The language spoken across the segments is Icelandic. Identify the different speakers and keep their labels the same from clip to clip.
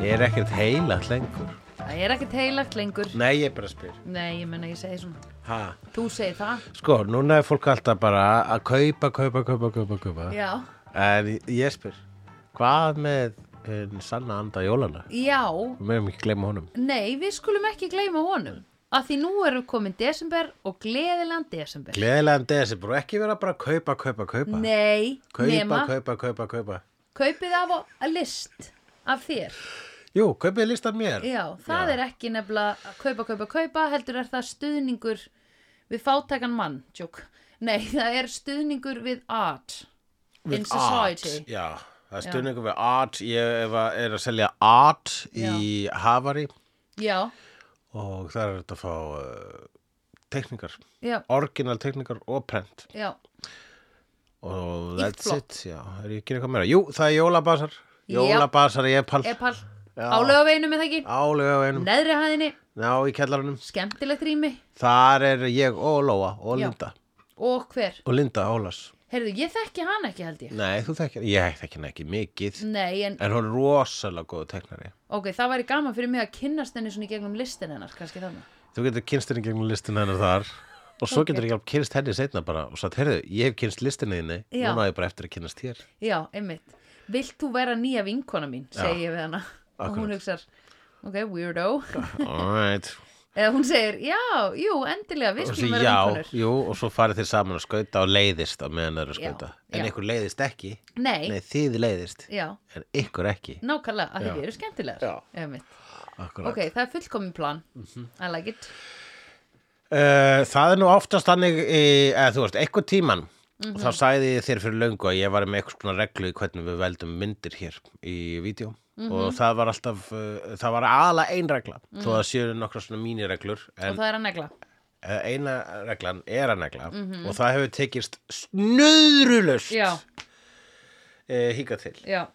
Speaker 1: er ekkert heilagt lengur.
Speaker 2: Það er ekkert heilagt lengur.
Speaker 1: Nei, ég bara spyr.
Speaker 2: Nei, ég menna ég segi svona.
Speaker 1: Ha.
Speaker 2: Þú segir það.
Speaker 1: Sko, núna er fólk alltaf bara að kaupa, kaupa, kaupa, kaupa, kaupa.
Speaker 2: Já.
Speaker 1: En ég spyr, hvað með hinn sanna anda jólana?
Speaker 2: Já.
Speaker 1: Við meðum ekki gleyma honum.
Speaker 2: Nei, við skulum ekki gleyma honum. Að því nú erum komin desember og gleðilegan desember.
Speaker 1: Gleðilegan desember og ekki vera bara að kaupa, kaupa, kaupa.
Speaker 2: Nei,
Speaker 1: kaupa,
Speaker 2: nema.
Speaker 1: kaupa, kaupa, kaupa.
Speaker 2: Kaupið af á- að list af þér.
Speaker 1: Jú, kaupið listan mér.
Speaker 2: Já, það er ekki nefnilega að kaupa, kaupa, kaupa, heldur er það stuðningur við fátækan mann, tjók. Nei, það er stuðningur við art in society.
Speaker 1: Art, já, það er stundingu við art. Ég hef að- er að selja art í Havari
Speaker 2: Já,
Speaker 1: og það er þetta að fá uh, tekningar,
Speaker 2: já,
Speaker 1: orginal tekningar og prent.
Speaker 2: já,
Speaker 1: Og
Speaker 2: Íkt
Speaker 1: that's
Speaker 2: flott.
Speaker 1: it, já, er ég að gera eitthvað meira? Jú, það er jólabasar,
Speaker 2: Já.
Speaker 1: jólabasar í Epal,
Speaker 2: epal,
Speaker 1: Já.
Speaker 2: álega veinum er það ekki,
Speaker 1: álega á einum,
Speaker 2: Um neðri hæðinni,
Speaker 1: ná í kellarunum.
Speaker 2: skemmtilegt rými
Speaker 1: Þar er ég og Lóa og
Speaker 2: Já.
Speaker 1: Linda
Speaker 2: og hver.
Speaker 1: og Linda Ólas.
Speaker 2: Heyrðu, ég þekki hann ekki held ég.
Speaker 1: Nei, þú þekkir, ég þekkir henni ekki mikið,
Speaker 2: Nei, en
Speaker 1: en hún er rosalega góð teknari.
Speaker 2: ok, það væri gaman fyrir mig að kynnast henni svona í gegnum listin hennar, kannski þannig.
Speaker 1: Þú getur kynst henni gegnum listin hennar þar og svo
Speaker 2: Ok.
Speaker 1: getur ekki alveg kynst henni setna bara og sagt, heyrðu, ég hef kynst listinni þinni,
Speaker 2: Já.
Speaker 1: núna á ég bara eftir að kynast hér.
Speaker 2: Já, einmitt. Vilt þú vera nýja vinkona mín, segi ég við hana. Og hún
Speaker 1: akkurat.
Speaker 2: hugsar, ok, weirdo.
Speaker 1: All right.
Speaker 2: Eða hún segir, já, jú, endilega, við
Speaker 1: Og
Speaker 2: skulum
Speaker 1: svo
Speaker 2: vera
Speaker 1: já,
Speaker 2: vinkonur.
Speaker 1: jú, og svo farið þér saman að skauta og leiðist á meðan þeir eru að
Speaker 2: Já,
Speaker 1: skauta.
Speaker 2: já.
Speaker 1: En ykkur leiðist ekki.
Speaker 2: Nei,
Speaker 1: Nei, þið leiðist,
Speaker 2: já,
Speaker 1: en ykkur ekki.
Speaker 2: nákvæmlega, að
Speaker 1: Já.
Speaker 2: þið eru skemmtilegar.
Speaker 1: Já.
Speaker 2: Einmitt.
Speaker 1: Akkurat. Mhm.
Speaker 2: Ok, það er fullkomin plan. I like it.
Speaker 1: Eh, það er nú oftast þannig, eh, eða þú veist, eitthvað tíman
Speaker 2: Mhm.
Speaker 1: þá sagði ég þér fyrir löngu að ég var með eitthvað svona reglu í hvernig við veldum myndir hér í vídeo
Speaker 2: Mhm.
Speaker 1: og það var alltaf, uh, það var aðalega ein regla þó að séu nokkra svona mínireglur
Speaker 2: Og
Speaker 1: en
Speaker 2: það er að negla.
Speaker 1: eh, eina reglan er að negla og það hefur tekist snöðrulust
Speaker 2: Mhm. Já,
Speaker 1: uh, hingað til
Speaker 2: já,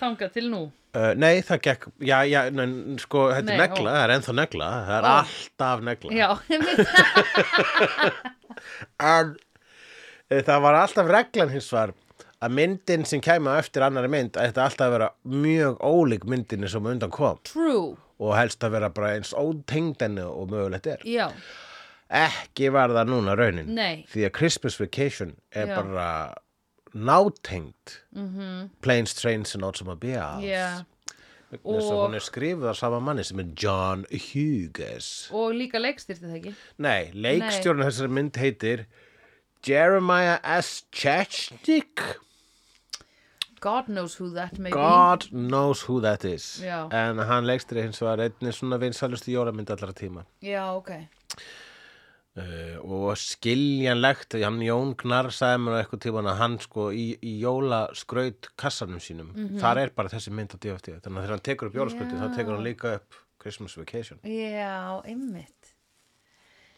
Speaker 2: þangað til nú.
Speaker 1: uh, Nei, það gekk, já, já, nein, sko, þetta er
Speaker 2: Nei,
Speaker 1: negla,
Speaker 2: ó.
Speaker 1: það er ennþá negla það er
Speaker 2: Ó.
Speaker 1: alltaf negla
Speaker 2: Já, einmitt.
Speaker 1: en eh, það var alltaf reglan hins var að myndin sem kæmi á eftir annari mynd ætti alltaf að vera mjög ólík myndinni sem á undan kom
Speaker 2: True,
Speaker 1: og helst að vera bara eins ótengd henni og mögulegt er.
Speaker 2: já,
Speaker 1: Ekki var það núna raunin
Speaker 2: Nei.
Speaker 1: því að Christmas Vacation er
Speaker 2: Já. Mhm.
Speaker 1: bara nátengd Planes, Trains and Automobiles
Speaker 2: já.
Speaker 1: og...
Speaker 2: og-
Speaker 1: hún er skrifuð af sama manni sem er John Hughes
Speaker 2: Og líka leikstyrti það ekki.
Speaker 1: Nei, leikstjórn þessari mynd heitir Jeremiah S. Chechnik
Speaker 2: God knows who that may
Speaker 1: God knows who that is
Speaker 2: Já.
Speaker 1: en hann leikstri hins var einnig svona vinsalustu jólamynd allra tíma
Speaker 2: be. Já, ok.
Speaker 1: uh, og skiljanlegt hann Jón Gnar sagði mér á eitthvað tíma að hann sko í, í jólaskraut kassanum sínum, þar er bara þessi mynd á DFT, þannig að þegar hann tekur upp jólaskrauti þá tekur hann líka upp Christmas Vacation
Speaker 2: Já, einmitt.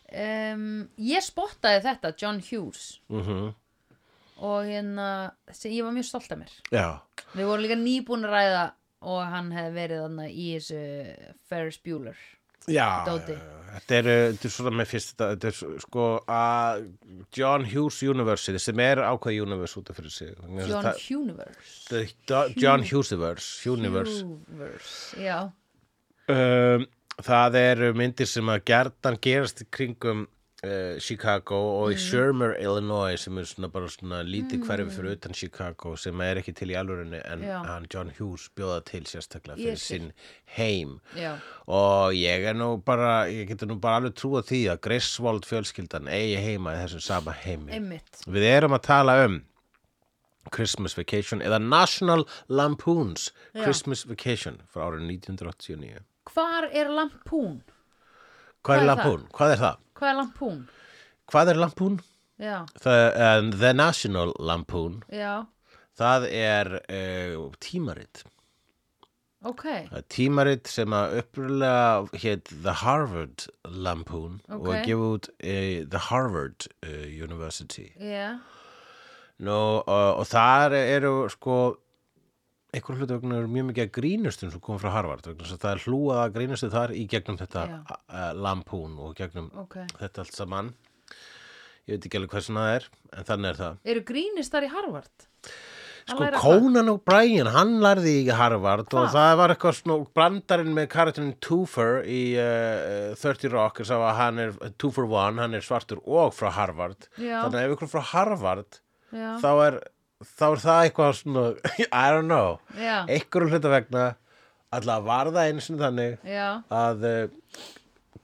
Speaker 2: Um, ég spottaði þetta, John Hughes.
Speaker 1: mm
Speaker 2: og hérna, sem ég var mjög stolt af mér
Speaker 1: Já,
Speaker 2: við vorum líka nýbúin að ræða og hann hefði verið þarna í þessu Ferris Bueller
Speaker 1: já
Speaker 2: Dóti.
Speaker 1: já, já. þetta er, uh, þetta er svona með fyrst þetta, þetta er s- sko að John Hughes University sem er ákveð universe út af fyrir sig Þannig að
Speaker 2: John
Speaker 1: það-
Speaker 2: Huniverse
Speaker 1: The Do- John Hughesiverse Universe
Speaker 2: Huniverse, já,
Speaker 1: um, Það eru myndir sem að gertan gerast í kringum uh, Chicago og
Speaker 2: Mm.
Speaker 1: í Shermer, Illinois sem er svona bara svona lítið hverfi fyrir utan Chicago sem er ekki til í alvörunni en
Speaker 2: Já.
Speaker 1: hann John Hughes bjóða til sérstaklega fyrir
Speaker 2: Ég skil.
Speaker 1: sinn heim
Speaker 2: já,
Speaker 1: og ég er nú bara ég getur nú bara alveg trúa því að Griswold fjölskyldan eigi heima í þessum sama heimi
Speaker 2: einmitt
Speaker 1: Við erum að tala um Christmas Vacation eða National Lampoon's
Speaker 2: Já.
Speaker 1: Christmas Vacation frá árið 1989.
Speaker 2: hvar er lampún?
Speaker 1: Hvað er
Speaker 2: er
Speaker 1: Lampoon? Hvað er það?
Speaker 2: hvað er lampún?
Speaker 1: Hvað er Lampoon?
Speaker 2: já,
Speaker 1: The, um, the National Lampoon,
Speaker 2: já,
Speaker 1: það er uh, tímarit.
Speaker 2: ok
Speaker 1: Það er tímarit sem að upprulega hétt The Harvard Lampoon og
Speaker 2: Ok.
Speaker 1: er gefið út uh, The Harvard uh, University.
Speaker 2: já,
Speaker 1: Nú, og, og þar eru sko einhver hlutu vegna eru mjög mikið að grínustum sem kom frá Harvard vegna þess að það er hlúað að grínustu þar í gegnum þetta
Speaker 2: Já.
Speaker 1: uh, lampún og gegnum
Speaker 2: ok
Speaker 1: þetta allt saman ég veit ekki alveg hversna það er en þannig er það
Speaker 2: eru grínistar í Harvard? Að
Speaker 1: Sko
Speaker 2: læra hvað?
Speaker 1: Conan O'Brien, hann lærði í Harvard og
Speaker 2: Hvað?
Speaker 1: það var eitthvað svona brandarinn með karatinn Toofer í uh, 30 Rock sem að hann er, Toofer One, hann er svartur og frá Harvard
Speaker 2: Já.
Speaker 1: þannig að ef ykkur frá Harvard
Speaker 2: Já,
Speaker 1: þá er, þá er það eitthvað svona, I don't know
Speaker 2: já,
Speaker 1: einhverjum hluta vegna allavega var það einu sinni þannig
Speaker 2: já,
Speaker 1: að uh,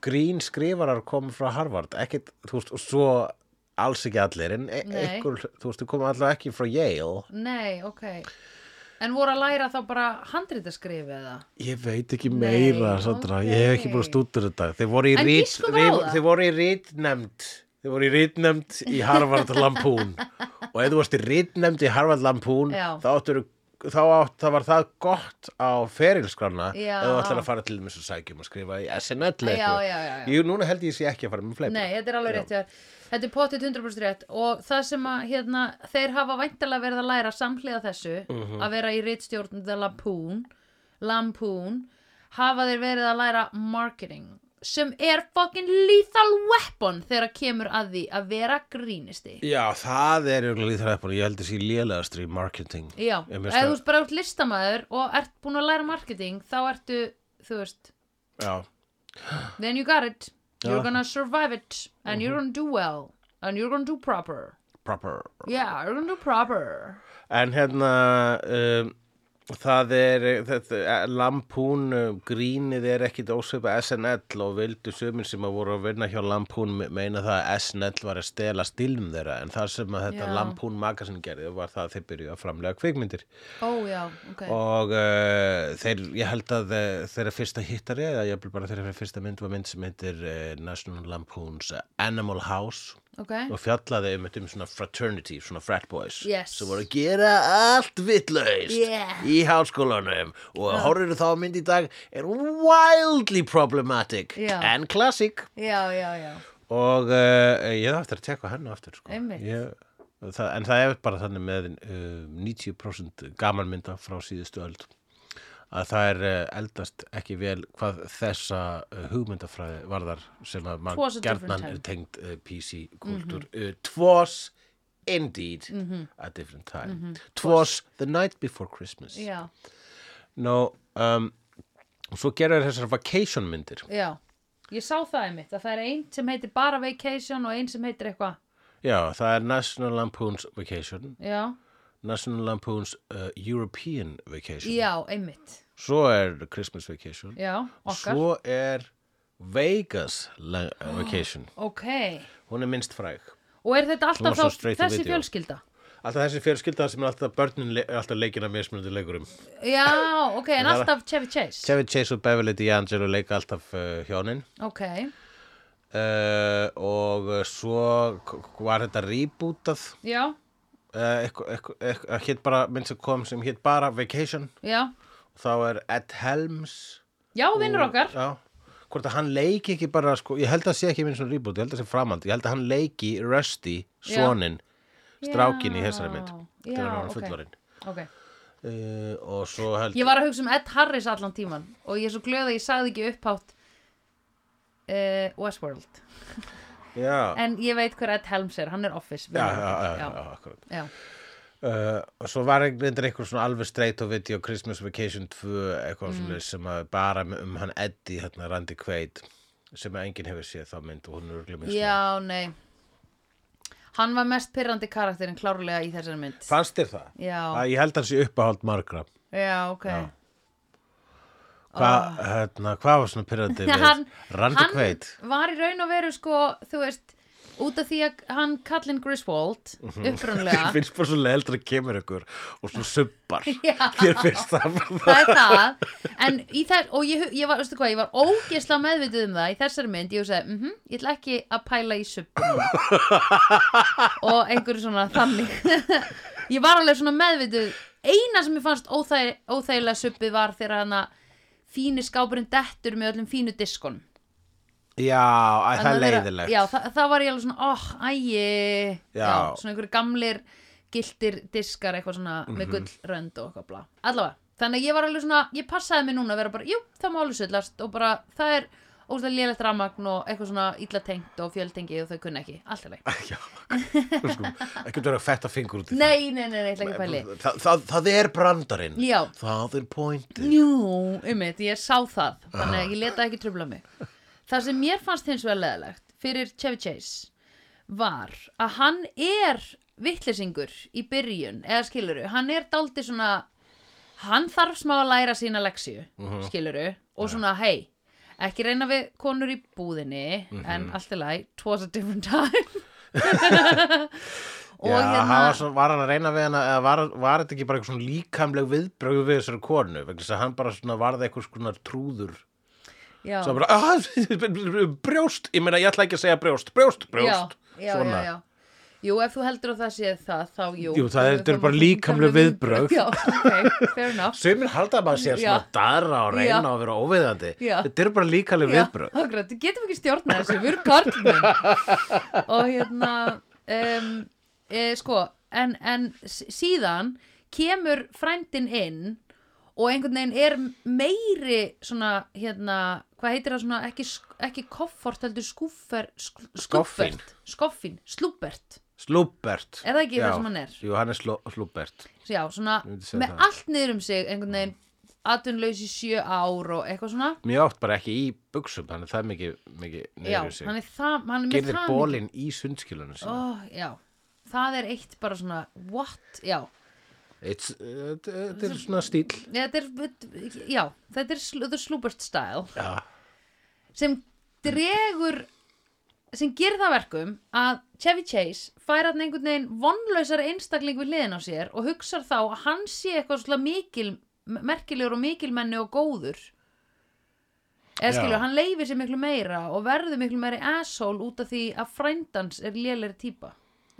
Speaker 1: grín skrifarar kom frá Harvard ekkit, þú veist, og svo alls ekki allir en e
Speaker 2: Nei.
Speaker 1: einhver, þú veist, þú kom allavega ekki frá Yale
Speaker 2: nei, ok. En voru að læra þá bara handritaskrifi eða?
Speaker 1: ég veit ekki
Speaker 2: Nei,
Speaker 1: meira, Sandra
Speaker 2: ok.
Speaker 1: ég hef ekki búin að stútur þetta þeir voru í
Speaker 2: En
Speaker 1: rít
Speaker 2: giskum
Speaker 1: þeir,
Speaker 2: á það.
Speaker 1: þeir voru í rítnefnd þeir voru í rítnefnd í Harvard Lampoon og ef þú varst í rítnefnd í Harvard Lampoon
Speaker 2: Já.
Speaker 1: þá áttur þá átt, það var það gott á ferilskrána
Speaker 2: Já.
Speaker 1: eða þú ætlar að fara til þess að sækjum um að skrifa í SNL eitthvað.
Speaker 2: Já, já, já, já.
Speaker 1: Jú, núna held ég sé ekki að fara með fleip
Speaker 2: Nei, þetta er alveg
Speaker 1: Já.
Speaker 2: rétt hjá þér. Þetta er potið 100% rétt og það sem að hérna, þeir hafa væntalega verið að læra samhliða þessu
Speaker 1: Mhm.
Speaker 2: að vera í rittstjórn The Lampoon, Lampoon hafa þeir verið að læra marketing sem er fucking lethal weapon þegar kemur að því að vera grínisti.
Speaker 1: Já, það er jögulega líþræðbúin, ég held að sé lélegast í marketing.
Speaker 2: Já,
Speaker 1: Ég
Speaker 2: ef
Speaker 1: minnst
Speaker 2: þú
Speaker 1: að-
Speaker 2: ert bara út listamaður og ert búin að læra marketing þá ertu, þú veist,
Speaker 1: Já,
Speaker 2: then you got it, you're
Speaker 1: Já. Mhm.
Speaker 2: gonna survive it and you're gonna do well and you're gonna do proper.
Speaker 1: proper.
Speaker 2: Yeah, you're gonna do proper.
Speaker 1: En hérna, um, það er, þetta, eh, Lampoon um, grínið er ekkit ósveipa SNL og vildu sömur sem að voru að vinna hjá Lampoon me- meina það að SNL var að stela stilum þeirra en það sem að þetta
Speaker 2: Já.
Speaker 1: Lampoon magasin gerði var það að þeir byrjuðu að framlega kvikmyndir.
Speaker 2: Ó, Oh, já, ok.
Speaker 1: og uh, þeir, ég held að eh, þeirra fyrsta hittari eða ég bara þeirra fyrsta mynd var mynd sem heitir uh, National Lampoon's Animal House
Speaker 2: ok,
Speaker 1: og fjallaði um um svona fraternity, svona frat boys
Speaker 2: Yes.
Speaker 1: sem voru að gera allt vittlaust
Speaker 2: Yeah.
Speaker 1: í háskólanum og uh. horfir þá á mynd í dag er wildly problematic
Speaker 2: Já.
Speaker 1: and classic
Speaker 2: já, já, já,
Speaker 1: og uh, ég þarf eftir að tjekka hennu aftur sko.
Speaker 2: Einmitt.
Speaker 1: ég, það, en það er bara þannig með uh, 90% gamanmynda frá síðustu öld að það er uh, eldast ekki vel hvað þessa uh, hugmyndafræði varðar sem að
Speaker 2: Twas
Speaker 1: maður
Speaker 2: a
Speaker 1: gerðnan er
Speaker 2: different time. Mhm.
Speaker 1: tengd uh, PC-kultúr uh, Twas indeed a different time
Speaker 2: Mhm.
Speaker 1: Twas the night before Christmas
Speaker 2: já,
Speaker 1: Nú, um, svo gera þér þessar vacation myndir
Speaker 2: já. Ég sá það einmitt, að það er ein sem heitir bara vacation og ein sem heitir eitthvað,
Speaker 1: Já, það er National Lampoon's Vacation
Speaker 2: já,
Speaker 1: National Lampoon's uh, European Vacation
Speaker 2: já, einmitt,
Speaker 1: svo er Christmas Vacation
Speaker 2: já, okkar,
Speaker 1: svo er Vegas la- uh, Vacation
Speaker 2: ok.
Speaker 1: hún er minnst fræg
Speaker 2: Og er þetta
Speaker 1: Hún var
Speaker 2: alltaf
Speaker 1: svo
Speaker 2: þá
Speaker 1: straight to
Speaker 2: þessi
Speaker 1: video.
Speaker 2: fjölskylda?
Speaker 1: alltaf þessi fjölskylda sem er alltaf börnin le- er alltaf leikina mismunandi leikurum
Speaker 2: Já, ok, en
Speaker 1: Það er-
Speaker 2: alltaf Chevy Chase,
Speaker 1: Chevy Chase og Beverly D'Angelo leika alltaf uh, hjónin
Speaker 2: ok,
Speaker 1: uh, og uh, svo k- var þetta rebootað
Speaker 2: já,
Speaker 1: uh, eitthvað- eitthvað- eitthvað- hétt bara mynd sem kom sem hétt bara Vacation
Speaker 2: já,
Speaker 1: þá er Ed Helms
Speaker 2: já, vinnur okkar,
Speaker 1: Já, hvort að hann leiki ekki bara sko, ég held að sé ekki minn svona reboot, ég held að sé framhald ég held að hann leiki Rusty,
Speaker 2: Já.
Speaker 1: sonin strákin í
Speaker 2: Já,
Speaker 1: þessari mynd
Speaker 2: já,
Speaker 1: þegar hann
Speaker 2: ok.
Speaker 1: okay. fullorinn
Speaker 2: ok.
Speaker 1: uh, og svo held
Speaker 2: Ég var að hugsa um Ed Harris allan tíman og ég er svo glöð að ég sagði ekki upphátt uh, Westworld.
Speaker 1: já,
Speaker 2: En ég veit hver Ed Helms er, hann er Office.
Speaker 1: já, já,
Speaker 2: vinur
Speaker 1: já,
Speaker 2: okkar.
Speaker 1: já, já, akkurat
Speaker 2: já.
Speaker 1: uh, og svo var einhvern einhver svona alveg straight og video Christmas Vacation 2 eitthvað mm. sem að bara um hann Eddie, hérna Randy Quaid sem að enginn hefur séð þá mynd og hún er örugglega minnst
Speaker 2: Já, nei Hann var mest pyrrandi karakterinn klárlega í þessari mynd
Speaker 1: fannst þér það?
Speaker 2: Já.
Speaker 1: Að ég held að hann sé uppáhald margra
Speaker 2: Já, ok Já,
Speaker 1: Hvað hérna, hvað var svona pyrrandi við?
Speaker 2: Ah. hann,
Speaker 1: Randy
Speaker 2: hann
Speaker 1: Quaid
Speaker 2: var í raun og veru sko, þú veist út af því að hann kallinn Griswold
Speaker 1: Mhm. Ég
Speaker 2: upprunalega,
Speaker 1: finnst bara svo leiðilegt að kemur ykkur og svo subbar
Speaker 2: Já.
Speaker 1: Þér finnst það bara
Speaker 2: það er það en í þess, og ég, hu- ég var, veistu hvað ég var ógesla meðvituð um það í þessari mynd ég sagði, mhm, ég ætla ekki að pæla í subbunum og einhverju svona þannig ég var alveg svona meðvituð eina sem ég fannst óþæg, óþægilega subbið var þegar hann að fíni skápurinn dettur með öllum fínu diskon
Speaker 1: Já, æ, það er leiðilegt
Speaker 2: já, það, það var ég alveg svona, oh, ægi
Speaker 1: Já.
Speaker 2: svona einhverju gamlir giltir diskar eitthvað svona með
Speaker 1: Mhm.
Speaker 2: gullrönd og eitthvað bla allavega, þannig að ég var alveg svona ég passaði mig núna að vera bara, jú, það má alveg sullast og bara, það er óslega lélegt rafmagn og eitthvað svona illa tengt og fjöltengi og þau kunna ekki, allt er leik
Speaker 1: Já, sko, ekki vera að fetta fingur út í
Speaker 2: Nei, nei, nei, nei, ég ætla ekki að pæli
Speaker 1: það. Það, það Það er brandarinn
Speaker 2: Já.
Speaker 1: Það er pointi
Speaker 2: Jú, einmitt, ég sá það þannig að ég leta ekki trubla mig Það sem mér fannst hins vegar leðilegt fyrir Chevy Chase var að hann er vittlesingur í byrjun, eða skiluru hann er dálítið svona hann þarf smá að læra sína leksju uh
Speaker 1: Mhm.
Speaker 2: skiluru, og svona hei ekki reyna við konur í búðinni en
Speaker 1: Mhm.
Speaker 2: allt í lagi, it was a different time og
Speaker 1: Já, hérna... var, svo, var hann að reyna við hana eða var, var þetta ekki bara eitthvað svona líkamleg viðbrögð við þessari konu vegna þess að hann bara svona varði eitthvað svona trúður
Speaker 2: já.
Speaker 1: svo bara, ah, brjóst ég meina, ég ætla ekki að segja brjóst, brjóst, brjóst
Speaker 2: já, já, já, já. Jú, ef þú heldur að það sé það, þá jú.
Speaker 1: Jú, það er- þetta eru bara líkamleg viðbrögð.
Speaker 2: Já, ok, fair enough.
Speaker 1: Sumir halda að maður sé að
Speaker 2: Já.
Speaker 1: svona dara og reyna
Speaker 2: Já.
Speaker 1: og vera óviðandi
Speaker 2: Já.
Speaker 1: Þetta eru bara líkaleg viðbrögð
Speaker 2: Já, akkurat, við getum ekki stjórna þessu, við erum karlmenn. Og hérna, um, e, sko, en, en s- síðan kemur frændin inn og einhvern veginn er meiri svona, hérna, hvað heitir það svona, ekki, sk- ekki koffort, heldur skúffer, sk-
Speaker 1: Skoffín.
Speaker 2: skúffert, skoffín, slúbert.
Speaker 1: Slúbert
Speaker 2: Er það ekki það
Speaker 1: Já.
Speaker 2: sem hann er?
Speaker 1: Jú, hann er slú, slúbert
Speaker 2: já, svona
Speaker 1: Ég myndi segja
Speaker 2: með
Speaker 1: það.
Speaker 2: allt niður um sig einhvern veginn atvinnlaus í sjö ár og eitthvað svona
Speaker 1: Mjög oft bara ekki í buksum Þannig það er mikið, mikið
Speaker 2: já,
Speaker 1: niður í sig
Speaker 2: hann er það, hann er með
Speaker 1: Gerðir
Speaker 2: það
Speaker 1: bólin í sundskilunum
Speaker 2: mikið-
Speaker 1: sín
Speaker 2: Ó, já, það er eitt bara svona what, já
Speaker 1: uh, Þetta er svona stíl
Speaker 2: þetta er, já, þetta er sl- the slúbert style
Speaker 1: Já,
Speaker 2: sem dregur sem gerir það verkum að Chevy Chase fær hann einhvern veginn vonlausari einstakling við liðin á sér og hugsar þá að hann sé eitthvað svolítið mikil merkilegur og mikilmenni og góður eða
Speaker 1: Já.
Speaker 2: skilur, hann leifir sér miklu meira og verður miklu meiri asshole út af því að frændans er lélegri típa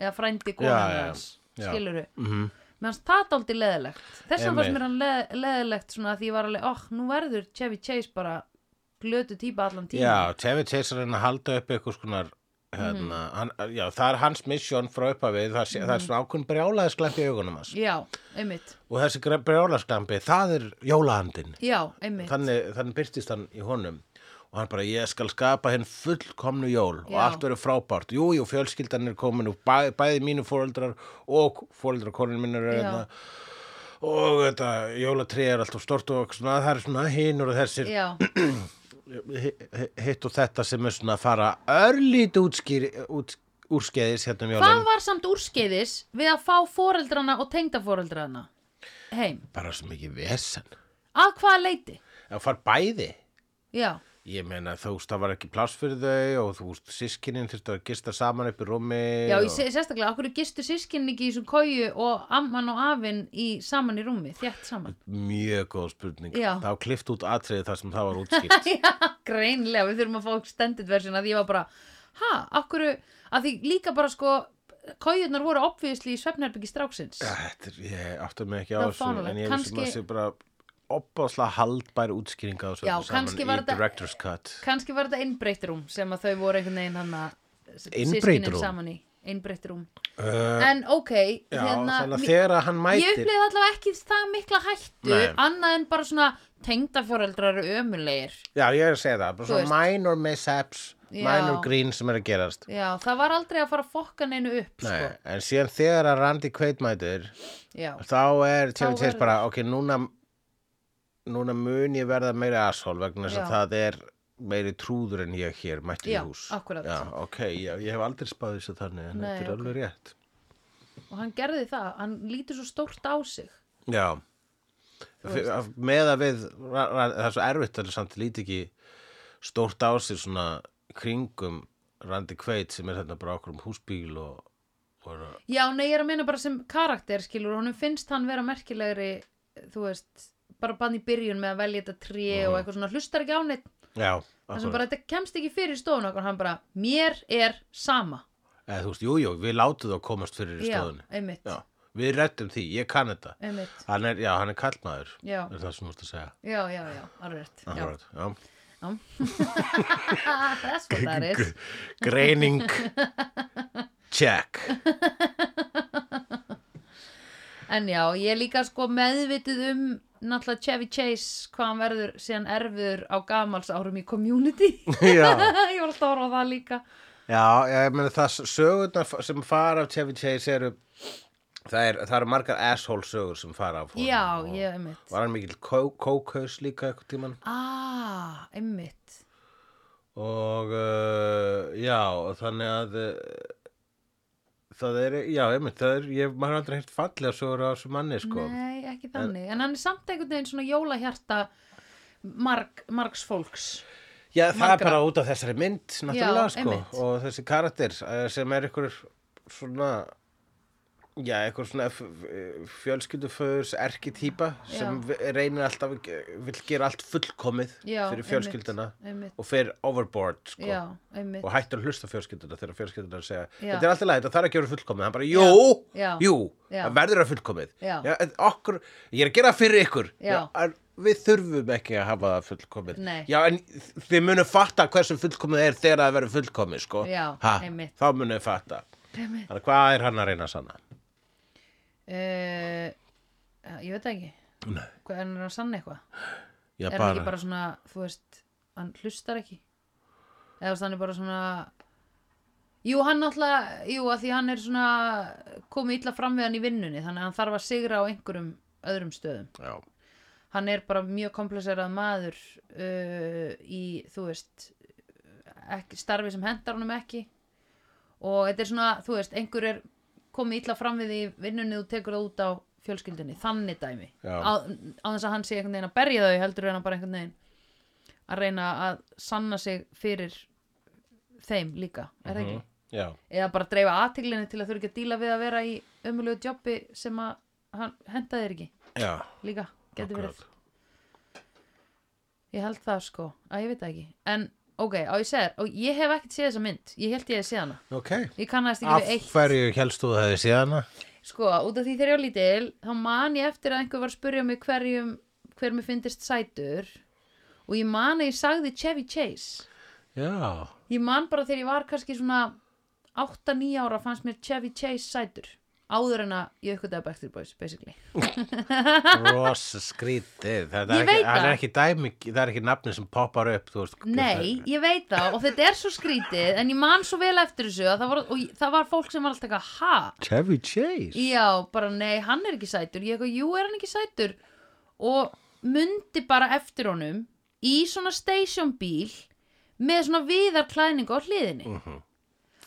Speaker 2: eða frændi konan
Speaker 1: Já, já,
Speaker 2: hans
Speaker 1: já.
Speaker 2: skilur við mm -hmm. meðan það dálítið leðilegt þess vegna fannst
Speaker 1: Einmitt.
Speaker 2: mér hann leð, leðilegt svona að því ég var alveg, oh, nú verður Chevy Chase bara glötu típa allan tíma
Speaker 1: já Tevi Chase er að reyna að halda upp eitthvað skonar hérna,
Speaker 2: Mhm.
Speaker 1: hann, Já, það er hans misjón frá uppafið Það, sé, það er svona ákveðn brjálaðisklamp í augunum hans
Speaker 2: Já, einmitt.
Speaker 1: Og þessi gre- brjálaðisklampi, það er jólahandinn
Speaker 2: Já, einmitt.
Speaker 1: þannig, þannig byrtist hann í honum og hann bara, ég skal skapa henn fullkomnu jól og
Speaker 2: Já.
Speaker 1: allt verður frábært jú, jú, fjölskyldan er komin og bæ, bæði mínu fóreldrar og fóreldrar konin mín er
Speaker 2: Já.
Speaker 1: hérna og þetta, jólatri er alltaf stort og svona, það er svona hinur og þessir
Speaker 2: Já,
Speaker 1: hi- hi- hitt og þetta sem er svona að fara örlít útskýr, út, úrskeiðis hérna um
Speaker 2: hvað
Speaker 1: jólin
Speaker 2: var samt úrskeiðis við að fá foreldrana og tengdafóreldrana heim?
Speaker 1: bara svo mikið vesen
Speaker 2: Að hvaða leiti?
Speaker 1: það far bæði
Speaker 2: Já,
Speaker 1: Ég meina þú veist, það var ekki pláss fyrir þau og þú veist, sískinin þurftu að gista saman upp í rúmi
Speaker 2: já,
Speaker 1: og...
Speaker 2: ég sé- sérstaklega, okkur gistu sískinni ekki í þessum kóju og amman og afinn í saman í rúmi, þétt saman.
Speaker 1: Mjög góð spurning.
Speaker 2: Já.
Speaker 1: Það var klift út atriði þar sem það var útskýrt.
Speaker 2: Já, greinlega, við þurfum að fá extended version að því ég var bara, ha, okkur, að því líka bara sko, kójurnar voru obviously í svefnherbyggi stráksins.
Speaker 1: Þetta er, ég átti mig ekki á
Speaker 2: Það var
Speaker 1: þessu,
Speaker 2: fáránlegt.
Speaker 1: en ég er
Speaker 2: Kannski-
Speaker 1: sem að sé bara opbáslega haldbær útskýringa á þessu
Speaker 2: Já,
Speaker 1: öllu saman
Speaker 2: kannski
Speaker 1: í
Speaker 2: var þetta-
Speaker 1: Director's Cut.
Speaker 2: Kanski var þetta innbreytrum sem að þau voru einhvern veginn hann að
Speaker 1: Innbreytt
Speaker 2: systkinin
Speaker 1: rúm?
Speaker 2: saman í innbreytrum
Speaker 1: Uh,
Speaker 2: en ok
Speaker 1: já,
Speaker 2: hérna,
Speaker 1: þannig að
Speaker 2: mi-
Speaker 1: þegar að hann
Speaker 2: ég
Speaker 1: mætir...
Speaker 2: upplifði allavega ekki það mikla hættu
Speaker 1: Nei.
Speaker 2: annað en bara svona tengdafjóreldrar eru ömulegir
Speaker 1: Já, ég er að segja það. Bara
Speaker 2: Þú
Speaker 1: svona
Speaker 2: veist.
Speaker 1: minor mishaps,
Speaker 2: Já.
Speaker 1: minor green sem er að gerast.
Speaker 2: já, það var aldrei að fara að fokka neinu upp
Speaker 1: Nei, en síðan þegar að Randy Quaid mætir,
Speaker 2: sko. já,
Speaker 1: þá er Chevy Chase
Speaker 2: verður-
Speaker 1: bara, ok, núna, núna mun ég verða meiri asshole vegna þess
Speaker 2: Já.
Speaker 1: að það er meiri trúður en ég hér mættur í
Speaker 2: Já,
Speaker 1: hús.
Speaker 2: akkúrat.
Speaker 1: Já, ok, já, ég hef aldrei spáð þessu þannig en
Speaker 2: Nei,
Speaker 1: þetta er
Speaker 2: ok.
Speaker 1: alveg rétt.
Speaker 2: og hann gerði það hann lítur svo stórt á sig
Speaker 1: Já, F- með að við, ra- ra- það er svo erfitt að samt líti ekki stórt á sig svona kringum Randy Quaid sem er þarna bara okkur um húsbíl og, og er að-
Speaker 2: já, nei, ég er að meina bara sem karakter skilur, honum finnst hann vera merkilegri þú veist, bara bann í byrjun með að velja þetta tré og eitthvað svona hlustar ekki á neitt
Speaker 1: já,
Speaker 2: það sem
Speaker 1: akkurat.
Speaker 2: bara þetta kemst ekki fyrir stofun okkur hann bara, mér er sama
Speaker 1: Eða, þú veist, jú, jú, við látum þá komast fyrir í stöðunni.
Speaker 2: já, einmitt,
Speaker 1: Já, við rettum því, ég kann þetta.
Speaker 2: einmitt
Speaker 1: Hann er, já, hann er kallmaður,
Speaker 2: já,
Speaker 1: er það sem þú ert að segja.
Speaker 2: já, já, já, alveg rétt
Speaker 1: Akkurat, já.
Speaker 2: já, that's what that is
Speaker 1: Greining, check.
Speaker 2: en já, ég er líka sko meðvitið um náttúrulega Chevy Chase hvað hann verður síðan erfiður á gamals árum í community
Speaker 1: já,
Speaker 2: ég var alltaf að horfa á það líka
Speaker 1: já, ég meni það sögurnar f- sem fara af Chevy Chase eru það, er, það eru margar asshole sögur sem fara af honum
Speaker 2: já,
Speaker 1: og
Speaker 2: ég einmitt
Speaker 1: Var hann mikill kó- kókaus líka eitthvað tíman
Speaker 2: ah, einmitt
Speaker 1: og uh, já, og þannig að uh, það er, já, einmitt, það er, ég, maður er aldrei hægt fallega sögur af þessu manni, sko.
Speaker 2: nei, ekki þannig, en hann er samt einhvern veginn svona jólahjarta marg, margs fólks
Speaker 1: Já, það
Speaker 2: Margra.
Speaker 1: er bara út af þessari mynd, náttúrulega, sko,
Speaker 2: einmitt.
Speaker 1: og þessi karakter eh, sem er ykkur svona, já, ykkur svona fjölskylduföðurs erkitýpa sem vi- reynir alltaf, vil gera allt fullkomið
Speaker 2: já,
Speaker 1: fyrir fjölskylduna
Speaker 2: einmitt, einmitt.
Speaker 1: og fyrir overboard, sko,
Speaker 2: já, einmitt
Speaker 1: og hættur að hlusta á fjölskylduna þegar fjölskylduna er að segja,
Speaker 2: Já.
Speaker 1: þetta er alltaf lægt og það er að gera fullkomið, hann bara, jú,
Speaker 2: Já.
Speaker 1: jú,
Speaker 2: Já.
Speaker 1: það verður að fullkomið,
Speaker 2: Já.
Speaker 1: en okkur, ég er að gera það fyrir ykkur,
Speaker 2: Já.
Speaker 1: en við þurfum ekki að hafa það fullkomið,
Speaker 2: Nei.
Speaker 1: já, en þið munum fatta hversu fullkomið er þegar það verður fullkomið, sko,
Speaker 2: Já,
Speaker 1: ha,
Speaker 2: einmitt.
Speaker 1: þá munum við fatta,
Speaker 2: Einmitt.
Speaker 1: þannig að hvað er hann að reyna að sanna?
Speaker 2: Eh, já, ég veit það ekki
Speaker 1: Nei.
Speaker 2: hvað er hann að sanna eitthvað
Speaker 1: Já,
Speaker 2: er hann ekki bara svona, þú veist hann hlustar ekki eða þú veist, hann er bara svona jú, hann náttúrulega, jú, að því hann er svona komið illa fram við hann í vinnunni þannig að hann þarf að sigra á einhverjum öðrum stöðum,
Speaker 1: já,
Speaker 2: hann er bara mjög komplexerað maður uh, í, þú veist ekki, starfi sem hendar honum ekki og þetta er svona, þú veist, einhver er komið illa fram við því vinnunni þú tekur það út á fjölskyldunni, þannig dæmi
Speaker 1: Já.
Speaker 2: á, á þess að hann sé einhvern veginn að berja þau heldur en hann bara einhvern veginn að reyna að sanna sig fyrir þeim líka, er það ekki?
Speaker 1: Hm? já,
Speaker 2: eða bara dreifa aðtiglinni til að þurfa ekki að díla við að vera í ömulegu jobbi sem að hann henda þér ekki
Speaker 1: já,
Speaker 2: líka, getur
Speaker 1: Akkurat.
Speaker 2: verið ég held það sko að ég veit það ekki, en ok, á ég segir og ég hef ekkert séð þessa mynd, ég held ég hef séð hana
Speaker 1: ok,
Speaker 2: ég kannast ekki
Speaker 1: af
Speaker 2: við eitt
Speaker 1: hverju helst þú það síðan að?
Speaker 2: sko, út af því þegar ég var lítil þá man ég eftir að einhver var að spurja mig hverjum hver mér fyndist sætur og ég man að ég sagði Chevy Chase
Speaker 1: Já,
Speaker 2: ég man bara þegar ég var kannski svona 8-9 ára fannst mér Chevy Chase sætur áður en að ég aukvitaði Backstreet Boys basically
Speaker 1: rosa skrítið Þetta
Speaker 2: Ég
Speaker 1: er ekki,
Speaker 2: veit
Speaker 1: hann
Speaker 2: það.
Speaker 1: er ekki dæmi, það er ekki nafni sem poppar upp þú veist,
Speaker 2: Nei,
Speaker 1: það-
Speaker 2: ég veit það og þetta er svo skrítið en ég man svo vel eftir þessu að það var, og ég- það var fólk sem var alltaf eitthvað ha,
Speaker 1: Chevy Chase
Speaker 2: já, bara nei, hann er ekki sætur ég eitthvað, jú, er hann ekki sætur og mundi bara eftir honum í svona stationbíl með svona viðarklæðningu á hliðinni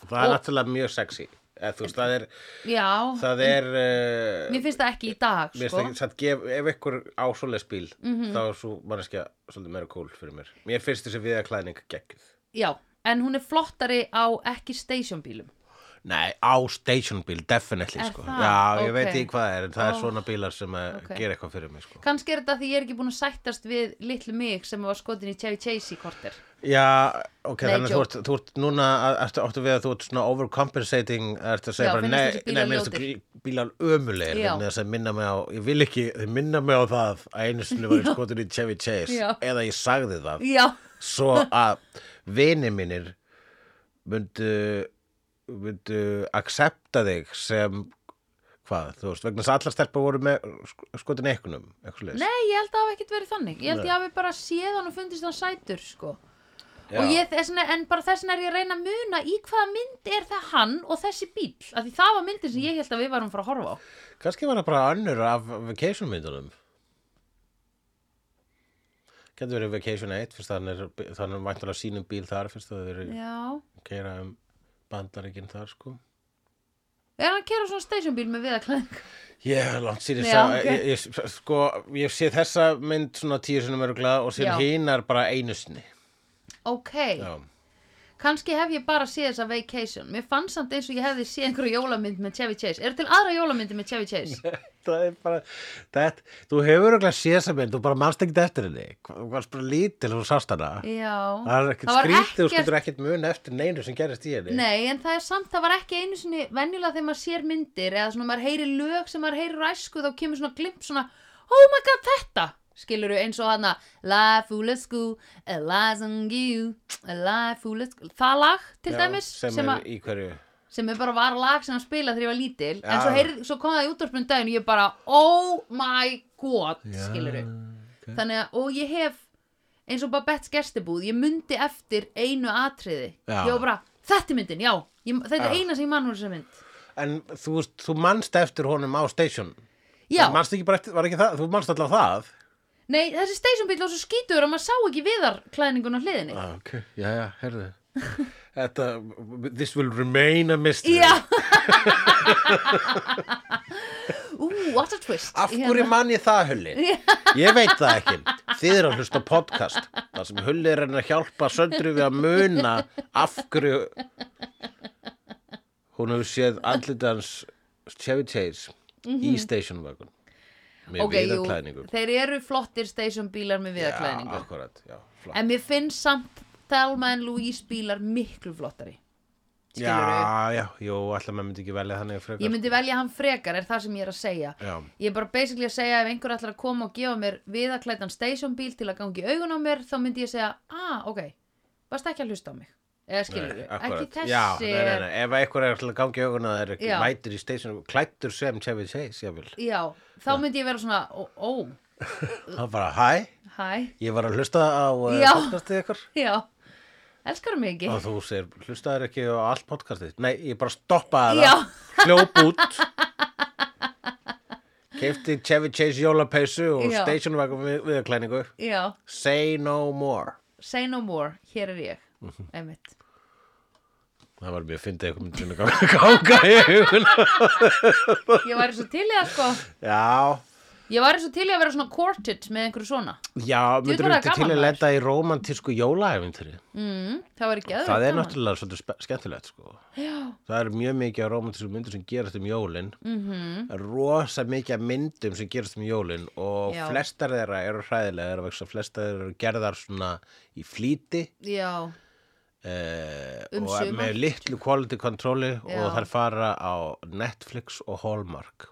Speaker 1: Það er
Speaker 2: Og-
Speaker 1: náttúrulega mjög sexy eða, þú veist, það er,
Speaker 2: já,
Speaker 1: það er uh,
Speaker 2: mér finnst það ekki í dag
Speaker 1: mér
Speaker 2: sko. Mhm.
Speaker 1: finnst ekki, satt, gef, ef ykkur á svoleið spíl þá er svo manneskja svolítið meira cool fyrir mér Mér finnst þessi viða klæðning geggjuð
Speaker 2: já, en hún er flottari á ekki stationbílum
Speaker 1: Nei, á stationbíl, definitely
Speaker 2: Er
Speaker 1: sko.
Speaker 2: það?
Speaker 1: Já, ég
Speaker 2: Ok.
Speaker 1: veit ekki hvað það er en það
Speaker 2: Ó.
Speaker 1: er svona bílar sem eh,
Speaker 2: Ok.
Speaker 1: gera eitthvað fyrir mig sko.
Speaker 2: kannski er þetta því ég er ekki búin að sættast við litlu mig sem var skotin í Chevy Chase í korter
Speaker 1: Já, ok,
Speaker 2: Nei,
Speaker 1: þannig að þú
Speaker 2: joke.
Speaker 1: ert, þú ert núna að- ertu áttu við að þú ert svona overcompensating ertu að segja
Speaker 2: Já,
Speaker 1: bara,
Speaker 2: finnast
Speaker 1: nei,
Speaker 2: þessir bílar
Speaker 1: nei, minnast
Speaker 2: ljótir.
Speaker 1: þú bílar ömulegir,
Speaker 2: Já.
Speaker 1: þannig að það minna mig á ég vil ekki, þau minna mig á það að einu sinni var ég skotin í Chevy Chase
Speaker 2: Já.
Speaker 1: eða ég sagði það,
Speaker 2: já,
Speaker 1: svo að vini mínir myndu myndu accepta þig sem hvað, þú veist, vegna þess að allar stelpa voru með sk- skotin í ekkunum, eitthvað leis
Speaker 2: Nei, ég held að það hafi ekkert verið þannig Ég held ég hafi bara séð hann og fundist hann sætur sko. og ég, þessna, En bara þessin er ég að reyna að muna í hvaða mynd er það hann og þessi bíl af því það var myndin sem ég held að við varum frá að horfa á
Speaker 1: Kanski var það bara önnur af vacation myndunum Getur verið vacation 1 fyrst þannig er, þannig er væntanlega sínum bíl þar fyrst að þau eru að
Speaker 2: Já
Speaker 1: keira um bandaríkinn þar sko
Speaker 2: Er hann að kera svona stationbíl með viðaklæðing?
Speaker 1: Ég er langt síðan
Speaker 2: Já,
Speaker 1: ég sá
Speaker 2: ok.
Speaker 1: ég, ég, sko, ég sé þessa mynd svona tíu sinum öruglega og
Speaker 2: Já.
Speaker 1: síðan hinar bara einu sinni
Speaker 2: Ok,
Speaker 1: Já,
Speaker 2: kannski hef ég bara séð þessa vacation Mér fann samt eins og ég hefði séð einhverju jólamynd með Chevy Chase Er til aðra jólamyndi með Chevy Chase?
Speaker 1: það er bara þetta, þú hefur öruglega séð þessa mynd þú bara manst ekki eftir henni þú varst bara lítil og sást hana
Speaker 2: Já
Speaker 1: Það er ekkert
Speaker 2: var
Speaker 1: skrítið og
Speaker 2: ekkert-
Speaker 1: skuldur ekkert mun eftir neinu sem gerist í henni
Speaker 2: Nei, en það er samt, það var ekki einu sinni venjulega þegar maður sér myndir eða svona maður heyri lög sem maður heyri ræsku þá kemur svona glimp svona Oh my god, þetta! Skilur eins og hana Life full of school, a lies on you A life full of school Það lag til
Speaker 1: Já,
Speaker 2: dæmis
Speaker 1: sem,
Speaker 2: sem,
Speaker 1: er
Speaker 2: að,
Speaker 1: í hverju
Speaker 2: sem er bara var lag sem hann spila þegar ég var lítil en
Speaker 1: Já.
Speaker 2: svo, heyrð, svo kom það í útvarpunum daginn og ég bara oh my god skilur þannig að og ég hef eins og Babettes gestibúð ég myndi eftir einu atriði
Speaker 1: Já.
Speaker 2: ég var bara þetta er myndin já ég, þetta er
Speaker 1: Já.
Speaker 2: eina sem ég mann úr þessari mynd
Speaker 1: En þú, veist, þú manst eftir honum á station
Speaker 2: já
Speaker 1: Þú manst ekki bara eftir, var ekki það, þú manst alltaf það
Speaker 2: nei þessi stationbíl var svo skítur að maður sá ekki viðarklæðningun á hliðinni
Speaker 1: ah, Ok, já, já, herðu Þetta, this will remain a mystery
Speaker 2: já ú what a twist Hérna.
Speaker 1: Af hverju man ég það, Hulli? Ég veit það ekki. Þið eru að hlusta á podcast. Það sem Hulli er að reyna að hjálpa söndru við að muna af hverju hún hefur séð andlitans Chevy Chase í station wagon. Með
Speaker 2: Mhm. Ok, jú,
Speaker 1: viðarklæðningu.
Speaker 2: þeir eru flottir stationbílar með
Speaker 1: Já,
Speaker 2: viðarklæðningu
Speaker 1: akkurat, já. flott.
Speaker 2: En mér finnst samt Thelma en Louise bílar miklu flottari Skilurðu?
Speaker 1: Já, já, jú, alltaf maður myndi ekki velja þannig frekar.
Speaker 2: Ég myndi velja hann frekar er það sem ég er að segja
Speaker 1: Já.
Speaker 2: Ég er bara basically að segja ef einhver ætlar að koma og gefa mér viðaklætan stationbíl til að gangi augun á mér þá myndi ég segja, ah, ok varst ekki að hlusta á mig eða skilur
Speaker 1: Nei,
Speaker 2: við,
Speaker 1: akkurat.
Speaker 2: ekki þessi
Speaker 1: já, nei, nei, nei. ef einhver er alltaf að gangi auguna það er ekki
Speaker 2: Já.
Speaker 1: mætir í station klættur sem Chevy Chase, ég vil
Speaker 2: Já, þá myndi ég vera svona, ó, ó
Speaker 1: það bara, hæ,
Speaker 2: hæ,
Speaker 1: Ég var að hlusta á uh,
Speaker 2: Já.
Speaker 1: podcastið ykkur
Speaker 2: já elskar mig ekki
Speaker 1: og þú segir, hlustaðir ekki á allt podcastið Nei, ég bara stoppaði
Speaker 2: Já.
Speaker 1: það, hljóp út Keifti Chevy Chase jólapeysu og
Speaker 2: Já.
Speaker 1: station wagon við, viðurklæningu
Speaker 2: Já,
Speaker 1: Say no more
Speaker 2: say no more, hér er ég
Speaker 1: Mhm.
Speaker 2: einmitt
Speaker 1: Það var mjög fyndið ykkur myndin að ganga- ganga í augun
Speaker 2: Ég væri svo til í það sko
Speaker 1: Já,
Speaker 2: Ég væri svo til í að vera svona quartet með einhverju svona
Speaker 1: já, myndur
Speaker 2: var það
Speaker 1: við til
Speaker 2: gaman,
Speaker 1: að
Speaker 2: maður.
Speaker 1: lenda í romantísku jólaæfintri
Speaker 2: mm, Það væri ekki
Speaker 1: Það er náttúrulega svolítið spe- skemmtilegt sko. Það er mjög mikið af romantísku myndum sem gerast um jólin mm
Speaker 2: Mhm.
Speaker 1: -hmm. Rosa mikið af myndum sem gerast um jólin Og
Speaker 2: Já.
Speaker 1: flestar þeirra eru hræðilegar vegna þess að Flestar þeirra eru gerðar svona í flýti
Speaker 2: Já,
Speaker 1: eh,
Speaker 2: Um
Speaker 1: Og
Speaker 2: sumar.
Speaker 1: með litlu quality controli
Speaker 2: Já.
Speaker 1: Og þær fara á Netflix og Hallmark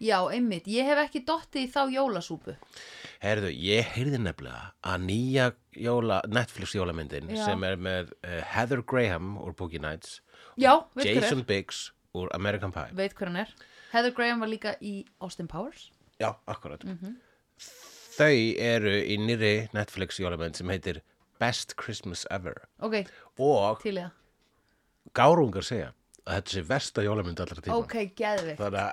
Speaker 2: já, einmitt Ég hef ekki dottið í þá jólasúpu
Speaker 1: Herðu, ég heyrði nefnilega að nýja jóla, Netflix jólamyndin
Speaker 2: Já.
Speaker 1: sem er með eh, Heather Graham úr Boogie Nights
Speaker 2: Já, veit hver er
Speaker 1: Jason Biggs úr American Pie
Speaker 2: Veit hver hann er Heather Graham var líka í Austin Powers
Speaker 1: Já, akkurat Þau eru í nýri Netflix jólamynd sem heitir Best Christmas Ever
Speaker 2: Ok,
Speaker 1: og
Speaker 2: til í það
Speaker 1: gárungar segja að þetta sé versta jólamynd allra tíma
Speaker 2: Ok, geðvikt
Speaker 1: Þannig að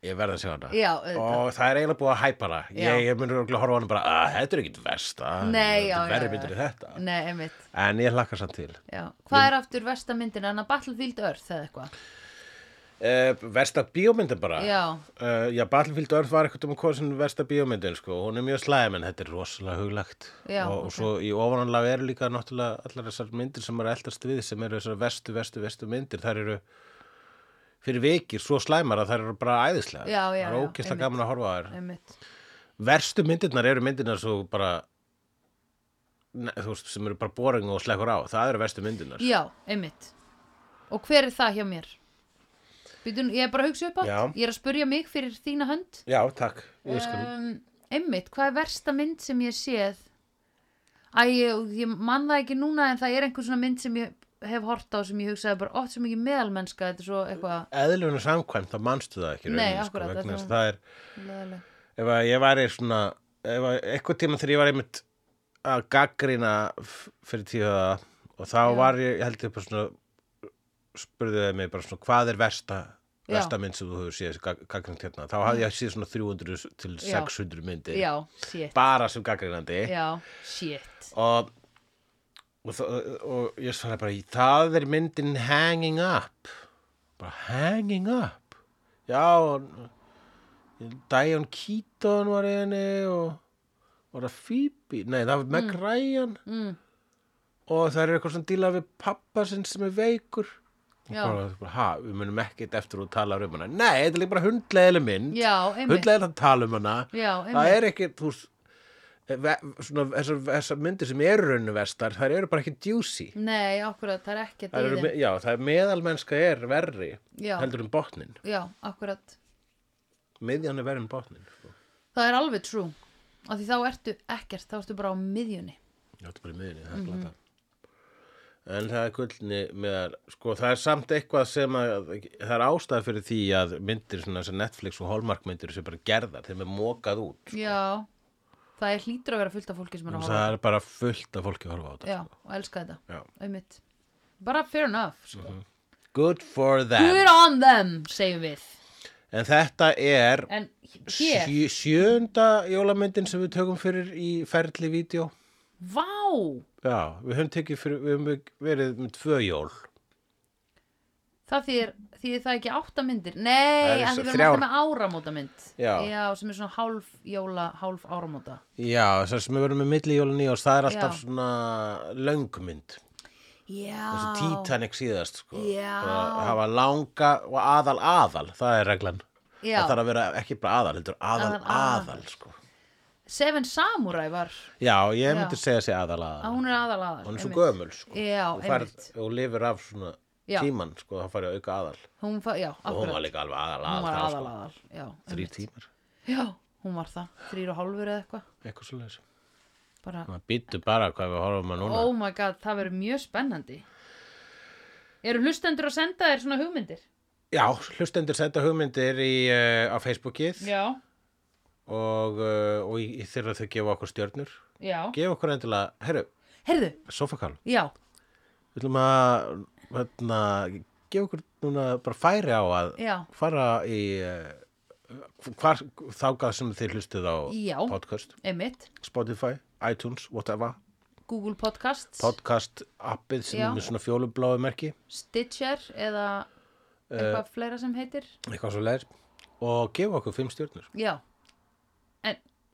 Speaker 1: ég verð að sjá hana
Speaker 2: Já, auðvitað.
Speaker 1: Og það er eiginlega búið að hæpa hana
Speaker 2: Já.
Speaker 1: Ég, ég mun örugglega að horfa á hana bara að þetta er ekkit versta
Speaker 2: Nei, já,
Speaker 1: Þetta
Speaker 2: já,
Speaker 1: verður
Speaker 2: já.
Speaker 1: myndir í þetta
Speaker 2: Nei, einmitt
Speaker 1: En ég hlakka samt til
Speaker 2: Já. Hvað er aftur versta myndin en að Battlefield Earth eða eitthvað?
Speaker 1: uh, Versta bíómyndin bara
Speaker 2: Já,
Speaker 1: Uh, já, Battlefield Earth var eitthvað um að kosin versta bíómyndin, sko, hún er mjög slæm en þetta er rosalega huglagt
Speaker 2: Já,
Speaker 1: og,
Speaker 2: ok.
Speaker 1: og svo í ofananlega eru líka náttúrulega allar þessar myndir sem eru eldast við sem eru þessar vestu, vestu, vestu myndir þær eru fyrir vikir svo slæmar að þær eru bara æðislega það
Speaker 2: Já, já,
Speaker 1: er
Speaker 2: já,
Speaker 1: ógislega
Speaker 2: einmitt.
Speaker 1: gaman að horfa á þær
Speaker 2: einmitt
Speaker 1: verstu myndirnar eru myndirnar svo bara ne, þú veist, sem eru bara boring og slekkur á það eru verstu myndirnar
Speaker 2: Já, einmitt Og hver er það hjá mér? Býtum, ég er bara að hugsa upp á
Speaker 1: Já.
Speaker 2: Ég er að spurja mig fyrir þína hönd
Speaker 1: Já, takk, ég skal
Speaker 2: um, Einmitt, hvað er versta mynd sem ég hef séð? Æ, ég, ég man það ekki núna en það er einhver svona mynd sem ég hef hort á sem ég hugsaði bara oft sem ekki meðalmennska þetta er svo eitthvað
Speaker 1: eðlunum samkvæmt, þá manstu það ekki í
Speaker 2: Nei,
Speaker 1: rauninni,
Speaker 2: akkurat,
Speaker 1: sko,
Speaker 2: þetta
Speaker 1: vegna þess að
Speaker 2: var-
Speaker 1: það er
Speaker 2: leðaleg.
Speaker 1: ef að ég væri svona ef að eitthvað tíma þegar ég var einmitt að gaggrina fyrir tíu það og þá
Speaker 2: Já.
Speaker 1: var ég, ég held ég bara svona spurðið þið mig bara svona hvað er versta
Speaker 2: Já.
Speaker 1: versta mynd sem þú hefur séð gaggrind hérna, þá hafði ég séð svona 300 til
Speaker 2: Já.
Speaker 1: 600 myndir
Speaker 2: Já, shit
Speaker 1: bara sem gaggrinandi
Speaker 2: Já, shit
Speaker 1: og og, þa- og ég svaraði bara það er myndin Hanging Up bara Hanging Up já og- Dion Keaton var í henni og var það Phoebe nei það var Meg Ryan
Speaker 2: mm,
Speaker 1: og það er eitthvað svona díla við pappa sinn sem er veikur Og
Speaker 2: Já.
Speaker 1: bara, bara, ha, við munum ekkert eftir að tala um hana nei, þetta er líka bara hundlegileg mynd
Speaker 2: Já, einmitt
Speaker 1: hundlegileg að tala um hana
Speaker 2: Já,
Speaker 1: það
Speaker 2: einmitt
Speaker 1: er ekki þú, veist, eh, ve- svona, þessar, þessar myndir sem eru rauninu vestar þær eru bara ekki juicy
Speaker 2: Nei, akkurat, það er ekki
Speaker 1: Þær
Speaker 2: að
Speaker 1: eru,
Speaker 2: dýðin
Speaker 1: me- já, það er meðalmennska er verri
Speaker 2: Já.
Speaker 1: heldur en botnin
Speaker 2: Já, akkurat
Speaker 1: miðjan er verri en botnin sko.
Speaker 2: Það er alveg true af því þá ertu ekkert, þá ertu bara á miðjunni Mhm.
Speaker 1: já, þetta er bara í miðjunni, það er mm -hmm. En það er gullni með, sko, það er samt eitthvað sem að, það er ástæð fyrir því að myndir svona sem Netflix og Hallmark myndir sem bara gerðar, þeim er mokað út. Sko,
Speaker 2: Já, það er hlýtur að vera fullt af fólki sem er að horfa
Speaker 1: Það er bara fullt af fólki að horfa á þetta.
Speaker 2: Já, og elska þetta,
Speaker 1: Já.
Speaker 2: auðvitað Bara fair enough sko.
Speaker 1: Good for them.
Speaker 2: Good on them, segjum við
Speaker 1: En þetta er
Speaker 2: En hér,
Speaker 1: sjö, sjönda jólamyndin sem við tökum fyrir í ferli vídeo.
Speaker 2: vá
Speaker 1: Já, við höfum tekið fyrir, við höfum verið með tvö jól.
Speaker 2: Það þýðir, þýðir það ekki átta myndir
Speaker 1: Það
Speaker 2: Nei,
Speaker 1: er
Speaker 2: en
Speaker 1: svo
Speaker 2: þið verðum
Speaker 1: þrjár.
Speaker 2: alltaf með áramóta mynd
Speaker 1: Já.
Speaker 2: sem er svona hálf jóla, hálf áramóta
Speaker 1: Já, þess að við verðum með milli jólun í það er alltaf
Speaker 2: Já.
Speaker 1: svona löngmynd.
Speaker 2: Já
Speaker 1: þessi Titanic síðast sko.
Speaker 2: Já.
Speaker 1: Bara hafa langa og aðal aðal það er reglan
Speaker 2: Já.
Speaker 1: það þarf að vera ekki bara aðal, heldur aðal
Speaker 2: Aðal-
Speaker 1: aðal,
Speaker 2: aðal.
Speaker 1: sko.
Speaker 2: Seven Samurai var
Speaker 1: já, ég
Speaker 2: Já.
Speaker 1: myndi segja sig aðal aðal
Speaker 2: að hún er aðal aðal
Speaker 1: hún er svo
Speaker 2: einmitt.
Speaker 1: gömul sko.
Speaker 2: Já,
Speaker 1: Þú færð,
Speaker 2: einmitt.
Speaker 1: og lifir af svona
Speaker 2: Já.
Speaker 1: tíman sko, það farið að auka aðal
Speaker 2: Hún, fa- já,
Speaker 1: og hún
Speaker 2: akkurat.
Speaker 1: var líka alveg aðal
Speaker 2: Hún var
Speaker 1: aðal,
Speaker 2: aðal
Speaker 1: sko.
Speaker 2: aðal já,
Speaker 1: þrý
Speaker 2: einmitt.
Speaker 1: tímar,
Speaker 2: Já, hún var það, þrýr og hálfur eða eitthvað
Speaker 1: eitthvað svo leiðis
Speaker 2: bara,
Speaker 1: býttu bara hvað við horfum að núna
Speaker 2: oh my god, það verður mjög spennandi Eru hlustendur að senda þér svona hugmyndir?
Speaker 1: já, hlustendur senda hugmyndir í, uh, á Facebookið
Speaker 2: Já,
Speaker 1: og, uh, og í, í þeirra þau gefa okkur stjörnur
Speaker 2: já
Speaker 1: gefa okkur endilega, herru,
Speaker 2: Herðu,
Speaker 1: sofakal
Speaker 2: já,
Speaker 1: Við ætlum að hérna, gefa okkur núna bara færi á að
Speaker 2: já
Speaker 1: fara í uh, hvar, þákað sem þið hlustuð á
Speaker 2: Já.
Speaker 1: podcast,
Speaker 2: Emmitt,
Speaker 1: Spotify, iTunes, whatever,
Speaker 2: Google Podcast
Speaker 1: podcast appið sem
Speaker 2: Já.
Speaker 1: er með svona fjólubláu merki,
Speaker 2: Stitcher eða
Speaker 1: Eh.
Speaker 2: eitthvað fleira sem heitir
Speaker 1: eitthvað svo leir og gefa okkur fimm stjórnur
Speaker 2: Já,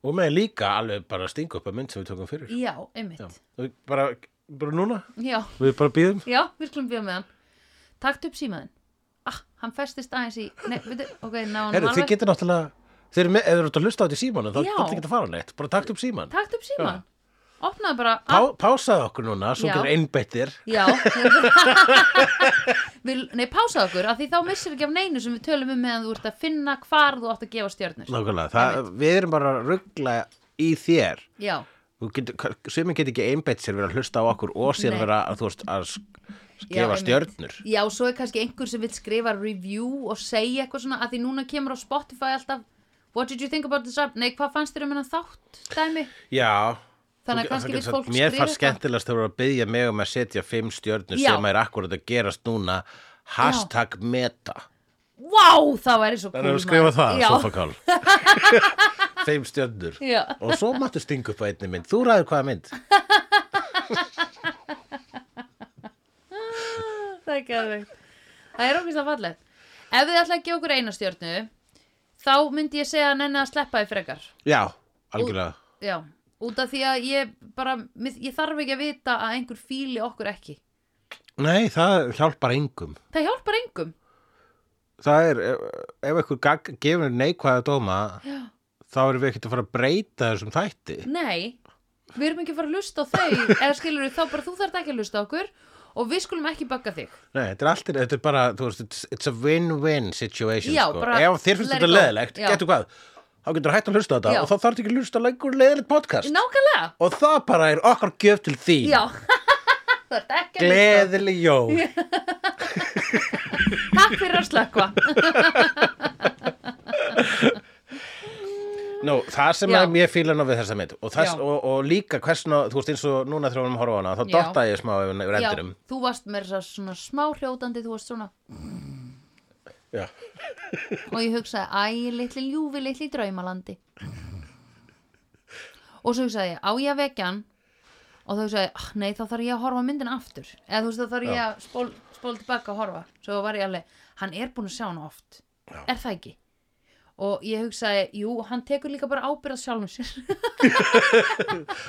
Speaker 1: og með líka alveg bara stinga upp að mynd sem við tökum fyrir
Speaker 2: já, emmitt
Speaker 1: Já.
Speaker 2: Já,
Speaker 1: Og bara, bara núna,
Speaker 2: já,
Speaker 1: við bara býðum
Speaker 2: já við skulum bíða með hann Taktu upp símaðinn Ah, hann festist aðeins í Nei, veitu, ok, ná hann
Speaker 1: Herru, þið
Speaker 2: alveg
Speaker 1: getur náttúrulega, þeir eru með, ef þú ert að hlusta á þetta í símanum þá
Speaker 2: Já.
Speaker 1: getur ekki að fara neitt, bara takt upp síman
Speaker 2: Taktu upp símaðinn Opnaðu bara
Speaker 1: Pá, Pásaðu okkur núna, svo
Speaker 2: Ah. Já.
Speaker 1: getur einbeittir
Speaker 2: Já Vil, Nei, pása okkur af því þá missir ekki af neinu sem við tölum um meðan þú ert að finna hvar þú átt að gefa stjörnur
Speaker 1: Nákvæmlega, það, við erum bara að ruggla í þér
Speaker 2: Já,
Speaker 1: Þú getur- Sumir getur ekki einbeitt sér vera að hlusta á okkur og síðan
Speaker 2: Nei.
Speaker 1: vera að, þú veist, að s-
Speaker 2: Já,
Speaker 1: gefa
Speaker 2: einmitt.
Speaker 1: stjörnur
Speaker 2: já, svo er kannski einhver sem vil skrifa review og segja eitthvað svona að því núna kemur á Spotify alltaf What did you think about this app? Nei, hvað fannst þér um hennan þátt, dæmi?
Speaker 1: Já
Speaker 2: Þannig að
Speaker 1: Þú-
Speaker 2: kannski
Speaker 1: þú
Speaker 2: vill
Speaker 1: getur
Speaker 2: fólk
Speaker 1: sagt, Mér
Speaker 2: skrifa
Speaker 1: fannst
Speaker 2: eitthvað.
Speaker 1: skemmtilegast þegar þú voru að byggja mig um að setja fimm stjörnur
Speaker 2: Já.
Speaker 1: sem er akkurat að gerast núna Hashtag meta
Speaker 2: Vá, það væri svo
Speaker 1: Það er
Speaker 2: cool,
Speaker 1: að skrifa
Speaker 2: maður.
Speaker 1: það,
Speaker 2: Oh Já,
Speaker 1: sofakál Fimm stjörnur
Speaker 2: já,
Speaker 1: Og svo máttu stinga upp á einni mynd Þú ræður hvaða mynd
Speaker 2: það er geðveikt. Það er okkur það fallegt Ef þið ætla að gefa okkur eina stjörnu þá myndi ég segja að nenni að sleppa því frekar
Speaker 1: Já, algjörlega
Speaker 2: Já, út af því að ég bara, mér- ég þarf ekki að vita að einhver fíli okkur ekki.
Speaker 1: Nei, það hjálpar engum
Speaker 2: Það hjálpar engum.
Speaker 1: það er, ef- ef einhver gag, gefur neikvæða dóma þá erum við ekkert að fara að breyta þessum þætti
Speaker 2: Nei, við erum ekki að fara að lusta á þau, eða skilur þá bara þú þarf ekki að lusta á okkur og við skulum ekki bagga þig.
Speaker 1: Nei, þetta er allt, þetta er bara, þú veist, it's, it's a win-win situation,
Speaker 2: Já,
Speaker 1: sko
Speaker 2: bara
Speaker 1: Ef þér finnst
Speaker 2: let
Speaker 1: þetta
Speaker 2: it go.
Speaker 1: leðilegt,
Speaker 2: Já.
Speaker 1: getur hvað þá getur hægt að hlusta á þetta
Speaker 2: Já.
Speaker 1: og þá þarf ekki að hlusta á lengur leðilegt podcast
Speaker 2: Nákvæmlega,
Speaker 1: og það bara er okkar gjöf til þín
Speaker 2: já. þú ert ekki að lusta.
Speaker 1: Gleðileg jól
Speaker 2: Takk fyrir að slökva.
Speaker 1: Nú, það sem
Speaker 2: Já.
Speaker 1: að mér fíla nú við þessa mynd og, þess,
Speaker 2: Já.
Speaker 1: og, og líka hversna, þú veist, eins og núna þegar við erum að horfa á hana þá
Speaker 2: Já.
Speaker 1: dotta ég smá yfir
Speaker 2: Já,
Speaker 1: endurum
Speaker 2: þú varst með þess að svona smá hrjótandi, þú varst svona
Speaker 1: Já.
Speaker 2: og ég hugsaði, æ, litli ljúfi, litli draumalandi og svo hugsaði ég, á ég að vekja hann og þá hugsaði ég, "Ah, nei, þá þarf ég að horfa á myndina aftur eða þú veist, þá þarf ég að spól, spól tilbaka og horfa svo var ég alveg, hann er búin að sjá hann oft
Speaker 1: Já.
Speaker 2: er það ekki? og ég hugsaði, jú, hann tekur líka bara ábyrða sjálfum sér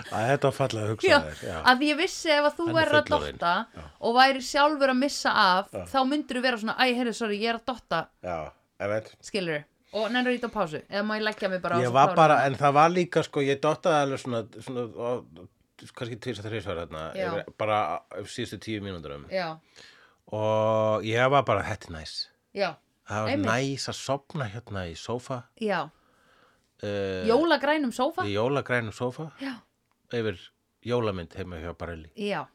Speaker 1: Æ, Þetta var fallega að
Speaker 2: Já,
Speaker 1: hugsa þér Já.
Speaker 2: að því ég vissi ef að þú
Speaker 1: Hann er
Speaker 2: væri að
Speaker 1: fullorðinn.
Speaker 2: dotta og væri sjálfur að missa af þá myndir þú vera svona, æ, heyrðu, sorry, ég er að dotta
Speaker 1: Já, ef
Speaker 2: skilur og nennur ít á pásu eða má ég leggja mig bara á
Speaker 1: ég
Speaker 2: svo
Speaker 1: var
Speaker 2: klára
Speaker 1: bara,
Speaker 2: hana?
Speaker 1: en það var líka sko, ég dottaði alveg svona, svona og, kannski tvis að þrísvar þarna
Speaker 2: Já.
Speaker 1: yfir, bara yfir síðustu tíu mínúndurum
Speaker 2: já,
Speaker 1: og ég var bara, þetta er næs
Speaker 2: já,
Speaker 1: það var
Speaker 2: Einmitt.
Speaker 1: næs að sopna hérna í sófa
Speaker 2: já
Speaker 1: uh,
Speaker 2: jólagrænum sófa
Speaker 1: í jólagrænum sófa
Speaker 2: já,
Speaker 1: yfir jólamynd heima hjá Barelli
Speaker 2: já,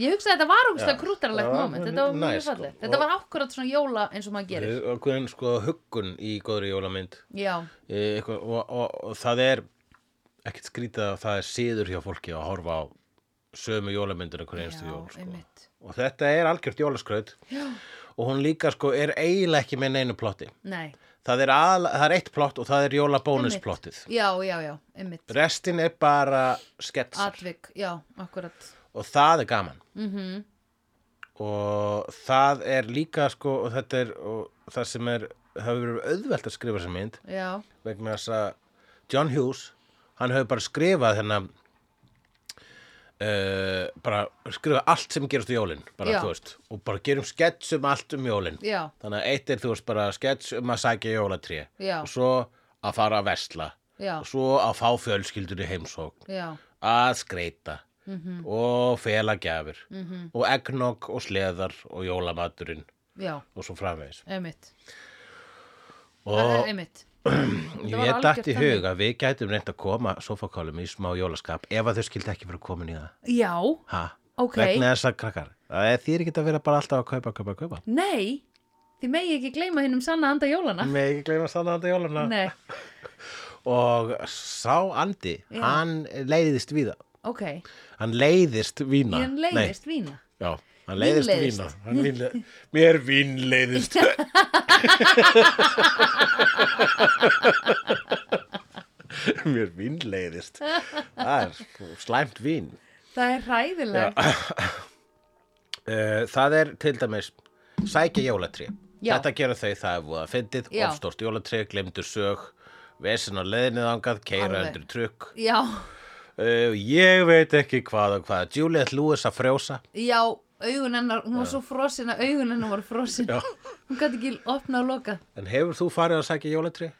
Speaker 2: Ég hugsaði að þetta var ógustlega
Speaker 1: Já.
Speaker 2: krúttaralegt
Speaker 1: Það var
Speaker 2: moment, þetta var
Speaker 1: mjög
Speaker 2: mjög
Speaker 1: næs, sko.
Speaker 2: fallið. Þetta
Speaker 1: Og-
Speaker 2: var akkurat svona jóla eins og maður gerir.
Speaker 1: Okkur sko huggun í góðri jólamynd
Speaker 2: Já,
Speaker 1: Eh, eitthvað, og, og, og það er ekkert skrítið að það er siður hjá fólki að horfa á sömu jólamyndur einhver einstu
Speaker 2: Já,
Speaker 1: jól sko.
Speaker 2: einmitt.
Speaker 1: og þetta er algjört jólaskraut Já. og hún líka sko er eiginlega ekki með neinu plotti
Speaker 2: nei,
Speaker 1: það er, al, það er eitt plott og það er jólabónusplottið
Speaker 2: já, já, já, einmitt.
Speaker 1: restin er bara sketsar
Speaker 2: Atvik, já, akkurat.
Speaker 1: og það er gaman -hmm. og það er líka sko og þetta er og það sem er það hefur verið auðvelt að skrifa sem mynd
Speaker 2: Já,
Speaker 1: vegna þess að John Hughes hann hefur bara skrifað þennan uh, bara skrifað allt sem gerast á jólin bara,
Speaker 2: Já.
Speaker 1: þú veist, og bara gerum skets um allt um jólin
Speaker 2: já,
Speaker 1: þannig að eitt er þú veist bara skets um að sækja jólatré
Speaker 2: Já.
Speaker 1: og svo að fara að vesla
Speaker 2: já,
Speaker 1: og svo að fá fjölskyldunni heimsókn
Speaker 2: já,
Speaker 1: að skreita
Speaker 2: Mhm.
Speaker 1: -hmm. og fela gjafir -hmm.
Speaker 2: Mm.
Speaker 1: og eggnog og sleðar og jólamaturinn
Speaker 2: já,
Speaker 1: og svo framvegis
Speaker 2: einmitt. Það
Speaker 1: og
Speaker 2: er einmitt. var
Speaker 1: Ég
Speaker 2: algjört
Speaker 1: dætt í
Speaker 2: þannig.
Speaker 1: hug að við gætum reynd að koma sofakálum í smá jólaskap ef að þau skildi ekki fyrir komin í það.
Speaker 2: Já,
Speaker 1: Ha?
Speaker 2: Ok.
Speaker 1: Vegna þess að krakkar. Það er þýr ekki að vera bara alltaf að kaupa, kaupa, kaupa.
Speaker 2: nei, þið megi ekki gleyma hinn um sanna anda jólana.
Speaker 1: Með ekki gleyma sann anda jólana.
Speaker 2: Nei,
Speaker 1: Og sá andi,
Speaker 2: Já.
Speaker 1: hann leiðist víða.
Speaker 2: ok,
Speaker 1: Hann leiðist vína.
Speaker 2: ég leiðist vína.
Speaker 1: Nei, já, hann leiðist
Speaker 2: Vínleiðist.
Speaker 1: vína. Hann vínle... Mér vínleiðist. Mér vínleiðist. Það er slæmt vín.
Speaker 2: Það er ræðilegt.
Speaker 1: Eh, það er til dæmis sækja jólatrí
Speaker 2: Já.
Speaker 1: þetta gera þau það er voða fyndið
Speaker 2: Já.
Speaker 1: ofstort jólatrí, glemdu sög vesen á leðinni þangað, keira
Speaker 2: Alveg.
Speaker 1: undir trukk
Speaker 2: Já,
Speaker 1: uh, ég veit ekki hvað og hvað Juliet Lewis að frjósa
Speaker 2: já, augun hennar, hún var svo frosin að augun hennar voru frosin.
Speaker 1: Já.
Speaker 2: Hún gæti ekki opnað og lokað.
Speaker 1: en hefur þú farið að sækja jólatrí?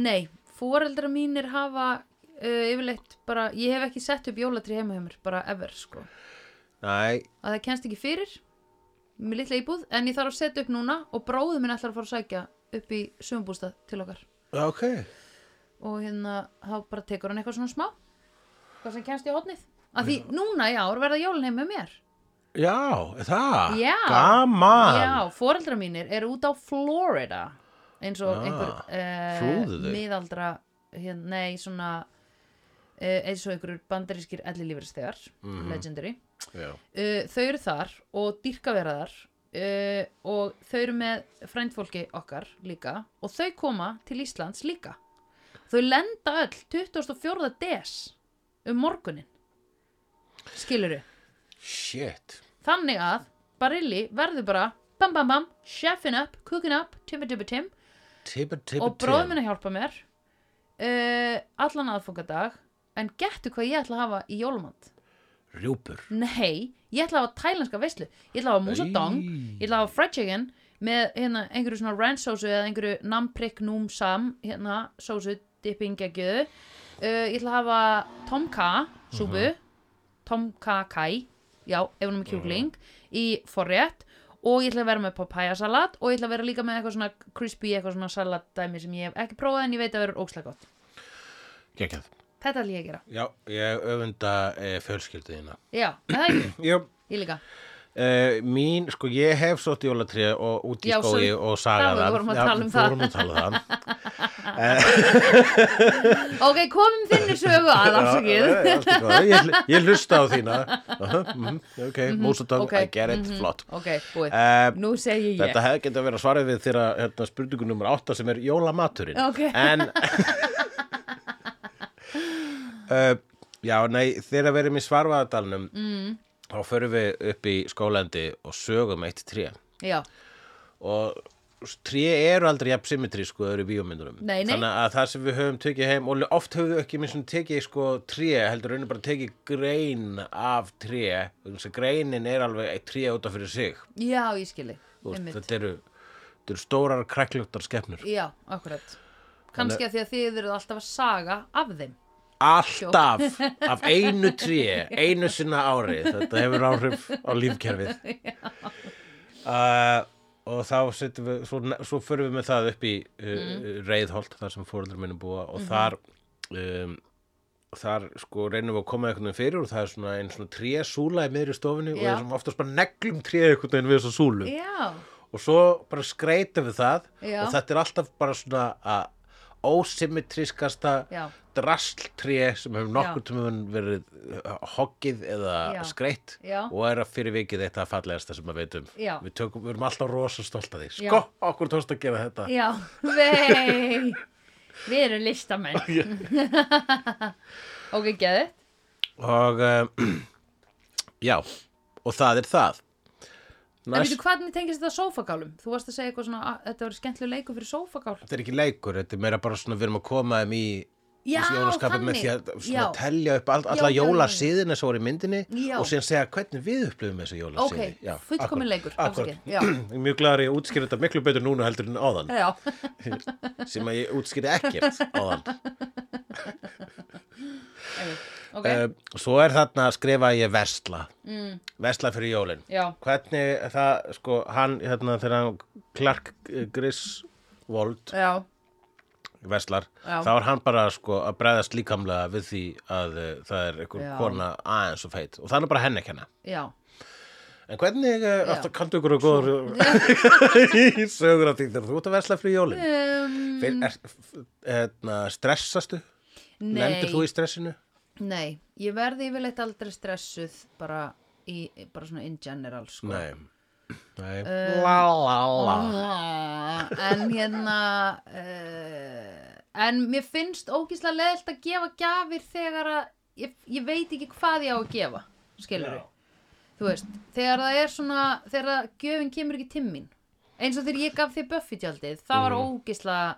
Speaker 2: Nei, fóreldra mínir hafa uh, yfirleitt bara, ég hef ekki sett upp jólatri heima hjá mér, bara ever sko.
Speaker 1: Nei,
Speaker 2: Að það kennst ekki fyrir, mér litla íbúð, en ég þarf að setja upp núna og bróðu minn ætlar að fara að sækja upp í sömbústað til okkar.
Speaker 1: ok
Speaker 2: Og hérna, þá bara tekur hann eitthvað svona smá, hvað sem kennst í hotnið. Að því núna í ár verða jólin heima hjá mér.
Speaker 1: já, það,
Speaker 2: Já.
Speaker 1: gaman
Speaker 2: Já, foreldrar mínir eru út á Florida eins og
Speaker 1: Ah,
Speaker 2: einhver
Speaker 1: flúðu
Speaker 2: uh,
Speaker 1: þau?
Speaker 2: miðaldra hérna, nei, svona uh, eins og einhverjur bandarískir ellilífristegar
Speaker 1: Mhm.
Speaker 2: legendary
Speaker 1: Já.
Speaker 2: uh, þau eru þar og dýrkaverðar uh, og þau eru með frændfólki okkar líka og þau koma til Íslands líka þau lenda öll 24. des um morgunin skiluru
Speaker 1: shit
Speaker 2: Þannig að Barilli verður bara bam bam bam, chefin up, cooking up, timba timba tim
Speaker 1: Tibba, tibba,
Speaker 2: og bróðum minn að hjálpa mér uh, allan aðfangadag en gettu hvað ég ætla að hafa í jólumand
Speaker 1: Rjúpur
Speaker 2: Nei, ég ætla að hafa tælenska veislu ég ætla að hafa músa
Speaker 1: Í.
Speaker 2: dong, ég ætla að hafa fried chicken með hérna, einhverju svona ranch sósu eða einhverju namprik núm sam hérna, sósu dippingegju uh, ég ætla að hafa tomka súpu
Speaker 1: Mhm.
Speaker 2: tomka kai, já, ef hún er með
Speaker 1: Mhm.
Speaker 2: kjúkling í forrétt og ég ætla að vera með papaya salat og ég ætla að vera líka með eitthvað svona crispy, eitthvað svona salat dæmi sem ég hef ekki prófað en ég veit að verður ókslega gott
Speaker 1: Gekjað
Speaker 2: þetta ætla ég að gera,
Speaker 1: Já, ég öfunda e, fjölskylduðina
Speaker 2: já, er það ekki
Speaker 1: Jöp
Speaker 2: ég líka
Speaker 1: Uh, mín, sko, ég hef sótt jólatré og út í
Speaker 2: Já,
Speaker 1: skói
Speaker 2: sorry.
Speaker 1: og sagað
Speaker 2: Það, við vorum að tala um það.
Speaker 1: vorum að tala um það.
Speaker 2: Ok, komum þinni sögu að afsakið
Speaker 1: Já, eh, allt í góðu. ég, hl- ég hlusta á þína. Aha, mhm, ok, músadang,
Speaker 2: ok, Mhm.
Speaker 1: I get it, flott.
Speaker 2: Ok, búið.
Speaker 1: Uh,
Speaker 2: Nú segi ég.
Speaker 1: Þetta hefði getið að vera svarið við þeirra hérna, spurningu nummer 8 sem er jólamaturinn.
Speaker 2: Ok.
Speaker 1: En, uh, já, nei, þegar við erum í svarfaðadalnum, mm. þá förum við upp í skólandi og sögum eitt tré.
Speaker 2: Já,
Speaker 1: og tré eru aldrei jafn symmetrísk og þau eru í bíómyndunum
Speaker 2: Nei, nei.
Speaker 1: þannig að það sem við höfum tekið heim og oft höfum við ekki minn sem tekið sko tré heldur raunum bara tekið grein af tré þess að greinin er alveg eitt tré út af fyrir sig
Speaker 2: já, ég skilji.
Speaker 1: Þú veist,
Speaker 2: Einmitt.
Speaker 1: þetta eru, þetta eru stórar krækljóttar skepnur
Speaker 2: Já, akkurat. Kannski að því að þið eruð alltaf að saga af þeim.
Speaker 1: alltaf af einu tré einu sinna ári þetta hefur áhrif á lífkerfið uh, og þá setjum við svo, svo förum við með
Speaker 2: Mhm.
Speaker 1: það upp í uh, mm. reyðholt þar sem fóreldur minni búa og þar um, þar sko reynum við að koma einhvern veginn fyrir og það er svona einn svona trésúla í miðri stofinu og
Speaker 2: Já.
Speaker 1: það er svona oftast bara neglum tré einhvern veginn við þessa súlu
Speaker 2: já,
Speaker 1: og svo bara skreita við það
Speaker 2: Já.
Speaker 1: og þetta er alltaf bara svona að ósymmetrískasta
Speaker 2: já,
Speaker 1: drastltré sem hefur nokkur
Speaker 2: Já.
Speaker 1: tímun verið uh, hoggið eða
Speaker 2: Já.
Speaker 1: skreitt
Speaker 2: Já.
Speaker 1: og er að fyrir vikið þetta fallegasta sem að veitum
Speaker 2: Já.
Speaker 1: við, tökum, við erum alltaf rosa stolt af því
Speaker 2: Já.
Speaker 1: sko, okkur tókst að gera þetta
Speaker 2: já vei við erum listamenn ok, geðu
Speaker 1: og um, já, og það er það
Speaker 2: en
Speaker 1: Næst,
Speaker 2: veitu hvernig tengist þetta sófagálum þú varst að segja eitthvað svona að þetta var skemmtileg leikur fyrir sófagál
Speaker 1: þetta er ekki leikur þetta er meira bara svona við erum að koma þeim í
Speaker 2: já,
Speaker 1: jólaskapin með því að svona,
Speaker 2: já,
Speaker 1: telja upp all, alla
Speaker 2: já, já.
Speaker 1: jólasíðina sem voru í myndinni
Speaker 2: Já.
Speaker 1: og síðan segja hvernig við upplifum þessu
Speaker 2: ok,
Speaker 1: jólasíði
Speaker 2: fullkomin leikur
Speaker 1: akkur,
Speaker 2: afsakið, já,
Speaker 1: mjög glæður ég útskýr þetta miklu betur núna heldur en áðan
Speaker 2: já,
Speaker 1: sem að ég útskýr ekkert áðan
Speaker 2: ok
Speaker 1: okay. svo er þarna að skrifa ég versla mm. versla fyrir jólin
Speaker 2: já,
Speaker 1: hvernig það, sko, hann hérna þegar hann Clark eh, Griswold
Speaker 2: já,
Speaker 1: verslar,
Speaker 2: Já.
Speaker 1: þá er hann bara sko að bregðast líkamlega við því að uh, það er einhver
Speaker 2: Já.
Speaker 1: kona aðeins og feit og það er bara henni ekki henni
Speaker 2: já
Speaker 1: en hvernig, uh,
Speaker 2: Já.
Speaker 1: alltaf kanntu ykkur og góður í sögur af því þegar þú ert að versla fyrir jólin
Speaker 2: um,
Speaker 1: Fyr, er, f- hérna, stressastu?
Speaker 2: nei,
Speaker 1: Lendir þú í stressinu?
Speaker 2: nei ég verði yfirleitt aldrei stressuð bara í, bara svona in general sko.
Speaker 1: Nei, Nei.
Speaker 2: Eh,
Speaker 1: la la la
Speaker 2: Ah, en hérna uh, en mér finnst ógíslega leðilt að gefa gjafir þegar að ég, ég veit ekki hvað ég á að gefa skilur þú veist, þegar það er svona þegar að gjöfin kemur ekki til mín eins og þegar ég gaf þér Buffy tjaldið það var ógíslega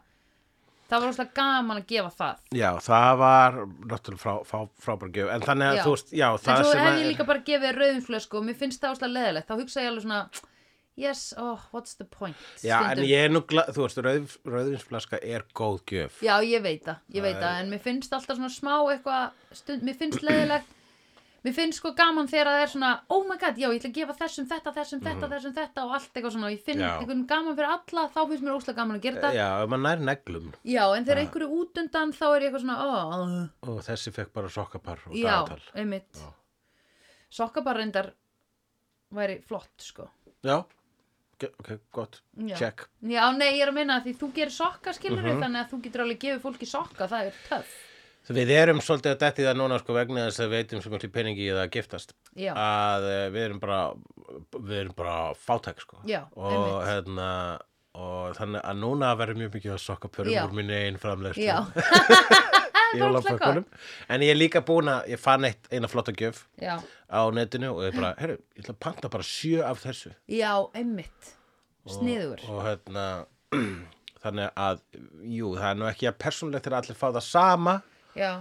Speaker 2: það var ógíslega gaman að gefa það
Speaker 1: Já, það var náttúrulega frá, frá, frábær gjöf en þannig að
Speaker 2: Já.
Speaker 1: þú veist, já, það
Speaker 2: en svo
Speaker 1: sem
Speaker 2: hef
Speaker 1: að-
Speaker 2: ég líka bara gefið rauðum flösku og mér finnst það ógíslega leðilegt þá hugsa ég alveg svona yes, oh, what's the point
Speaker 1: Já, en
Speaker 2: Stundum.
Speaker 1: ég er nú, gla- þú veist, rauð, rauðvinsflaska er góð gjöf
Speaker 2: Já, ég veit það, ég veit það, en mér finnst alltaf svona smá eitthvað stund, mér finnst leiðilegt, mér finnst sko gaman þegar það er svona, oh my god, já, ég ætla að gefa þessum þetta, þessum þetta, þessum þetta og allt eitthvað svona, og ég finn
Speaker 1: Mhm. Já. Eh,
Speaker 2: einhvern gaman fyrir alla, þá finnst mér óslega gaman að gera þetta.
Speaker 1: Já, ef maður nær neglum
Speaker 2: Já, en þegar einhverju út undan þá er ég eitthvað svona, oh,
Speaker 1: og þessi fekk bara sokkapar og
Speaker 2: já,
Speaker 1: dagatal
Speaker 2: einmitt. Sokka bara reyndar væri flott, sko.
Speaker 1: Já, ok, ok, gott,
Speaker 2: Já.
Speaker 1: check
Speaker 2: Já, nei, ég er að minna því þú gerir sokka, skilur
Speaker 1: Mhm.
Speaker 2: þannig að þú getur alveg gefið fólki sokka, það er töff.
Speaker 1: Við erum svolítið að detti það núna sko vegna þess að við veitum sem miklu peningi í það að giftast
Speaker 2: Já.
Speaker 1: að eh, við erum bara við erum bara fátæk sko
Speaker 2: Já,
Speaker 1: og
Speaker 2: einmitt.
Speaker 1: hérna og þannig að núna verður mjög mikið að sokkapörum
Speaker 2: Já.
Speaker 1: úr minni einn framlegstu
Speaker 2: Já,
Speaker 1: jólafökkunum en ég er líka búin að ég fann eitt, eina flotta gjöf
Speaker 2: já,
Speaker 1: á netinu og ég bara, herru, ég ætla að panta bara sjö af þessu
Speaker 2: já, einmitt, sniður.
Speaker 1: og hérna þannig að, jú, það er nú ekki að persónlegt þegar allir fá það sama
Speaker 2: Já,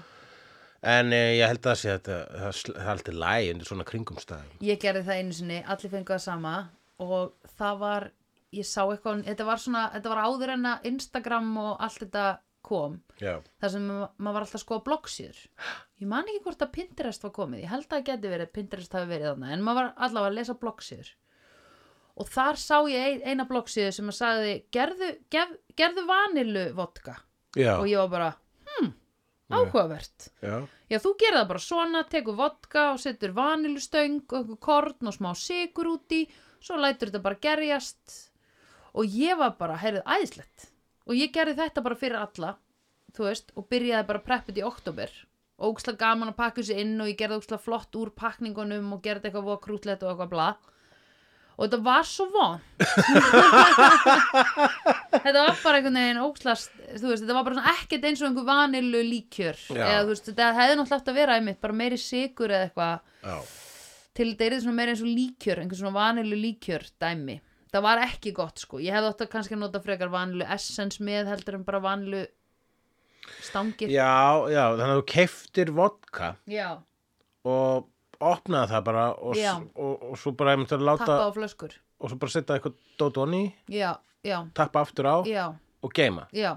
Speaker 1: en eh, ég held að það sé að það, það, sl- það er alltaf læg undir svona kringumstæðum
Speaker 2: ég gerði það einu sinni, allir fengu það sama og það var, ég sá eitthvað, þetta var svona, þetta var áður en að Instagram og allt þetta kom,
Speaker 1: já,
Speaker 2: þar sem ma- maður var alltaf að skoða bloggsýður. Ég man ekki hvort að Pinterest var komið, ég held að það geti verið, að Pinterest hafi verið þarna, en maður var allavega að lesa bloggsýður. Og þar sá ég ein- eina bloggsýðu sem að sagði, gerðu, gef, gerðu vanilu vodka.
Speaker 1: já,
Speaker 2: Og ég var bara, hm, áhugavert.
Speaker 1: já,
Speaker 2: Já, þú gerir það bara svona, tekur vodka og setur vanilustöng og einhver korn og smá sigur úti, svo lætur þetta bara gerjast og ég var bara, heyrðu, æðislegt og ég gerði þetta bara fyrir alla, þú veist, og byrjaði bara preppið í oktober og óksla gaman að pakka þessu inn og ég gerði óksla flott úr pakningunum og gerði eitthvað voða krútlegt og eitthvað bla og þetta var svo von þetta var bara einhvern veginn ókslast þú veist, þetta var bara svona ekkert eins og einhver vanilu líkjör
Speaker 1: Já.
Speaker 2: eða þú veist, þetta hefði náttúrulega átt að vera einmitt bara meiri sigur eða eitthvað
Speaker 1: já,
Speaker 2: til þetta er svona meiri eins og líkjör einhver svona vanilu líkjör dæmi það var ekki gott sko, ég hefði átt að kannski nota frekar vanilu essence með heldur en bara vanilu stangir
Speaker 1: já, já þannig að þú keiftir vodka
Speaker 2: já,
Speaker 1: og opnaði það bara og,
Speaker 2: Já.
Speaker 1: s- og, og svo bara einmitt að láta
Speaker 2: tappa á flöskur
Speaker 1: og svo bara setja eitthvað dót onni
Speaker 2: já, já,
Speaker 1: tappa aftur á
Speaker 2: já,
Speaker 1: og geima
Speaker 2: já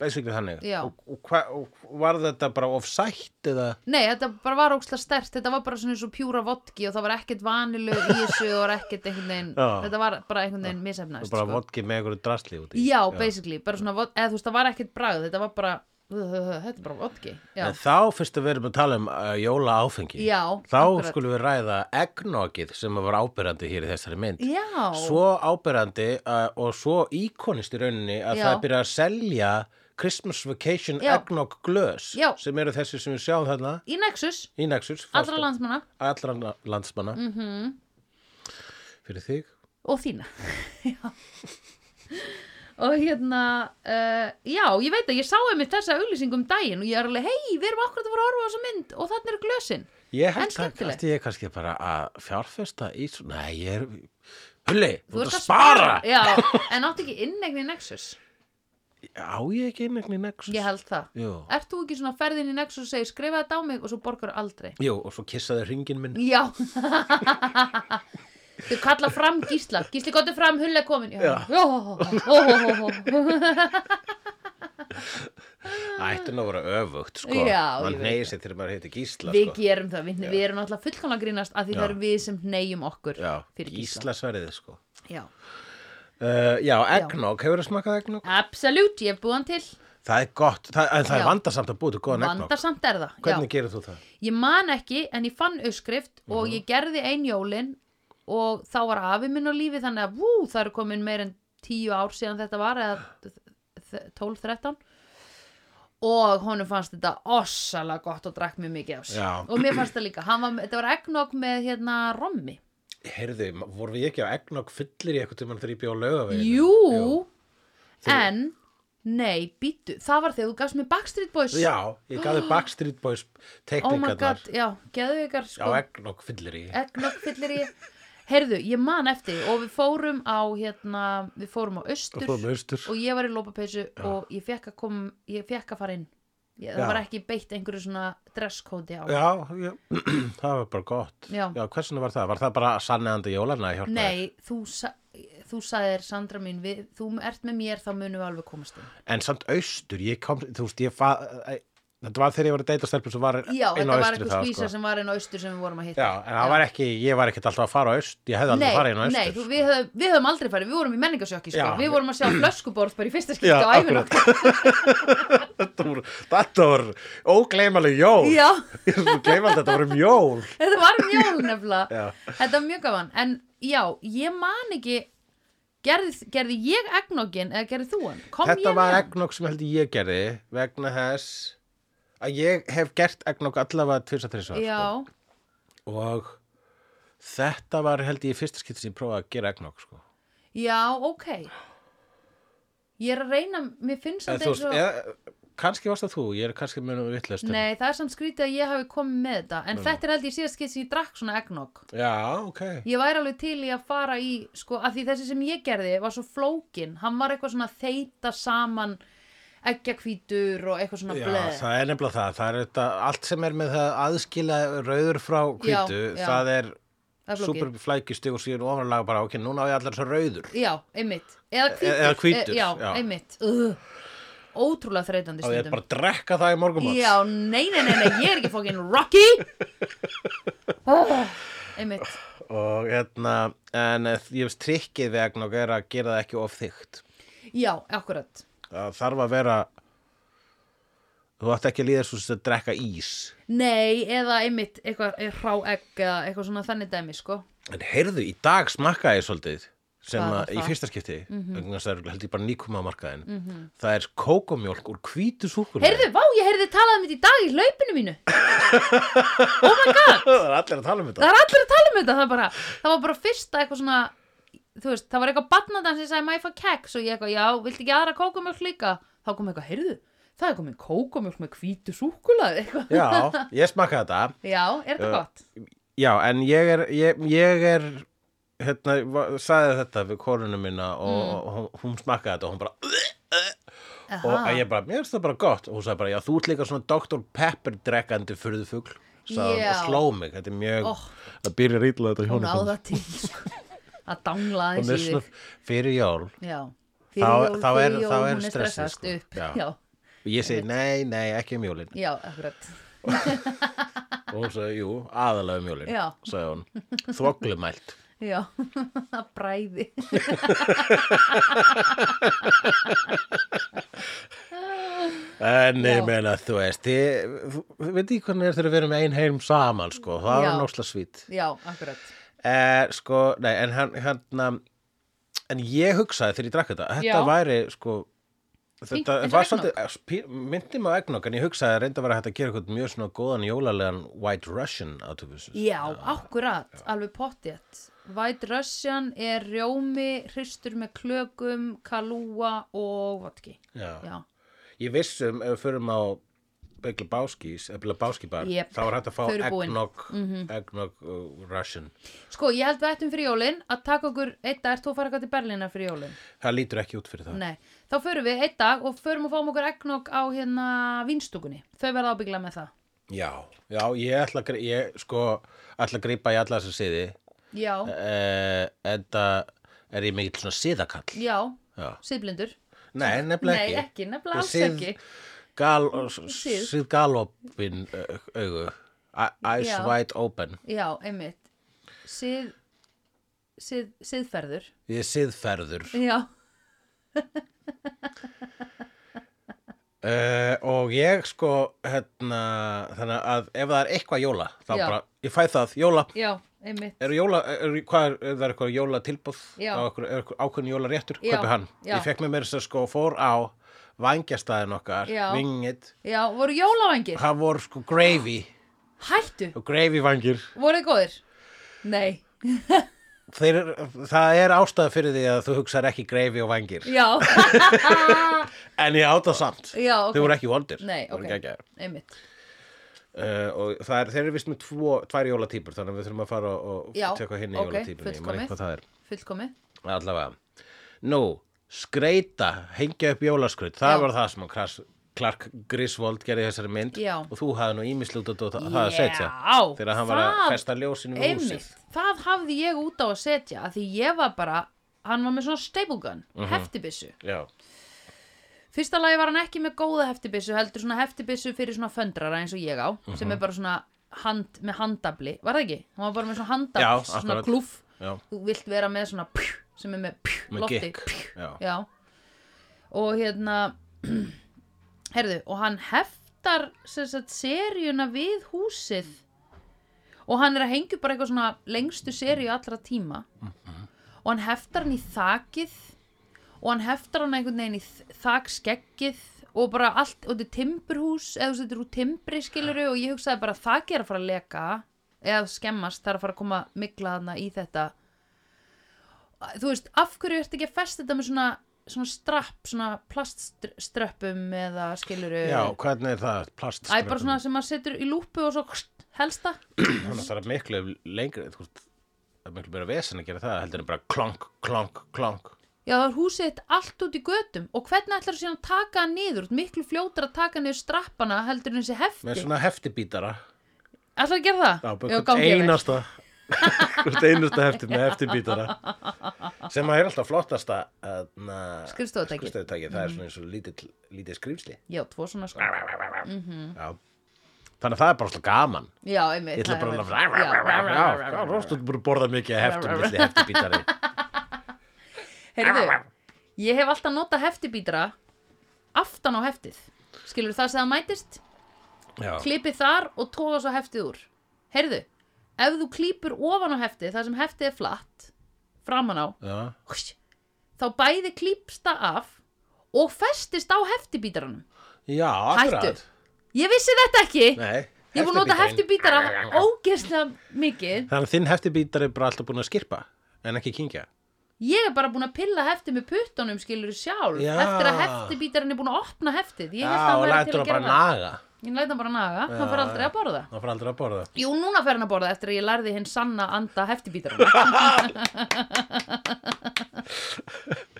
Speaker 1: basically þannig
Speaker 2: Já.
Speaker 1: og, og, hva, og var þetta bara of sætt eða
Speaker 2: Nei, þetta bara var óksla stert, þetta var bara svona eins og pjúra vodki og það var ekkert vanilu í þessu og var ekkert einhvern veginn,
Speaker 1: Já.
Speaker 2: þetta var bara einhvern veginn sko. misefnast.
Speaker 1: bara vodki með einhverju drasli út í
Speaker 2: Já, basically, bara svona, vod- eða þú veist, það var ekkert bragð, þetta var bara þetta er bara vodki já,
Speaker 1: En þá fyrst að við erum að tala um uh, jóla áfengi.
Speaker 2: já
Speaker 1: Þá
Speaker 2: akkurat.
Speaker 1: skulum við ræða egnogið sem var ábyrjandi hér í þessari mynd.
Speaker 2: já,
Speaker 1: Svo ábyrjandi uh, og svo íkonist í rauninni að
Speaker 2: Já.
Speaker 1: það er byrjað að selja Christmas Vacation
Speaker 2: Já.
Speaker 1: egnog glös
Speaker 2: Já.
Speaker 1: sem eru þessi sem við sjáum þarna
Speaker 2: í Nexus
Speaker 1: í Nexus.
Speaker 2: allra Mhm.
Speaker 1: fasta-
Speaker 2: landsmanna
Speaker 1: allra na- landsmanna. Mm -hmm. Fyrir þig.
Speaker 2: og þína Já. og hérna uh, já, ég veit að ég sá einmitt þessa auglýsing um daginn og ég er alveg, hei, við erum akkurat að fara að horfa á þessa mynd og þannig eru glösin
Speaker 1: Ég
Speaker 2: En
Speaker 1: held að
Speaker 2: skemmtilegt.
Speaker 1: að ég er kannski bara að fjárfesta í svo... Nei, ég er... Hulli, þú ert að
Speaker 2: ert
Speaker 1: spara!
Speaker 2: já, en áttu ekki innegni í Nexus
Speaker 1: Á ég ekki innegni Nexus?
Speaker 2: ég held það
Speaker 1: Jú.
Speaker 2: Ert þú ekki svona ferðin í Nexus og segir skrifa þetta á mig og svo borgar aldrei?
Speaker 1: Jú, og svo kissaði ringin minn.
Speaker 2: Já. Þau kalla fram Gísla. Gísli gotið fram, hull er komin. Já.
Speaker 1: Já.
Speaker 2: Jó, ó, ó, ó, ó.
Speaker 1: Ætti nú að vera öfugt, sko.
Speaker 2: Já,
Speaker 1: Man
Speaker 2: ég veit
Speaker 1: neyir sér þegar maður heiti Gísla,
Speaker 2: Við
Speaker 1: sko.
Speaker 2: gerum það, við, við erum alltaf fullkomlega að grínast af því
Speaker 1: Já.
Speaker 2: það eru við sem neyjum okkur
Speaker 1: Já,
Speaker 2: fyrir Gísla.
Speaker 1: Gísla sverðið, sko.
Speaker 2: Já.
Speaker 1: Uh, já, eggnog, hefur það smakað eggnog?
Speaker 2: Absolutt, ég er búin til.
Speaker 1: Það er gott, það, en það
Speaker 2: Já.
Speaker 1: er vandarsamt að búið til góðan eggnog.
Speaker 2: Vandarsamt er það.
Speaker 1: Hvernig
Speaker 2: Já.
Speaker 1: gerir þú það?
Speaker 2: Ég man ekki en ég fann uppskrift og
Speaker 1: Mhm.
Speaker 2: ég gerði ein jólin og þá var afi minn á lífi þannig að vú, það eru komin meir en tíu ár síðan þetta var eða 12-13 og honum fannst þetta ossalega gott og drakk mjög mikið ás
Speaker 1: Já.
Speaker 2: og mér fannst það líka, Hann var, þetta var eggnog með hérna rommi
Speaker 1: Heyrðu, ma- vorum við ekki á eggnog fyllir í eitthvað tímann þegar ég bjóð á laugaveginu?
Speaker 2: Jú,
Speaker 1: Þú-
Speaker 2: en nei, býttu, það var þegar þú gafst mér Backstreet Boys
Speaker 1: Já, ég gaði Backstreet Boys
Speaker 2: oh my
Speaker 1: teikningarnar
Speaker 2: god, já, geðu
Speaker 1: á
Speaker 2: ykkar sko,
Speaker 1: eggnog fyllir í.
Speaker 2: eggnog fyllir í heyrðu, ég man eftir og við fórum á hérna, við fórum á austur
Speaker 1: Og fórum austur.
Speaker 2: og ég var í lópapeysu og ég fekk að kom, ég fekk að fara inn ég, það
Speaker 1: Já.
Speaker 2: var ekki beitt einhverju svona dresskóti á
Speaker 1: Já, já það var bara gott.
Speaker 2: Já.
Speaker 1: hversuna var það? Var það bara sanniðandi jólana hjálpa?
Speaker 2: nei, þú, sa, þú sagðir Sandra mín, við, þú ert með mér þá munum við alveg komast inn
Speaker 1: En samt austur, ég kom, þú veist, ég fa... æ, Þetta var þegar ég var að deyta stelpum sem var
Speaker 2: já,
Speaker 1: inn á
Speaker 2: þetta var
Speaker 1: austri
Speaker 2: eitthvað
Speaker 1: það,
Speaker 2: skvísa
Speaker 1: sko.
Speaker 2: sem var inn á austur sem við vorum að hitta
Speaker 1: Já, en það var ekki, ég var ekkert alltaf að fara á aust, ég hefði
Speaker 2: Nei,
Speaker 1: aldrei farið inn á
Speaker 2: nei,
Speaker 1: austur.
Speaker 2: þú, við, höfum, við höfum aldrei farið, við vorum í menningasjökki sko.
Speaker 1: Já.
Speaker 2: Við vorum að sjá flöskuborð bara í fyrsta skipti
Speaker 1: Já,
Speaker 2: á æfinu
Speaker 1: akkurat. Þetta voru, þetta voru ógleymaleg jól.
Speaker 2: Já,
Speaker 1: Ég er svo gleymaleg, þetta voru um jól.
Speaker 2: þetta var um jól nefnilega
Speaker 1: Já.
Speaker 2: Þetta var mjög gaman En já, ég man ekki Gerði, gerði ég egnogin eða gerði þú hann? Kom
Speaker 1: Þetta
Speaker 2: ég
Speaker 1: var
Speaker 2: með-
Speaker 1: egnokk sem held ég gerði vegna þess að ég hef gert egnokk allavega tvis að þrjus
Speaker 2: Já,
Speaker 1: og þetta var held ég í fyrsta skipti sem ég prófaði að gera egnokk sko.
Speaker 2: já, ok Ég er að reyna, mér finnst
Speaker 1: Eða
Speaker 2: þetta
Speaker 1: þú
Speaker 2: eins
Speaker 1: veist,
Speaker 2: og
Speaker 1: eða, kannski varst það þú, ég er kannski munum vitlaust en-
Speaker 2: Nei, það er samt skrítið að ég hafi komið með þetta En þetta er held ég síðast skeitt sem ég drakk svona egnog
Speaker 1: Já, ok
Speaker 2: Ég væri alveg til í að fara í sko, að því þessi sem ég gerði var svo flókin hann var eitthvað svona þeita saman eggjakvítur og eitthvað svona
Speaker 1: Já,
Speaker 2: bleð
Speaker 1: það er nefnilega það, það er þetta, allt sem er með það aðskila rauður frá
Speaker 2: Já,
Speaker 1: hvítu,
Speaker 2: já.
Speaker 1: það er
Speaker 2: Það er flókið.
Speaker 1: superflækisti og síðan ofanlega bara, ok, núna á ég allar svo rauður,
Speaker 2: Já, einmitt Eða hvítur,
Speaker 1: eða hvítur,
Speaker 2: Eh, já,
Speaker 1: já.
Speaker 2: einmitt Ugh. Ótrúlega þreytandi
Speaker 1: á ég
Speaker 2: stundum
Speaker 1: bara að drekka það í morgumátt.
Speaker 2: Já, nei, nei, nei, nei, ég er ekki fókin Rocky oh, Einmitt
Speaker 1: og hérna en eh, ég veist trikkið við egnokk er að gera það ekki of þygt
Speaker 2: Já, akkurat
Speaker 1: það þarf að vera þú átt ekki að líða svo sem að drekka ís
Speaker 2: Nei, eða einmitt eitthvað eh, hrá egg eða eitthvað svona þannig dæmi, sko
Speaker 1: en heyrðu, í dag smakkaði ég svolítið sem
Speaker 2: Hvað
Speaker 1: að í
Speaker 2: var það? Mhm.
Speaker 1: fyrsta skipti vegna þess að það er held ég bara nýkuma á markaðin það er kókomjólk úr hvítu súkulega
Speaker 2: Heyrðu, vá, ég heyrði talað um þetta í dag í hlaupinu mínu
Speaker 1: það er allir að tala um þetta
Speaker 2: það er allir að tala um þetta það, er bara, það var bara fyrsta eitthvað svona þú veist, það var eitthvað batnaðan sem sagði maður fá keks og ég eitthvað, já, viltu ekki aðra kókumjölk líka þá kom eitthvað, heyrðu, það er komin kókumjölk með hvítu súkulað eitthvað
Speaker 1: já, ég smakkaði þetta
Speaker 2: já, er þetta
Speaker 1: Já.
Speaker 2: gott?
Speaker 1: já, en ég er ég, ég er hérna, va- sagði þetta við korunum minna og,
Speaker 2: Mm.
Speaker 1: og hún, hún smakkaði þetta og hún bara og
Speaker 2: Aha.
Speaker 1: að ég bara, mér finnst það bara gott og hún sagði bara, já þú ert líka svona Dr. Pepper drekkandi furðufugl sagði
Speaker 2: Já.
Speaker 1: yeah. og sló mig, þetta er mjög
Speaker 2: Oh.
Speaker 1: það byrjar ítla þetta
Speaker 2: hún á
Speaker 1: hjónum
Speaker 2: það til sko. að dangla
Speaker 1: og
Speaker 2: aðeins í
Speaker 1: nýsna
Speaker 2: þig
Speaker 1: fyrir jól
Speaker 2: já,
Speaker 1: Þá-
Speaker 2: fyrir jól,
Speaker 1: þá er-
Speaker 2: fyrir jól,
Speaker 1: þá er
Speaker 2: hún er
Speaker 1: stressið,
Speaker 2: stressast
Speaker 1: sko.
Speaker 2: upp
Speaker 1: Já.
Speaker 2: já,
Speaker 1: og ég segi, nei, nei, ekki um jólin
Speaker 2: já, akkurat
Speaker 1: og hún sagði, jú, aðalega um jólin
Speaker 2: Já.
Speaker 1: sagði hún, þvoglumælt
Speaker 2: já, það bræði
Speaker 1: En
Speaker 2: Já.
Speaker 1: ég meina, þú veist, ég, þú veit ekki hvernig er þegar við erum einn heim saman, sko, það
Speaker 2: Já.
Speaker 1: var nósla svít.
Speaker 2: já, akkurat
Speaker 1: Eh, sko, nei, en hann, hérna, en ég hugsaði þegar ég drakk þetta, þetta
Speaker 2: Já.
Speaker 1: væri, sko,
Speaker 2: Fínt,
Speaker 1: þetta
Speaker 2: eins og
Speaker 1: var
Speaker 2: eggnog.
Speaker 1: svolítið, eh, pí- myndi mig á eggnog, en ég hugsaði að reynda að vera hægt að gera eitthvað mjög svona góðan jólalegan White Russian átöfus.
Speaker 2: já, akkurat, alveg pottjætt White Russian er rjómi hristur með klökum, kalúa og vodki
Speaker 1: Já.
Speaker 2: já,
Speaker 1: Ég vissum, ef við förum á Begla Báskís, eða Báskíbar,
Speaker 2: Jep.
Speaker 1: þá var hægt að fá
Speaker 2: Þau eru búin.
Speaker 1: eggnog,
Speaker 2: Mhm.
Speaker 1: eggnog uh, Russian.
Speaker 2: sko, ég held við ættum fyrir jólin að taka okkur eitt dag, ert þú að fara eitthvað til Berlínar fyrir jólin
Speaker 1: Það lítur ekki út fyrir það.
Speaker 2: Nei, þá förum við einn dag og förum og fáum okkur eggnog á hérna vinstúkunni. Þau verða ábyggla með það.
Speaker 1: Já, já, ég ætla að, grí- ég, sko, ætla að grípa í alla þessa siði
Speaker 2: Já,
Speaker 1: uh, en það er ég mikill svona siðakall
Speaker 2: já,
Speaker 1: Já.
Speaker 2: síðblindur.
Speaker 1: Nei, nefnilega
Speaker 2: Nei,
Speaker 1: ekki
Speaker 2: ekki, nefnilega alls ekki.
Speaker 1: gal,
Speaker 2: Sið.
Speaker 1: Síð galopin uh, augu A- Eyes
Speaker 2: Já.
Speaker 1: wide open
Speaker 2: Já, einmitt. Síð, síð, síðferður.
Speaker 1: Ég er siðferður
Speaker 2: Já,
Speaker 1: uh, Og ég sko hérna, Þannig að ef það er eitthvað jóla þá
Speaker 2: Já.
Speaker 1: bara, ég fæ það, jóla
Speaker 2: já, einmitt.
Speaker 1: Eru jóla, er, hvað er, er það eitthvað jóla tilbúð
Speaker 2: Já.
Speaker 1: er eitthvað ákveðin jóla réttur,
Speaker 2: Já,
Speaker 1: kaupi hann
Speaker 2: já.
Speaker 1: ég fekk mér mér þess að sko fór á vangjastæðin okkar,
Speaker 2: Já.
Speaker 1: vingit
Speaker 2: Já, voru jólavangir?
Speaker 1: það voru sko gravy
Speaker 2: Hættu,
Speaker 1: og gravy vangir
Speaker 2: voru þið góðir? Nei,
Speaker 1: Þeir, það er ástæða fyrir því að þú hugsar ekki gravy og vangir
Speaker 2: já,
Speaker 1: en ég áta samt,
Speaker 2: já, ok.
Speaker 1: þau voru ekki vondir
Speaker 2: Nei,
Speaker 1: Þau voru
Speaker 2: ok.
Speaker 1: geggjaðir.
Speaker 2: Einmitt.
Speaker 1: uh, og það er, þeir eru vist með tvo, tvær jólatýpur þannig að við þurfum að fara og
Speaker 2: Já,
Speaker 1: tekka hinn í
Speaker 2: ok,
Speaker 1: jólatýpunni ég man
Speaker 2: fullkomið.
Speaker 1: ekki hvað það er
Speaker 2: Fullkomið.
Speaker 1: allavega nú, skreita, hengja upp jólaskraut það
Speaker 2: Já.
Speaker 1: var það sem að Kras, Clark Griswold gerði í þessari mynd
Speaker 2: Já.
Speaker 1: og þú hafði nú ímislegt út á það að setja
Speaker 2: Já,
Speaker 1: þegar hann var að
Speaker 2: það-
Speaker 1: festa ljósinu við húsið
Speaker 2: Einmitt, það hafði ég út á að setja að því ég var bara, hann var með svona staple gun,
Speaker 1: Mhm.
Speaker 2: heftibissu
Speaker 1: já,
Speaker 2: Fyrsta lagi var hann ekki með góða heftibissu heldur svona heftibissu fyrir svona föndrara eins og ég á,
Speaker 1: Mhm.
Speaker 2: sem er bara svona hand, með handabli, var það ekki? Hann var bara með svona handabli,
Speaker 1: Já,
Speaker 2: svona
Speaker 1: akkurat.
Speaker 2: glúf
Speaker 1: já,
Speaker 2: þú vilt vera með svona pjú, sem er með pjú,
Speaker 1: með
Speaker 2: lofti
Speaker 1: gikk
Speaker 2: pjú,
Speaker 1: já.
Speaker 2: Já. Og hérna Herðu, og hann heftar sem sagt, seríuna við húsið og hann er að hengja upp bara eitthvað svona lengstu seríu allra tíma og hann heftar hann í þakið og hann heftar hann einhvern veginn í þ- þakskeggið og bara allt, og þetta er timburhús eða þú veist, þetta er úr timbri skiluru og ég hugsaði bara þakið er að fara að leka eða skemmast, það er að fara að koma mikla þarna í þetta þú veist, af hverju ertu ekki að festa þetta með svona, svona strapp, svona plastströppum eða skiluru
Speaker 1: já, hvernig er það plast
Speaker 2: Æ, bara svona sem maður setur í lúpu og svo kst, helsta
Speaker 1: það er miklu lengri þú veist, það er miklu meira vesen að gera það heldur en bara klonk, klonk, klonk
Speaker 2: Já, það er húsið þitt allt út í götum og hvernig ætlar þú síðan að taka hann niður Þú ert miklu fljótar að taka niður strappana heldur en þessi hefti
Speaker 1: með svona heftibítara
Speaker 2: Ætlar að gera
Speaker 1: Já,
Speaker 2: það?
Speaker 1: bara hvert
Speaker 2: gangi yfir.
Speaker 1: einasta hvert einasta hefti með eftirbítara sem að er alltaf flottasta aðna,
Speaker 2: Skrifstofutæki.
Speaker 1: það
Speaker 2: Mhm.
Speaker 1: er svona eins og lítið, lítið skrýmsli
Speaker 2: Já, tvo svona sko Mhm.
Speaker 1: Já. þannig að það er bara alltaf gaman
Speaker 2: Já, einmitt
Speaker 1: ég ætla
Speaker 2: það
Speaker 1: bara
Speaker 2: er
Speaker 1: að
Speaker 2: vel- Já, rá, rá, rá, rá, rá.
Speaker 1: Já, þú búin að borða mikið af heftum milli heftibítari
Speaker 2: Heyrðu, ég hef alltaf notað heftibítara aftan á heftið Skilur það sem það mætist?
Speaker 1: Já.
Speaker 2: klipið þar og tóða svo heftið úr heyrðu, ef þú klípur ofan á heftið þar sem heftið er flatt framan á,
Speaker 1: Já.
Speaker 2: hús, þá bæði klípst það af og festist á heftibítaranum
Speaker 1: Já,
Speaker 2: hættu,
Speaker 1: akkurat
Speaker 2: ég vissi þetta ekki
Speaker 1: Nei,
Speaker 2: ég búið að nota
Speaker 1: heftibítarinn.
Speaker 2: heftibítara ógeðslega mikið,
Speaker 1: Þannig að þinn heftibítari er bara alltaf búin að skirpa en ekki kingja
Speaker 2: ég er bara búin að pilla heftið með puttunum skilur sjálf
Speaker 1: Já.
Speaker 2: eftir að heftibítaran er búin að opna heftið ég held
Speaker 1: Já,
Speaker 2: að
Speaker 1: og
Speaker 2: hann væri til
Speaker 1: lætur
Speaker 2: að
Speaker 1: hann bara
Speaker 2: gera það
Speaker 1: naga
Speaker 2: ég læt hann bara naga, hann fyrir aldrei að borða
Speaker 1: Það fyrir aldrei að borða
Speaker 2: Jú, núna fer hann að borða eftir að ég lærði hinn sanna anda heftibítarana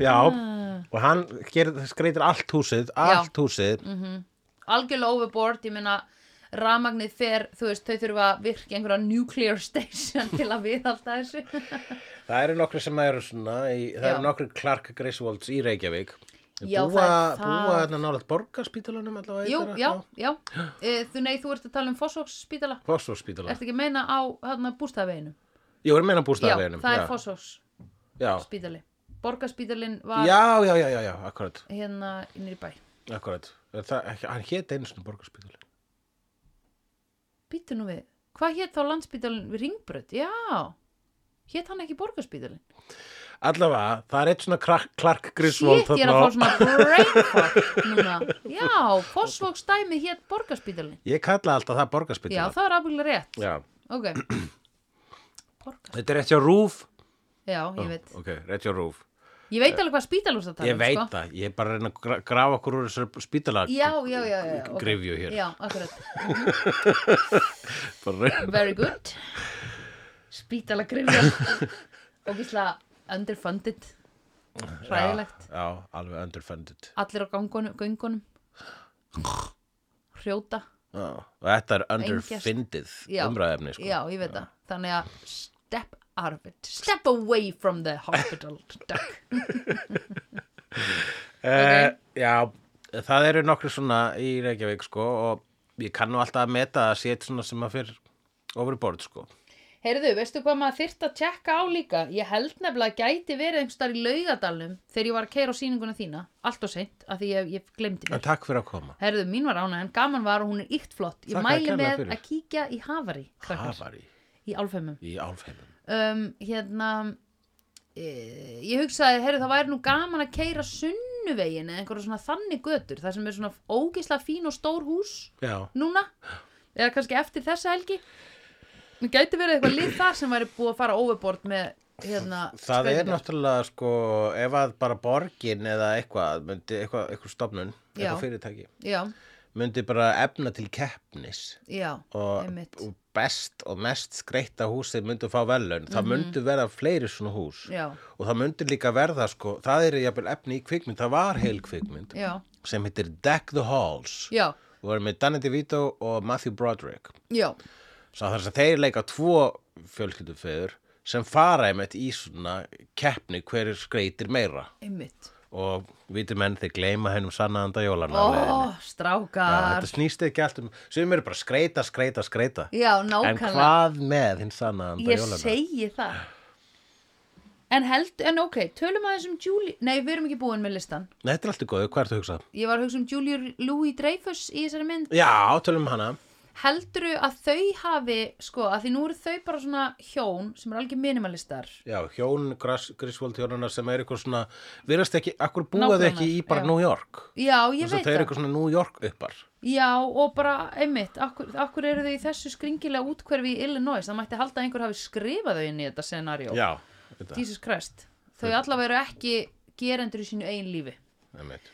Speaker 1: Já,
Speaker 2: Ah.
Speaker 1: og hann gerir, skreitir allt húsið, allt húsið
Speaker 2: Mhm. algjörlega overboard, ég meina rafmagnið fer, þú veist, þau þurfa að virka einhverja nuclear station til að viðhalda þessu.
Speaker 1: Það eru nokkri sem eru svona, í, það
Speaker 2: Já.
Speaker 1: eru nokkri Clark Griswolds í Reykjavík. Þeir
Speaker 2: Já,
Speaker 1: búa,
Speaker 2: það er það.
Speaker 1: Búa þarna nálega borgarspítalunum allavega.
Speaker 2: Jú, já, já. E, þú nei, þú ert að tala um Fossvogsspítala.
Speaker 1: Fossvórsspítalunum.
Speaker 2: Ertu ekki að meina á hérna, bústafveginum?
Speaker 1: Jú, er meina
Speaker 2: Já,
Speaker 1: bústæðarveginum.
Speaker 2: það er
Speaker 1: já.
Speaker 2: Fossvogsspítali.
Speaker 1: Já.
Speaker 2: Borgarspítalinn var
Speaker 1: já, já, já, já, já, akkurat.
Speaker 2: hérna innir í bæ.
Speaker 1: akkurat Er það, ekki- hann hét einu sinni borgarspítal
Speaker 2: Býttu nú við, hvað hétt þá landsbítalinn við ringbröð? Já, hétt hann ekki borgarspítalinn?
Speaker 1: allavega, það er eitt svona Clark, Clark Griswold
Speaker 2: Shit, ég er að fá svona brain fart núna. Já, fósfóksdæmið hétt borgarspítalinn.
Speaker 1: ég kalla alltaf það
Speaker 2: Já,
Speaker 1: borgarspítal
Speaker 2: það er afbyggilega rétt.
Speaker 1: Já.
Speaker 2: Ok. Borgar.
Speaker 1: þetta er rétt hjá Rúf
Speaker 2: Já, ég veit.
Speaker 1: ok, rétt hjá Rúf
Speaker 2: Ég veit alveg hvað spítalús það tala
Speaker 1: ég
Speaker 2: um,
Speaker 1: veit
Speaker 2: sko.
Speaker 1: það, ég er bara að reyna að gra- grafa okkur úr þessar spítala
Speaker 2: Já, já, já, já, já. ok.
Speaker 1: Gryfju hér.
Speaker 2: Já, akkurat.
Speaker 1: Bara reyna-
Speaker 2: Very good. Spítala grifja. Ógislega underfunded.
Speaker 1: já,
Speaker 2: Hræðilegt.
Speaker 1: já, alveg underfunded
Speaker 2: Allir á gangunum, göngunum. Hrjóta.
Speaker 1: já. og þetta er
Speaker 2: Engjast.
Speaker 1: underfunded
Speaker 2: Já.
Speaker 1: umræðefni sko.
Speaker 2: Já, ég veit það. Þannig að step out of it. Step away from the hospital. Duck.
Speaker 1: Eh, já, það eru nokkru svona í Reykjavík sko og ég kann nú alltaf að meta að sé eitt svona sem að fyrr ofur í borð sko.
Speaker 2: Heyrðu, veistu hvað maður þyrft að tjekka á líka? Ég held nefnilega að gæti verið einhvers staðar í laugadalnum þegar ég var að keira á sýninguna þína. Allt og seint, af því ég, ég glemdi
Speaker 1: En
Speaker 2: mér.
Speaker 1: takk fyrir að koma.
Speaker 2: Herðu, mín var ána, en gaman var og hún er ykt flott. Ég
Speaker 1: Þakka
Speaker 2: mæli
Speaker 1: kærlega
Speaker 2: með
Speaker 1: fyrir.
Speaker 2: að kíkja í Hafari, krakkar,
Speaker 1: Það var í,
Speaker 2: í Álfheimum.
Speaker 1: í álfheimum.
Speaker 2: Um, hérna, e, ég hugsaði, herðu, það væri nú gaman að keira sunnuvegin eða einhverja svona þannig götur, það sem er svona ógeislega fín og stór hús
Speaker 1: Já,
Speaker 2: núna, eða kannski eftir þessa helgi. Mér gæti verið eitthvað lið þar sem væri búið að fara overboard með, hérna,
Speaker 1: það er
Speaker 2: skreytingar.
Speaker 1: náttúrulega sko ef að bara borgin eða eitthvað, myndi eitthvað, eitthvað stofnun,
Speaker 2: Já.
Speaker 1: eitthvað fyrirtæki,
Speaker 2: Já,
Speaker 1: myndi bara efna til keppnis
Speaker 2: já,
Speaker 1: og,
Speaker 2: einmitt.
Speaker 1: og best og mest skreitta húsið myndi fá velun. Það myndi verða fleiri svona hús.
Speaker 2: Mhm. Já,
Speaker 1: Og það myndi líka verða sko, það er jafnvel efni í kvikmynd, það var heil kvikmynd.
Speaker 2: já,
Speaker 1: sem heitir Deck the Halls
Speaker 2: já,
Speaker 1: og er með Danny DeVito og Matthew Broderick
Speaker 2: já,
Speaker 1: svo þess að þeir leika tvo fjölskyldufeður sem fara einmitt í svona keppni hverju skreitir meira
Speaker 2: einmitt.
Speaker 1: og viti menn þeir gleyma hennum sannaðanda jólana á leiðinni.
Speaker 2: Ó,
Speaker 1: Já,
Speaker 2: strákar.
Speaker 1: þetta snýst ekki allt um sem eru bara skreita, skreita, skreita
Speaker 2: Já,
Speaker 1: en
Speaker 2: nákvæmlega,
Speaker 1: hvað með hinn sannaðanda
Speaker 2: ég
Speaker 1: jólana
Speaker 2: segi það En held, en ok, tölum aðeins um Julie Nei, við erum ekki búin með listan
Speaker 1: Nei, þetta er alltaf góðu, hvað ertu að hugsa?
Speaker 2: Ég var að hugsa um Julie Louis Dreyfus í þessari mynd
Speaker 1: Já, tölum um hana
Speaker 2: Heldurðu að þau hafi, sko, að því nú eru þau bara svona hjón sem eru algjör minimalistar
Speaker 1: Já, hjón Gras- Griswold hjónana sem er eitthvað svona virðast ekki, akkur búaði
Speaker 2: Nágrannar,
Speaker 1: ekki í bara
Speaker 2: já.
Speaker 1: New York
Speaker 2: Já, ég
Speaker 1: Þess að
Speaker 2: veit
Speaker 1: það er
Speaker 2: það
Speaker 1: eitthvað svona New York uppar
Speaker 2: Já, og bara, einmitt, akkur, akkur eru þau í þessu skringilega útkverfi í Illinois Það mætti halda að einhver hafi skrifað þau inn í þetta scenarió
Speaker 1: Já, þetta
Speaker 2: Jesus Christ Þau allavega eru ekki gerendur í sínu eigin lífi
Speaker 1: einmitt.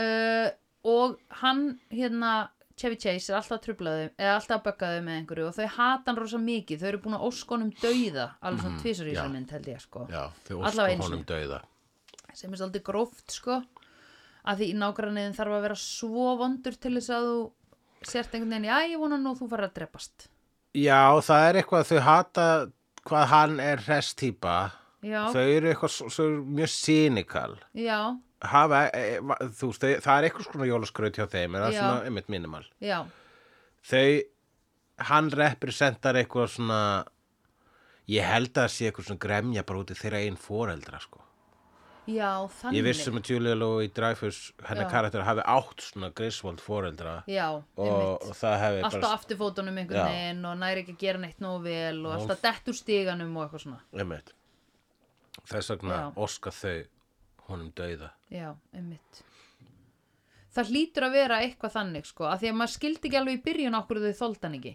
Speaker 2: uh, og hann hérna Chevy Chase er alltaf trublaði eða alltaf böggaði með einhverju og þau hata hann rosa mikið, þau eru búin að óskonum dauða alveg svona tvisar í
Speaker 1: Mhm, já.
Speaker 2: þessari mynd held ég sko
Speaker 1: Já, þau
Speaker 2: Allavega
Speaker 1: óskum
Speaker 2: einu
Speaker 1: honum dauða
Speaker 2: sem er svolítið gróft sko að því í nágranniðin þarf að vera svo vondur til þess að þú sért einhvern veginn, já ég vona nú þú farið að drepast
Speaker 1: Já, það er eitthvað að þau hata hvað hann er hress típa
Speaker 2: já,
Speaker 1: Þau eru eitthvað svo, svo mjög cynical
Speaker 2: já,
Speaker 1: Hafa, e, va- þú, veist, þau, Það er eitthvað svona jólaskraut hjá þeim en það er
Speaker 2: Já.
Speaker 1: svona einmitt minimal
Speaker 2: já
Speaker 1: Þau, hann representar eitthvað svona Ég held að það sé eitthvað svona gremja bara út í þeirra einn foreldra sko.
Speaker 2: já, þannig
Speaker 1: Ég vissum að Julia Louis Dreyfus hennar
Speaker 2: Já.
Speaker 1: karakter hafi átt svona Griswold foreldra
Speaker 2: já,
Speaker 1: og,
Speaker 2: einmitt
Speaker 1: og það hefði
Speaker 2: alltaf
Speaker 1: bara
Speaker 2: afturfótunum
Speaker 1: Já.
Speaker 2: einhvern veginn og næri ekki að gera neitt nóg vel og alltaf dett úr stíganum og eitthvað svona
Speaker 1: einmitt, þess vegna
Speaker 2: Já.
Speaker 1: óska þau honum dauða
Speaker 2: Já, einmitt. Það hlýtur að vera eitthvað þannig sko, að því að maður skildi ekki alveg í byrjun okkur þau þoldan ekki.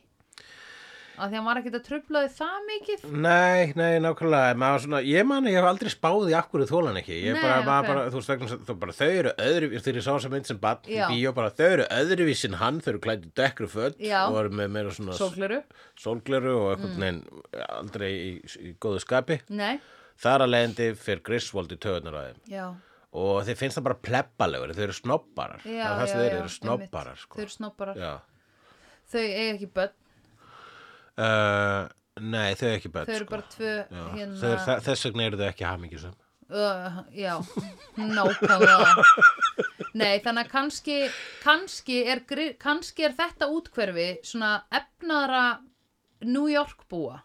Speaker 2: Að því að maður ekkert að tröfla þau það mikið.
Speaker 1: Nei, nei, nákvæmlega maður var svona, ég man að ég hef aldrei spáði af hverju þólan ekki ég
Speaker 2: Nei,
Speaker 1: bara,
Speaker 2: ok.
Speaker 1: maður bara, þú veist vegna þess að- þú bara, þau eru öðru, þegar ég sá þess að mynd sem bann í
Speaker 2: Já.
Speaker 1: bíó bara, þau eru öðruvís en hann þau eru klæddu dekkru föt
Speaker 2: Já. Mm.
Speaker 1: og eru með meira svona
Speaker 2: Sólgleru?
Speaker 1: sólgleru og einhvern veginn aldrei í, í góðu skapi
Speaker 2: Nei.
Speaker 1: þar að leiðandi fyrir Griswold í töðunar á þeim
Speaker 2: Já,
Speaker 1: og þeir finnst það bara plebbalegur, þau eru snobbarar
Speaker 2: já,
Speaker 1: það er það
Speaker 2: já,
Speaker 1: sem þau eru, þau
Speaker 2: já,
Speaker 1: eru
Speaker 2: einmitt.
Speaker 1: snobbarar
Speaker 2: Þau
Speaker 1: sko.
Speaker 2: eru snobbarar.
Speaker 1: Já.
Speaker 2: Þau eiga ekki börn,
Speaker 1: Uh, nei, þau eru ekki börn
Speaker 2: þau eru
Speaker 1: sko.
Speaker 2: bara tvö
Speaker 1: Já.
Speaker 2: hérna.
Speaker 1: Þau eru, þa- þess vegna eru þau ekki hamingjusum
Speaker 2: Uh, já, nákvæmlega. Nei, þannig að kannski, kannski, er, gri- kannski er þetta útkverfi svona efnaðra New York búa.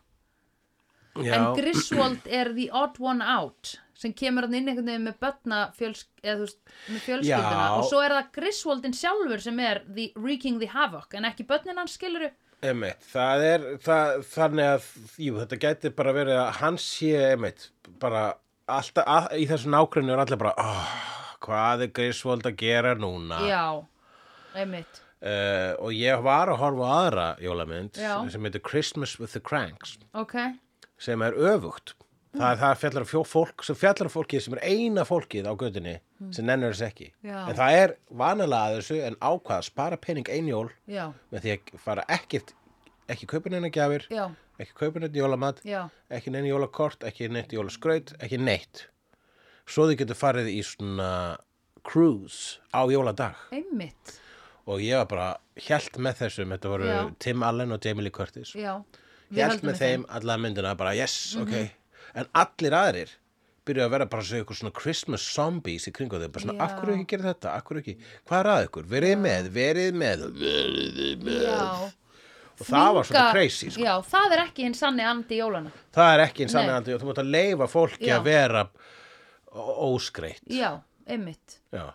Speaker 1: Já,
Speaker 2: En Griswold er the odd one out sem kemur hann inn einhvern veginn með börna fjöls, eða, þú veist, með fjölskylduna
Speaker 1: Já.
Speaker 2: og svo er það Griswoldin sjálfur sem er the, wreaking the havoc en ekki börnin hans skiluru
Speaker 1: Einmitt, það er það, þannig að jú, þetta gæti bara verið að hann sé einmitt, bara alltaf að, í þessu nágrunni er allir bara oh, hvað er Griswold að gera núna
Speaker 2: já, einmitt
Speaker 1: Eh, og ég var að horfa á aðra jólamynd
Speaker 2: Já.
Speaker 1: sem heitir Christmas with the Cranks
Speaker 2: ok,
Speaker 1: sem er öfugt það er það fjallar af fjó- fólk sem fjallar af fólkið sem er eina fólkið á gödunni sem nennur þess ekki
Speaker 2: Hmm. Já.
Speaker 1: en það er vanalega að þessu en ákvað að spara pening einjól
Speaker 2: já,
Speaker 1: með því að fara ekkert ekki kaupin hennar gjafir
Speaker 2: já,
Speaker 1: ekki kaupin hennar jólamat
Speaker 2: já
Speaker 1: ekki neina jólakort, ekki neitt jólaskraut, ekki neitt. Svo þið getur farið í svona cruise á jóladag
Speaker 2: einmitt,
Speaker 1: og ég var bara hjælt með þessum, þetta voru
Speaker 2: Já.
Speaker 1: Tim Allen og Jamie Lee Curtis.
Speaker 2: já Við
Speaker 1: Hjælt
Speaker 2: höldum Mhm.
Speaker 1: með þeim alla myndina, bara yes, ok. En allir aðrir byrjuðu að vera bara svo ykkur svona Christmas zombies í kringu þau, bara svona,
Speaker 2: Já.
Speaker 1: af hverju ekki gera þetta, af hverju ekki, hvað er að ykkur, verið með, verið með, verið með.
Speaker 2: já,
Speaker 1: eh, Og það var svona
Speaker 2: Þvinga-
Speaker 1: crazy, sko.
Speaker 2: já, það er ekki hinn sanni andi jólana
Speaker 1: Það er ekki einn
Speaker 2: Nei.
Speaker 1: sammeðandi og þú mátt að leifa fólki
Speaker 2: Já.
Speaker 1: að vera ó- óskreitt.
Speaker 2: já, einmitt
Speaker 1: Já.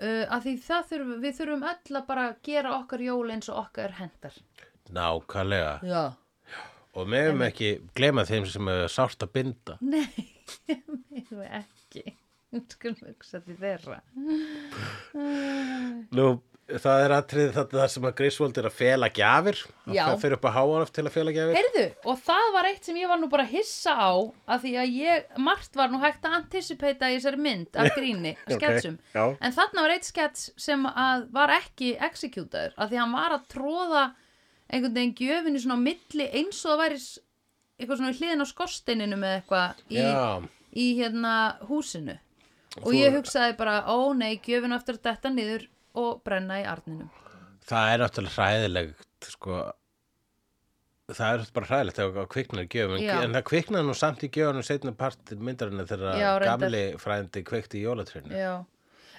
Speaker 2: uh, að því það þurfum, við þurfum öll að bara gera okkar jól eins og okkar hendar
Speaker 1: Nákvæmlega.
Speaker 2: já,
Speaker 1: Og meðum ekki gleyma þeim sem er sárt að binda.
Speaker 2: nei meðum við ekki skulum hugsa til þeirra
Speaker 1: Nú, það er atrið þetta það sem að Griswold er að fela gjafir. Hann
Speaker 2: Já.
Speaker 1: fer- fer upp að háa til að fela gjafir.
Speaker 2: heyrðu, og það var eitt sem ég var nú bara hissa á að því að ég, margt var nú hægt að anticipata í þessari mynd af gríni,
Speaker 1: Ok,
Speaker 2: sketsum
Speaker 1: já.
Speaker 2: en þarna var eitt skets sem að var ekki executaður, að því að hann var að tróða einhvern veginn gjöfinu svona á milli eins og það væri s- eitthvað svona við hliðin á skorsteininu með eitthvað í,
Speaker 1: Já.
Speaker 2: í hérna húsinu og
Speaker 1: Þú-
Speaker 2: ég hugsaði bara, ó nei, gjöfinu aftur að detta niður og brenna í arninum
Speaker 1: Það er náttúrulega hræðilegt, sko. Það er náttúrulega bara hræðilegt þegar kviknar í gjöfum.
Speaker 2: Já.
Speaker 1: En það kviknar nú samt í gjöfunum setna part myndarinnar þegar
Speaker 2: Já, reyndar.
Speaker 1: gamli frændi kveikti í jólatrinu.
Speaker 2: Já,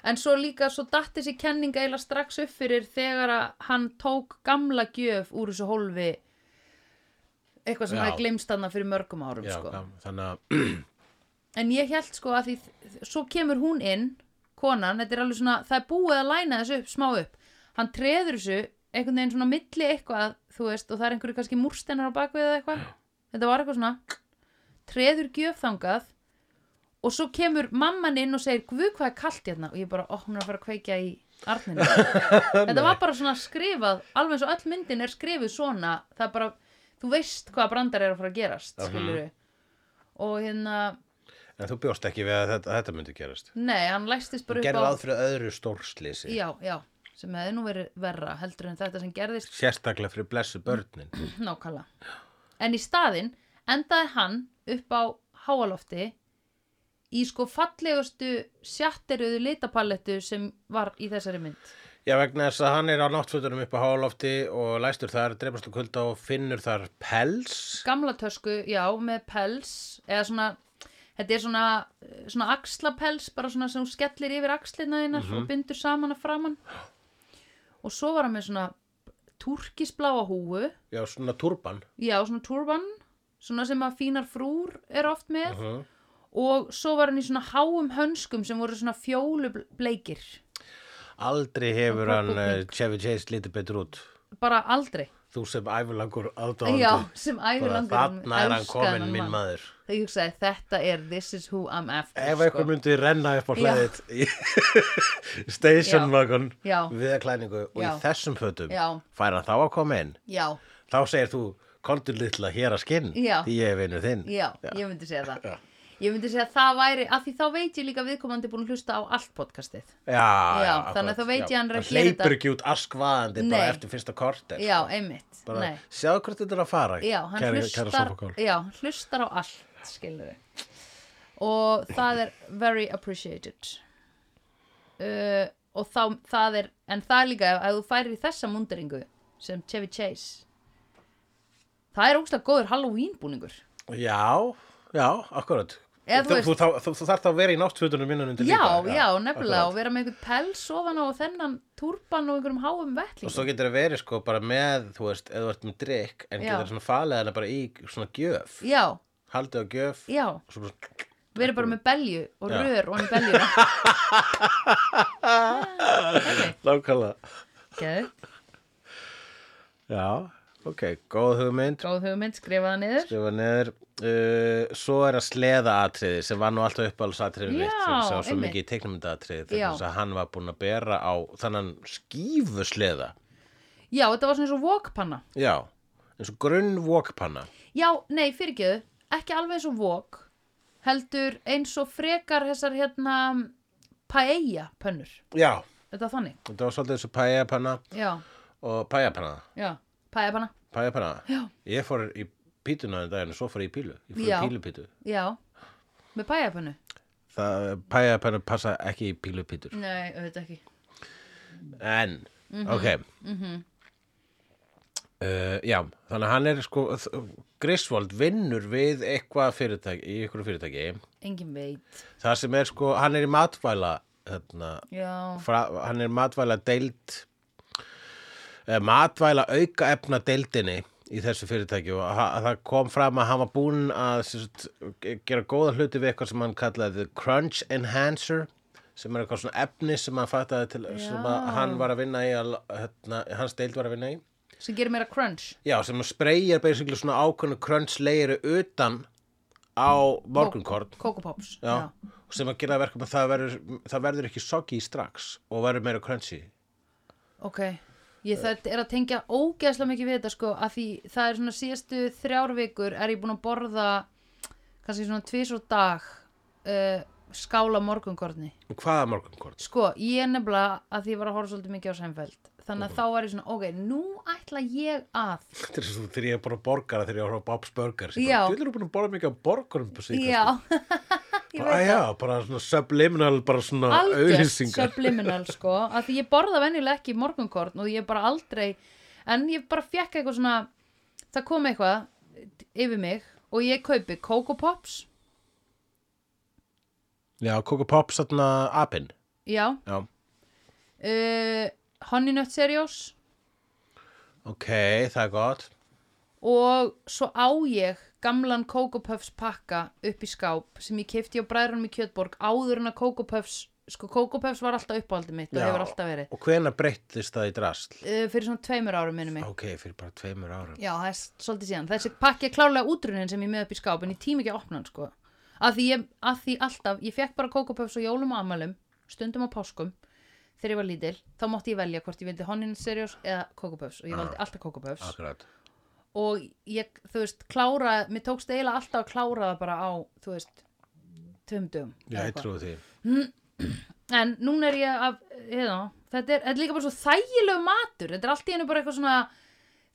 Speaker 2: en svo líka svo datt þessi kenning eiginlega strax upp fyrir þegar að hann tók gamla gjöf úr þessu hólfi eitthvað sem
Speaker 1: Já.
Speaker 2: hafði glemst hann fyrir mörgum árum
Speaker 1: Já,
Speaker 2: sko.
Speaker 1: gam- þannig að
Speaker 2: en ég held sko að því svo kemur hún inn, konan þetta er alveg svona, það er búið að læna þessu upp smá upp hann treður þessu einhvern veginn svona á milli eitthvað þú veist, og það er einhverju kannski múrstennar á bakvið eða eitthvað þetta var eitthvað svona treður gjöf þangað og svo kemur mamman inn og segir guð hvað er kalt hérna og ég bara, ó, hún er að fara að kveikja í arninu þetta var bara svona skrifað alveg eins og öll myndin er skrifuð svona það er bara, þú veist hvað brandar er að fara að gerast
Speaker 1: Mhm.
Speaker 2: skilur og hérna
Speaker 1: En þú bjóst ekki við að þetta, að þetta myndi gerast.
Speaker 2: Nei, hann læstist bara
Speaker 1: Þú
Speaker 2: upp
Speaker 1: gerði
Speaker 2: á
Speaker 1: ráð fyrir öðru stórslýsi.
Speaker 2: Já, já, sem hefði nú verið verra heldur en þetta sem gerðist
Speaker 1: Sérstaklega fyrir blessu börnin.
Speaker 2: nákvæmlega En í staðinn endaði hann upp á háalofti í sko fallegustu sjatteruðu litapalettu sem var í þessari mynd
Speaker 1: Já, vegna þess að hann er á náttfötunum upp á hálofti og læstur þar, dreipast á kulda og finnur þar pels.
Speaker 2: Gamla tösku, já, með pels eða svona, þetta er svona svona axlapels, bara svona sem hún skellir yfir axlina þínar
Speaker 1: Mhm.
Speaker 2: og bindur saman að framan og svo var hann með svona túrkisbláa húu
Speaker 1: Já, svona turban.
Speaker 2: Já, svona turban, svona sem að fínar frúr er oft með
Speaker 1: Uh -huh.
Speaker 2: og svo var hann í svona háum hönskum sem voru svona fjólubleikir,
Speaker 1: Aldrei hefur
Speaker 2: Og
Speaker 1: hann
Speaker 2: búbling.
Speaker 1: eh, Chevy Chase lítið betur út.
Speaker 2: bara aldrei.
Speaker 1: Þú sem æfurlangur aðdáðandi.
Speaker 2: Já, sem æfir
Speaker 1: Bara
Speaker 2: langur
Speaker 1: Þarna er hann kominn minn maður.
Speaker 2: Þegar ég hugsaði, þetta er this is who I'm after. sko.
Speaker 1: Ef eitthvað myndi renna upp á
Speaker 2: Já.
Speaker 1: hlæðið í station
Speaker 2: Já.
Speaker 1: wagon
Speaker 2: Já.
Speaker 1: við að klæningu og í
Speaker 2: Já.
Speaker 1: þessum fötum
Speaker 2: Já.
Speaker 1: fær hann þá að koma inn.
Speaker 2: Já,
Speaker 1: Þá segir þú, komdu litla hér að skinn,
Speaker 2: Já.
Speaker 1: því ég er vinur þinn.
Speaker 2: já, ég myndi segja það. Ég myndi segja að það væri, af því þá veit ég líka að viðkomandi er búin að hlusta á allt podcastið.
Speaker 1: Já, já,
Speaker 2: Já, þannig að
Speaker 1: akkurat,
Speaker 2: þá veit
Speaker 1: já.
Speaker 2: ég
Speaker 1: Hann
Speaker 2: hann er að gera þetta.
Speaker 1: hleypur ekki út askvaðandi bara
Speaker 2: Nei.
Speaker 1: eftir fyrsta korter.
Speaker 2: Já, einmitt.
Speaker 1: bara,
Speaker 2: Nei.
Speaker 1: Sjáðu hvert þetta er að fara,
Speaker 2: já, hann
Speaker 1: kæra,
Speaker 2: hlustar,
Speaker 1: kæra sofakál.
Speaker 2: já, hann hlustar á allt skilur við og það er very appreciated uh, og þá, það er en það er líka ef- ef þú færir í þessa munderingu sem Chevy Chase það er ógstlega góður Halloween búningur
Speaker 1: Já, já, akkurat.
Speaker 2: Eða þú
Speaker 1: þú,
Speaker 2: veist-
Speaker 1: þú, þá- þú, þú þarf þá að vera í náttfötunum minnan undir
Speaker 2: já,
Speaker 1: líka.
Speaker 2: já, nefnilega
Speaker 1: akkurat.
Speaker 2: og vera með einhvern pels ofan á og þennan turban og einhverjum háum
Speaker 1: Og svo
Speaker 2: vettlingum
Speaker 1: getur það verið sko bara með, þú veist, eða þú ert með drikk, en
Speaker 2: Já.
Speaker 1: getur svona falið hana bara í svona gjöf.
Speaker 2: já,
Speaker 1: Haldið á gjöf,
Speaker 2: já
Speaker 1: og svo bara
Speaker 2: Við erum bara með belju og
Speaker 1: Já.
Speaker 2: rör og hann í belju
Speaker 1: Nákvæmlega.
Speaker 2: Geðu,
Speaker 1: Já, ok, góð hugmynd.
Speaker 2: góð hugmynd, skrifaða niður
Speaker 1: Skrifa niður. Uh, svo er að sleða atriði sem var nú alltaf uppáhalsatriði mitt
Speaker 2: Já,
Speaker 1: þegar ég sá svo
Speaker 2: einmitt.
Speaker 1: mikið í teiknumynda atriði
Speaker 2: Já.
Speaker 1: þegar þess að hann var búinn að bera á þannan skífu sleða.
Speaker 2: Já, þetta var svona eins og vokpanna
Speaker 1: Já, eins og grunn vokpanna.
Speaker 2: Já, nei, fyrirgeðu, ekki alveg eins og vok heldur eins og frekar þessar hérna paella pönnur,
Speaker 1: Já,
Speaker 2: þetta var þannig
Speaker 1: þetta var svolítið eins og pæjapanna
Speaker 2: Já,
Speaker 1: og pæjapanna.
Speaker 2: já, paella panna
Speaker 1: Pæjapanna.
Speaker 2: Já.
Speaker 1: Ég fór í pítuna þenn daginn og svo fór ég í pílu. Ég fór
Speaker 2: Já.
Speaker 1: í pílupítu.
Speaker 2: Já, með paella pönnu
Speaker 1: Það pæjapanna passa ekki í pílupítur.
Speaker 2: Nei, auðvitað ekki
Speaker 1: En, ok uh, Já, þannig að hann er sko þ- Griswold vinnur við eitthvað fyrirtæki, í ykkur fyrirtæki
Speaker 2: Engin veit
Speaker 1: Það sem er sko, hann er í matvæla hérna,
Speaker 2: Já,
Speaker 1: fra, hann er matvæla deild eh, matvæla auka efna deildinni í þessu fyrirtæki og ha- það kom fram að hann var búinn að sem sagt, ge- gera góða hluti við eitthvað sem hann kallaði the crunch enhancer sem er eitthvað svona efni sem hann fattaði til sem að
Speaker 2: Já.
Speaker 1: hann var að vinna í að, hérna, hans deild var að vinna í
Speaker 2: sem gerir meira crunch
Speaker 1: já, sem að spreyja basically svona ákveðnu crunch leiru utan á morgunkort
Speaker 2: Coco Pops
Speaker 1: já, sem að gera verkum að það verður, það verður ekki soggy strax og verður meira crunchy
Speaker 2: Ok, ég það er að tengja ógeðslega mikið við þetta sko að því það er svona síðastu þrjár vikur er ég búin að borða kannski svona tvís og dag uh, skála morgungorni
Speaker 1: og hvaða morgunkort?
Speaker 2: Sko, ég er nefnilega að því ég var að horfa svolítið mikið á Seinfeld þannig að þá var ég svona, ok, nú ætla ég að
Speaker 1: Þetta er svo þegar ég er bara borgara þegar ég horf á Bob's Burgers ég
Speaker 2: Já.
Speaker 1: bara, Þú eru búin að borða mikið af borgurum på síðkast
Speaker 2: Já,
Speaker 1: sko.
Speaker 2: ég
Speaker 1: bara,
Speaker 2: veit
Speaker 1: já, bara svona subliminal bara svona
Speaker 2: algjört
Speaker 1: auðlýsingar
Speaker 2: subliminal sko að því ég borða venjulega ekki morgunkorn og ég bara aldrei en ég bara fekk eitthvað svona það kom eitthvað yfir mig og ég kaupi Coco Pops
Speaker 1: Já, Coco Pops þarna apinn
Speaker 2: já,
Speaker 1: Já,
Speaker 2: uh, Honey Nut Serious
Speaker 1: ok, það er gott
Speaker 2: og svo á ég gamlan Coco Puffs pakka upp í skáp sem ég kefti á bræðrunum í Kjötborg áður en að Coco Puffs sko Coco Puffs var alltaf uppáhaldið mitt og
Speaker 1: Já.
Speaker 2: hefur alltaf verið
Speaker 1: Og hvenær breyttist það í drasl?
Speaker 2: uh, fyrir svona tveimur árum minnum mig
Speaker 1: Ok, fyrir bara tveimur árum
Speaker 2: Já, það er s- svolítið síðan. Þessi pakki er klárlega útrunin sem ég er með upp í skáp en ég tím ekki að opna hann sko. Að því, ég, að því alltaf, ég fekk bara kókupöfs og jólum og amalum, stundum á páskum þegar ég var lítil, þá mátti ég velja hvort ég vildi honin seriós eða kókupöfs og ég valdi alltaf kókupöfs
Speaker 1: Akkurat
Speaker 2: og ég, þú veist, klára, mér tókst eiginlega alltaf að klára það bara á, þú veist, tveim dögum.
Speaker 1: Já,
Speaker 2: eða
Speaker 1: ég
Speaker 2: eitthvað.
Speaker 1: trúi því
Speaker 2: En núna er ég að, hérna, þetta er, þetta er líka bara svo þægilegu matur, þetta er allt í hennu bara eitthvað svona,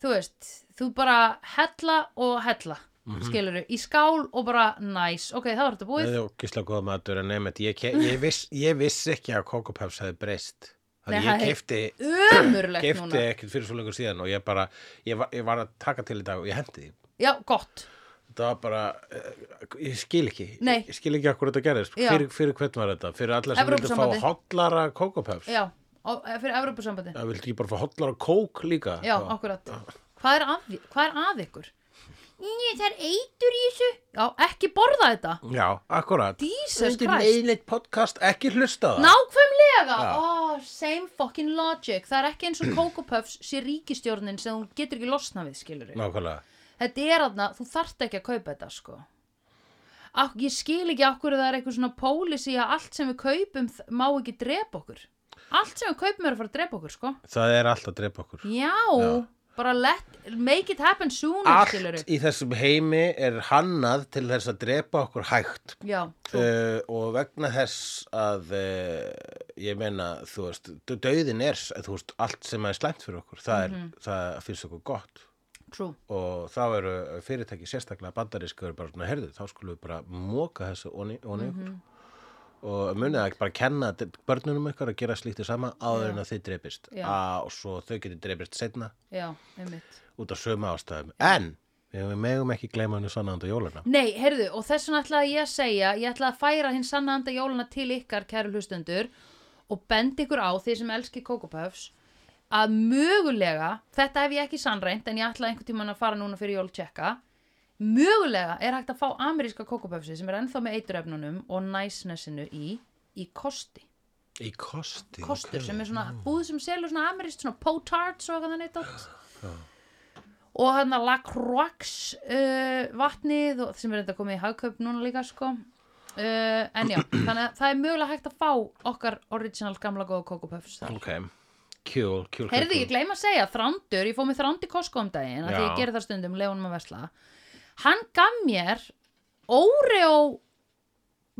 Speaker 2: þú veist, þú bara hella og hella, mm
Speaker 1: Mhm.
Speaker 2: í skál og bara næs, ok, það var þetta búið,
Speaker 1: Það er gísla góða matur en nefnt ég, ke- ég, viss, ég vissi ekki að Coco Pops hefði breyst
Speaker 2: Nei,
Speaker 1: Þannig
Speaker 2: það
Speaker 1: ég
Speaker 2: hefði-
Speaker 1: kefti
Speaker 2: ömurlegt
Speaker 1: Gefti
Speaker 2: núna.
Speaker 1: ekkert fyrir svo lengur síðan og ég bara, ég var, ég var að taka til í dag og ég hendi því.
Speaker 2: Já, gott,
Speaker 1: Þetta var bara, eh, ég skil ekki,
Speaker 2: Nei.
Speaker 1: ég skil ekki akkur þetta gerðist,
Speaker 2: Já.
Speaker 1: fyrir, fyrir hvern var þetta, fyrir alla sem vildu fá
Speaker 2: Evrópusambandið.
Speaker 1: hotlara kókapöfs,
Speaker 2: já, og, eh, fyrir Evrópusambandi,
Speaker 1: það vildu ekki bara fá hotlara kók líka.
Speaker 2: já, akkurat, hvað er að, hvað er að ykkur? Ný, það er eitur í þessu, já, ekki borða þetta,
Speaker 1: Já, akkurat.
Speaker 2: Jesus
Speaker 1: Þetta er
Speaker 2: Christ.
Speaker 1: eiginleitt podcast, ekki hlusta á það.
Speaker 2: Nákvæmlega,
Speaker 1: Já.
Speaker 2: oh, same fucking logic Það er ekki eins og Coco Puffs sé ríkistjórnin sem hún getur ekki losna við, skilur
Speaker 1: Nákvæmlega.
Speaker 2: Þetta er aðna, þú þarft ekki að kaupa þetta, sko Ak, Ég skil ekki akkur það er eitthvað svona policy að allt sem við kaupum þ- má ekki drepa okkur Allt sem við kaupum er að fara að drepa okkur, sko
Speaker 1: Það er allt að drepa okkur.
Speaker 2: Já,
Speaker 1: Já.
Speaker 2: bara let, make it happen sooner, skilur
Speaker 1: Allt í þessum heimi er hannað til þess að drepa okkur hægt
Speaker 2: Já, trú,
Speaker 1: Uh, og vegna þess að uh, ég meina, þú veist, döðin er, þú veist, allt sem er slæmt fyrir okkur, það, er,
Speaker 2: Mhm.
Speaker 1: það finnst okkur gott
Speaker 2: trú
Speaker 1: og þá eru fyrirtæki sérstaklega bandarísku eru bara svona herðu, þá skulum við bara móka þessu onni, onni
Speaker 2: Mhm.
Speaker 1: okkur og munið að bara kenna d- börnunum ykkar að gera slíktið sama áður en að þið dreipist
Speaker 2: Já.
Speaker 1: að, og svo þau getur dreipist setna
Speaker 2: Já, einmitt
Speaker 1: út af sömu ástæðum en við megum ekki gleyma henni sannandi jólana
Speaker 2: Nei, heyrðu, og þess vegna ætlaði ég að segja, ég ætlaði að færa hinn sanna anda jólana til ykkar, kæru hlustendur, og bendi ykkur á því sem elski kókupöfs, að mögulega, þetta hef ég ekki sannrænt, en ég ætlaði einhvern tímann að fara núna fyrir jól tjekka, Mögulega er hægt að fá ameríska kókupöfsi sem er ennþá með eituröfnunum og næsnesinu í, í kosti.
Speaker 1: Í kosti
Speaker 2: Kostur sem er svona búð sem selur svona amerískt svona potards og eitthvað þannig dótt. Og hann að La Croix uh, vatnið og, sem er enda komið í hagkaup núna líka sko. Uh, en já, þannig að það er mögulega hægt að fá okkar original gamla góða kókupöfs þar.
Speaker 1: Ok, kjúl, kjúl
Speaker 2: Herðu, ég gleyma að segja, Þrándur, ég fóð með Þrándi Kosko um daginn, af því
Speaker 1: Já.
Speaker 2: ég geri það stundum, leifunum að vesla. Hann gaf mér Oreo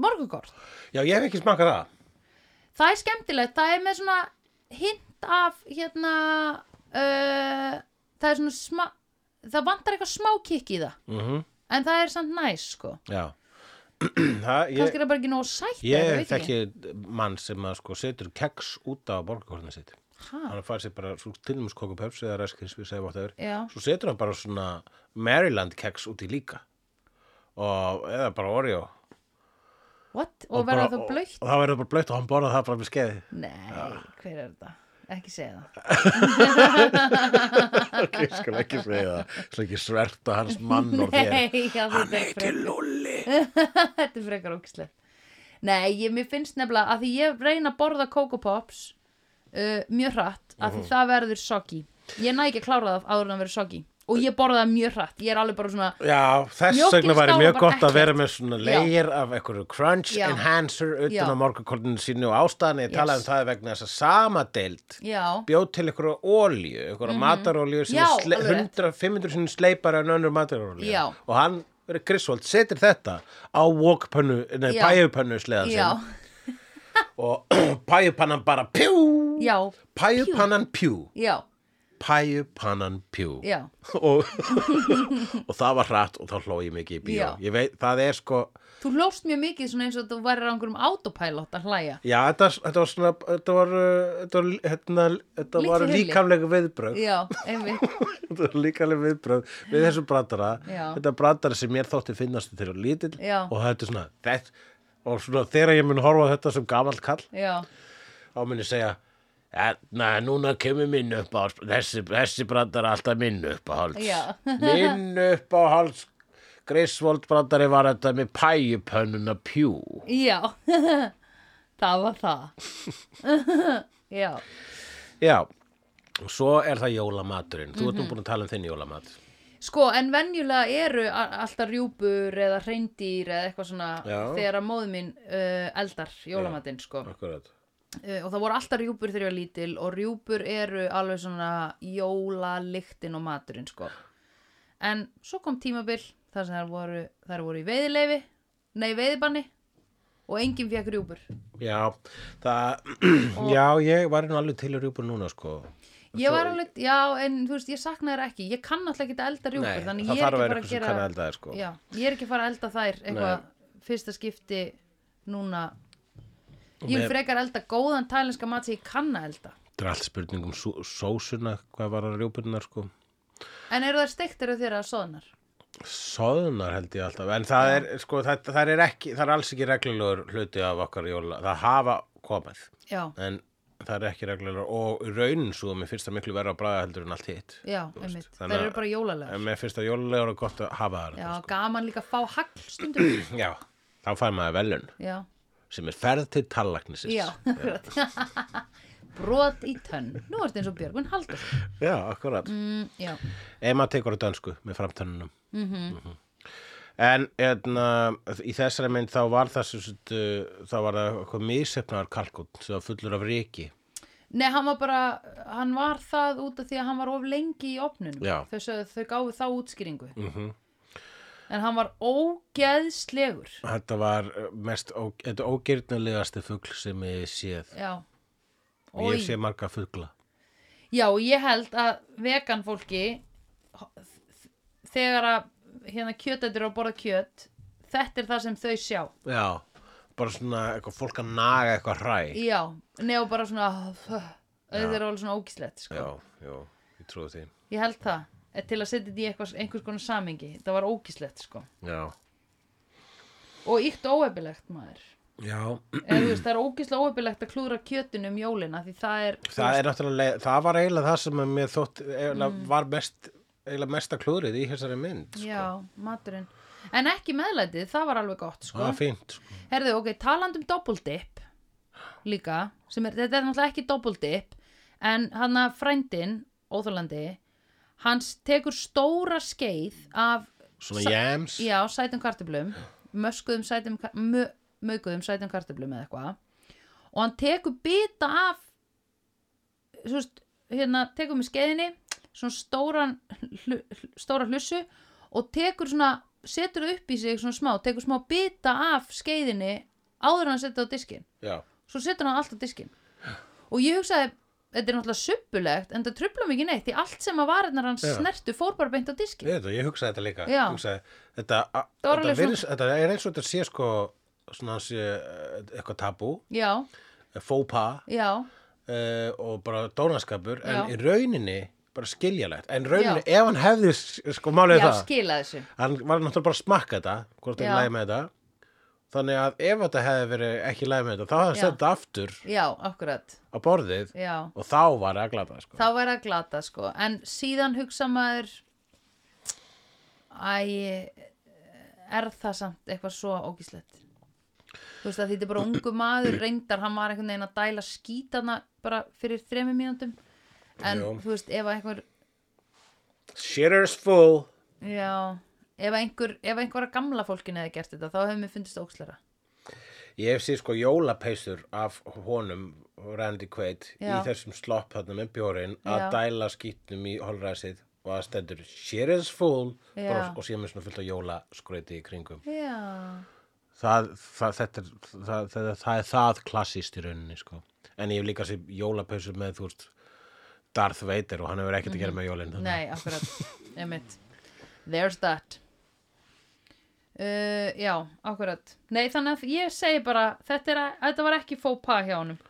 Speaker 2: morgugort.
Speaker 1: Já, ég hef ekki smakað það
Speaker 2: Það er skemmtilegt, það er með svona hint af, hérna, uh, það er svona smá, það vantar eitthvað smá kikk í það,
Speaker 1: mm
Speaker 2: en það er samt næs, sko.
Speaker 1: Já það,
Speaker 2: Kannski
Speaker 1: Ég,
Speaker 2: er það bara ekki nóg sætt, eða
Speaker 1: ég
Speaker 2: veit ekki.
Speaker 1: þekki mann sem að sko setur keks út af borgarkornið sitt
Speaker 2: Ha,
Speaker 1: Hann fær sér bara svo tilnumst kokupöps eða reskins við segjum átt öður
Speaker 2: já,
Speaker 1: Svo setur hann bara svona Maryland keks út í líka og eða bara Oreo
Speaker 2: what? Og, verða
Speaker 1: bara-
Speaker 2: það blöytt?
Speaker 1: og það verður bara blöitt og hann borðað það bara með skeiði
Speaker 2: Nei, hver er þetta? Ekki segja það.
Speaker 1: ok, ég skal ekki segja það svo ekki sverta hans mann og þér
Speaker 2: Nei, já,
Speaker 1: hann
Speaker 2: þetta er
Speaker 1: heitir Lulli
Speaker 2: Þetta er frekar ógislegt Nei, ég, mér finnst nefnilega að því ég reyna að borða Coco Pops uh, mjög hratt að
Speaker 1: Mhm.
Speaker 2: því það verður soggy Ég næ ekki að klára það áður en það verður soggy og ég borða það mjög hrátt Ég er alveg bara svona
Speaker 1: já, þess
Speaker 2: Mjólkin
Speaker 1: vegna væri
Speaker 2: stálar
Speaker 1: mjög
Speaker 2: bara
Speaker 1: gott að
Speaker 2: ekkert.
Speaker 1: vera með svona layer af einhverju crunch
Speaker 2: Já.
Speaker 1: enhancer
Speaker 2: Já.
Speaker 1: utan á morgunkorninu sínu og ástæðan ég
Speaker 2: Yes.
Speaker 1: talaði um það vegna þess að sama deild
Speaker 2: Já,
Speaker 1: bjóð til einhverju olíu einhverju matarolíu sem
Speaker 2: Mhm. Já,
Speaker 1: er sle-
Speaker 2: alveg rétt.
Speaker 1: 100, 500 sinni sleipari en önnur matarolíu
Speaker 2: Já.
Speaker 1: og hann Griswold setur þetta á wokpönnu, nei,
Speaker 2: Já.
Speaker 1: pæjupönnu sleðan
Speaker 2: já,
Speaker 1: sinn og pæjupannan bara pjú,
Speaker 2: já,
Speaker 1: pæjupannan pjú
Speaker 2: já,
Speaker 1: pæju pannan pjú
Speaker 2: já
Speaker 1: og, og það var hratt og þá hló ég mikið í bíó
Speaker 2: Já.
Speaker 1: ég veit, það er sko
Speaker 2: Þú hlóst mjög mikið svona eins og þú værir á einhverjum autopilot að hlæja
Speaker 1: já, þetta, þetta var svona þetta var, uh, þetta var, hérna, þetta
Speaker 2: Litlu
Speaker 1: var
Speaker 2: heili.
Speaker 1: líkamlega viðbröð
Speaker 2: Já, einmitt
Speaker 1: þetta var líkamlega viðbröð við þessu brandara
Speaker 2: Já.
Speaker 1: þetta brandara sem mér þótti finnast þegar ég var lítill
Speaker 2: Já.
Speaker 1: og þetta er svona þess, og svona þegar ég mun horfa á þetta sem gamall kall
Speaker 2: Já,
Speaker 1: þá mun ég segja Na, núna kemur minn upp á þessi, þessi brandar er alltaf minn upp á háls
Speaker 2: Já.
Speaker 1: minn upp á háls Grisvold brandari var þetta með pæjupönnuna pjú
Speaker 2: já Það var það Já,
Speaker 1: já, og svo er það jólamaturinn þú ert nú búin að tala um þinn jólamat
Speaker 2: Sko, en venjulega eru a- alltaf rjúpur eða reyndýr eða eitthvað svona
Speaker 1: Já.
Speaker 2: þegar að móðu mín uh, eldar jólamatinn, sko.
Speaker 1: akkurat
Speaker 2: Uh, og það voru alltaf rjúpur þegar ég var lítil og rjúpur eru alveg svona jólalyktin og maturinn, sko. En svo kom tímabil þar sem þær voru, þær voru í veiðileifi, nei veiðibanni og enginn fekk rjúpur.
Speaker 1: já, það, já, ég var nú alveg til að rjúpa núna sko
Speaker 2: Ég var alveg, já, en þú veist, ég sakna þér ekki. Ég kann alltaf ekki að elda rjúpur,
Speaker 1: Nei,
Speaker 2: þannig
Speaker 1: það
Speaker 2: ég er
Speaker 1: þarf að vera
Speaker 2: ekki
Speaker 1: eitthvað
Speaker 2: bara að
Speaker 1: sem
Speaker 2: gera...
Speaker 1: kann að elda þér, sko.
Speaker 2: Já, ég er ekki að fara að elda þær eitthvað fyrsta skipti núna. Ég vil
Speaker 1: Með-
Speaker 2: frekar elda góðan tælenska mat sem ég kann að elda.
Speaker 1: þetta er allt spurning um sú- sósuna hvað var að rjúpurnar sko
Speaker 2: En eru þær steiktir af þeirra að soðnar?
Speaker 1: Soðnar held ég alltaf, en það er, sko, það, það er ekki, það er alls ekki reglulegur hluti af okkar jóla, það hafa komið,
Speaker 2: Já,
Speaker 1: en það er ekki reglulegur og í raunin svo, mér finnst það miklu verra að bræða heldur en allt hitt,
Speaker 2: já, einmitt. Þær
Speaker 1: þannig að- sko.
Speaker 2: eru bara jólalegar.
Speaker 1: en mér finnst það jólulegur og gott að hafa það,
Speaker 2: Já, gaman líka að fá hagl stundum.
Speaker 1: já, þá fær maður velun,
Speaker 2: já,
Speaker 1: sem er ferð til tallagnisins,
Speaker 2: já, akkurat. Brot í tönn. Nú ertu eins og Björgvin Haldur.
Speaker 1: já, akkurat,
Speaker 2: Mm, já,
Speaker 1: ef maður tekur á dönsku með framtönnunum, mm
Speaker 2: Mhm.
Speaker 1: En hérna, í þessari mynd þá var það, sem sagt, uh, þá var það eitthvað misefnaðar kalkut sem var fullur af reiki.
Speaker 2: Nei, hann var bara, hann var það út af því að hann var of lengi í opnunum.
Speaker 1: Já. Mhm.
Speaker 2: Þau, sögðu- þau gáfu þá útskýringu. -hmm. En hann var ógeðslegur.
Speaker 1: Þetta var eh, mest ó, þetta ógirnilegasti fugl sem ég hef séð.
Speaker 2: Já.
Speaker 1: Og
Speaker 2: Oj.
Speaker 1: Ég sé marga fugla.
Speaker 2: Já, ég held að vegan fólki, h- þ- þegar að hérna kjötættur á að borða kjöt, þetta er það sem þau sjá.
Speaker 1: Já, bara svona eitthvað fólk að naga eitthvað hræ.
Speaker 2: Já, nefn bara svona, þau eru alveg svona ógíslegt, sko.
Speaker 1: Já, já, ég trúi því.
Speaker 2: Ég held það, eh, til að setja þetta í eitthvað, einhvers konar samingi. Það var ógíslegt, sko.
Speaker 1: Já,
Speaker 2: Og ykt óefilegt, maður.
Speaker 1: já.
Speaker 2: Eða, þú veist, það er ógeðslega óhefilegt að klúðra kjötinu um jólina því það er
Speaker 1: Það er náttúrulega, það var eiginlega það sem að mér þótt, eiginlega var mest eiginlega mesta klúðrið í þessari mynd sko.
Speaker 2: Mm. já, maturinn en ekki meðlætið, það var alveg gott
Speaker 1: það
Speaker 2: sko.
Speaker 1: var fínt sko.
Speaker 2: herðu, ok, talandum doppeldip líka, sem er, þetta er náttúrulega ekki doppeldip, en hann að frændin, óþólandi hans tekur stóra skeið af
Speaker 1: svona
Speaker 2: Sa-
Speaker 1: jams
Speaker 2: Já, sætum kartöflum Möskuðum sætum ka- mö, Möguðum sætum kartöflum eða eitthvað Og hann tekur bita af Svo veist Hérna, tekur með skeiðinni Svona stóran hlu, hlu- Stóra hlussu Og tekur svona, setur það upp í sig svona smá Tekur smá bita af skeiðinni Áður en hann setur það á diskinn
Speaker 1: já,
Speaker 2: Svo setur hann allt á diskinn Og ég hugsaði, þetta er náttúrulega suppulegt En það trufla mig ekki neitt Því allt sem að varirnar hann
Speaker 1: Já.
Speaker 2: snertu fór bara beint á diskinn
Speaker 1: ég, veit það, ég hugsaði þetta líka
Speaker 2: Já.
Speaker 1: hugsaði, þetta, a-
Speaker 2: Það var
Speaker 1: þetta,
Speaker 2: alveg svona-
Speaker 1: virðis, þetta er eins og þetta sé sko svona sé eh, eitthvað tabú eh,
Speaker 2: Já,
Speaker 1: fópa
Speaker 2: já
Speaker 1: uh, og bara dónaskapur en
Speaker 2: Já.
Speaker 1: í rauninni bara skiljalegt en rauninni, ef hann hefði s- sko málið er
Speaker 2: Já,
Speaker 1: það
Speaker 2: skila þessu
Speaker 1: hann var náttúrulega bara að smakka þetta hvort hann
Speaker 2: Já.
Speaker 1: læg með þetta þannig að ef þetta hefði verið ekki læg með þetta þá hefði hann
Speaker 2: Já.
Speaker 1: sett þetta aftur
Speaker 2: Já, akkurat
Speaker 1: á borðið
Speaker 2: Já,
Speaker 1: og þá var að glata sko.
Speaker 2: þá væri að glata sko En síðan hugsa maður Æ Er það samt eitthvað svo ógíslegt Þú veist að þetta er bara ungu maður Reyndar, hann var einhvern veginn að dæla skítana Bara fyrir þremur mínúndum En
Speaker 1: Jú.
Speaker 2: þú veist, ef að einhver
Speaker 1: Shitter's full
Speaker 2: Já, ef að einhver Ef að einhver af gamla fólkinu hefði gert þetta Þá hefði mér fundist ógslera
Speaker 1: ég hef sér sko jólapeysur af honum Randy Quaid í
Speaker 2: Já.
Speaker 1: þessum slopp þarna með bjórin að
Speaker 2: Já.
Speaker 1: dæla skýtnum í holræsið og að stendur Shitter's full
Speaker 2: Já.
Speaker 1: bara, og síðan með svona fullt á jólaskreiti í kringum
Speaker 2: Já,
Speaker 1: það, það, þetta, er- það, það, það er það klassist í rauninni sko. en ég hef líka sér jólapausu með þú veist Darth Vader og hann hefur ekkert að gera með jólin þannig
Speaker 2: Mhm. nei, akkurat Einmitt. There's that uh, Já, akkurat Nei, þannig að ég segi bara Þetta, er, að- þetta var ekki fópa hjá honum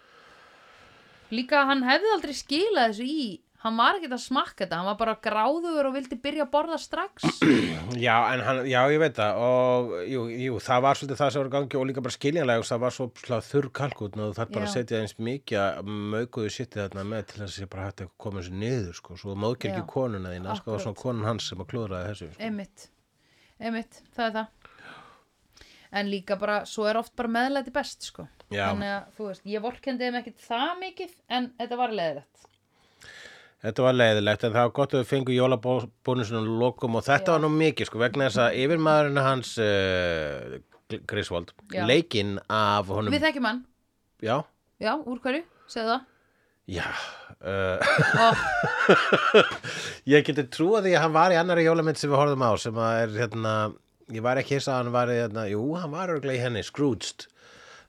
Speaker 2: Líka hann hefði aldrei skilað þessu í Hann var ekkert að smakka þetta Hann var bara gráðugur og vildi byrja að borða strax
Speaker 1: að- já, en hann, já, ég veit það og jú, jú, það var svolítið það sem var í gangi og líka bara skiljanlega og það var svo slá þurr kalkutn og það er bara að
Speaker 2: Já.
Speaker 1: setja eins mikið möguðu sittið þarna með til þess að ég bara hætti að koma þessu niður sko, svo móðkir
Speaker 2: Já.
Speaker 1: ekki konuna þína sko, og
Speaker 2: Akkurat.
Speaker 1: svona konun hans sem að klúðraði þessu sko.
Speaker 2: Einmitt, einmitt, það er það En líka bara, svo er oft bara meðlæti best sko
Speaker 1: Já.
Speaker 2: Þannig að, þú veist, ég vorkendi þeim ekkert það mikið En þetta var leðilegt
Speaker 1: Þetta var leiðilegt en það var gott að við fengum jólabónusunum lokum og þetta
Speaker 2: Já.
Speaker 1: var nú mikið sko vegna þess að yfirmaðurinn hans uh, Griswold,
Speaker 2: Já.
Speaker 1: leikinn af honum,
Speaker 2: Við þekkjum hann
Speaker 1: já,
Speaker 2: Já, úr hverju? Segðu það.
Speaker 1: já uh,
Speaker 2: Oh,
Speaker 1: ég geti trúa því að hann var í annari jólamynd sem við horfðum á sem að er hérna, ég var ekki hissa að hann var í hérna, jú, hann var örglega í henni, Scrooged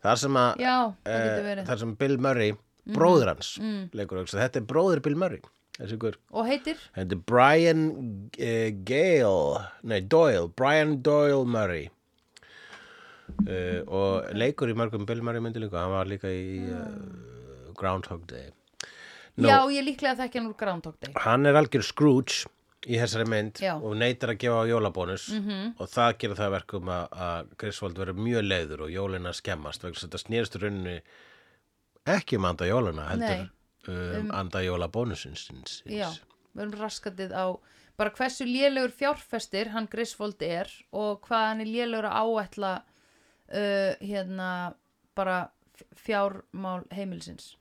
Speaker 1: þar sem að
Speaker 2: já, það getur
Speaker 1: eh,
Speaker 2: verið. Mhm,
Speaker 1: þar sem Bill Murray, bróður hans leikur, hugsa, þetta er bróður Bill Murray þessi ykkur
Speaker 2: Og heitir?
Speaker 1: Þetta er Brian uh, Gale, nei Doyle, Brian Doyle Murray uh, og leikur í mörgum Bill Murray myndi líka, hann var líka í uh, Groundhog Day. Nú.
Speaker 2: Mm. Já, ég líklega þekki hann úr Groundhog Day.
Speaker 1: Hann er algjör Scrooge í þessari mynd
Speaker 2: Já. Mhm.
Speaker 1: og neytar að gefa á jólabónus -hmm. og það gerir það að verkum að, að Griswold verður mjög leiður og jólina skemmast vegna þess að þetta snýrst í rauninni ekki um anda jólana heldur
Speaker 2: Nei.
Speaker 1: um, anda jólabónusins. síns.
Speaker 2: Já, við erum raskatið á bara hversu lélegur fjárfestir hann Griswold er og hvað hann er lélegur að áætla uh, hérna bara f- fjármál heimilsins.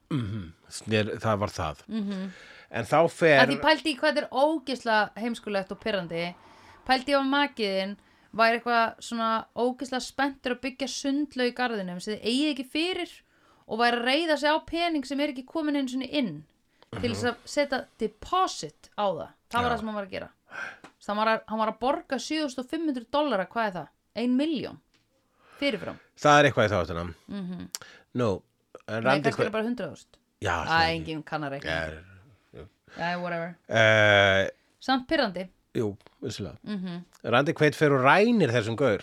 Speaker 1: Snér, Hmm. það var það. Mm -hmm. En þá fer...
Speaker 2: að Mhm. því pældi í hvað þetta er ógisla heimskulegt og pyrrandi pældi ég á makiðin væri eitthvað svona ógisla spenntur að byggja sundlau í garðinum sem þið eigi ekki fyrir og væri að reyða sig á pening sem er ekki komin einu sinni inn til þess að setja deposit á það það var það sem hann var að gera Þess að hann var að, hann var að borga 7500 dollara, hvað er það? 1 miljón fyrirfram,
Speaker 1: Það er eitthvað í þáttunum. Mm -hmm. Nú, en
Speaker 2: Mhm. nei
Speaker 1: Randi...
Speaker 2: kannski er það bara 100.000
Speaker 1: Já,
Speaker 2: Æ,
Speaker 1: það er...
Speaker 2: enginn kannar ekki
Speaker 1: er
Speaker 2: Æ, whatever
Speaker 1: uh,
Speaker 2: Samt pyrrandi,
Speaker 1: jú, vissulega. Mm Randi Kveit fer og rænir þessum gaur.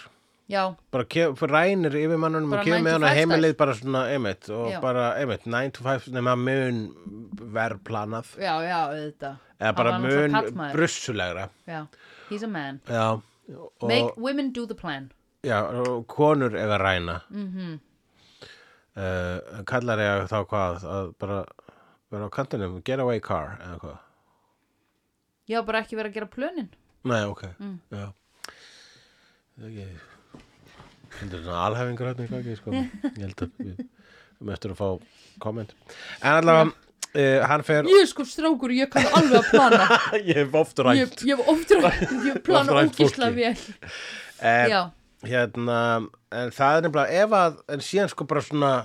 Speaker 2: já,
Speaker 1: Bara ke- fer- rænir yfir mannunum
Speaker 2: Bara
Speaker 1: og kemur
Speaker 2: 9
Speaker 1: með
Speaker 2: to
Speaker 1: hann á
Speaker 2: 5
Speaker 1: heimilið bara svona einmitt og
Speaker 2: Já.
Speaker 1: bara einmitt 9 to 5 nema mun verð planað
Speaker 2: já, já, auðvitað
Speaker 1: eða bara
Speaker 2: Hann var náttúrulega
Speaker 1: mun
Speaker 2: karlmaður.
Speaker 1: brussulegra.
Speaker 2: Já, he's a man
Speaker 1: Já, og,
Speaker 2: Make women do the plan
Speaker 1: já, og konur eða ræna. Mm
Speaker 2: Mhm.
Speaker 1: -hmm. uh, kallar ég þá hvað að bara vera á kantinum, get away car eða hvað.
Speaker 2: Ég hafa bara ekki verið að gera plönin
Speaker 1: Nei, ok, já Það er ekki Heldur svona alhæfingur hérna í gangi, sko Ég held að við um eftir að fá komment En allavega, uh, hann fer
Speaker 2: Ég er sko strákur, ég kann alveg að plana
Speaker 1: Ég hef oft
Speaker 2: Ég,
Speaker 1: rætt
Speaker 2: ég hef oftur að ég plana
Speaker 1: Oftar rænt
Speaker 2: ógisla
Speaker 1: fólki.
Speaker 2: vel
Speaker 1: en,
Speaker 2: Já,
Speaker 1: Hérna, en það er nefnilega ef að, en síðan sko bara svona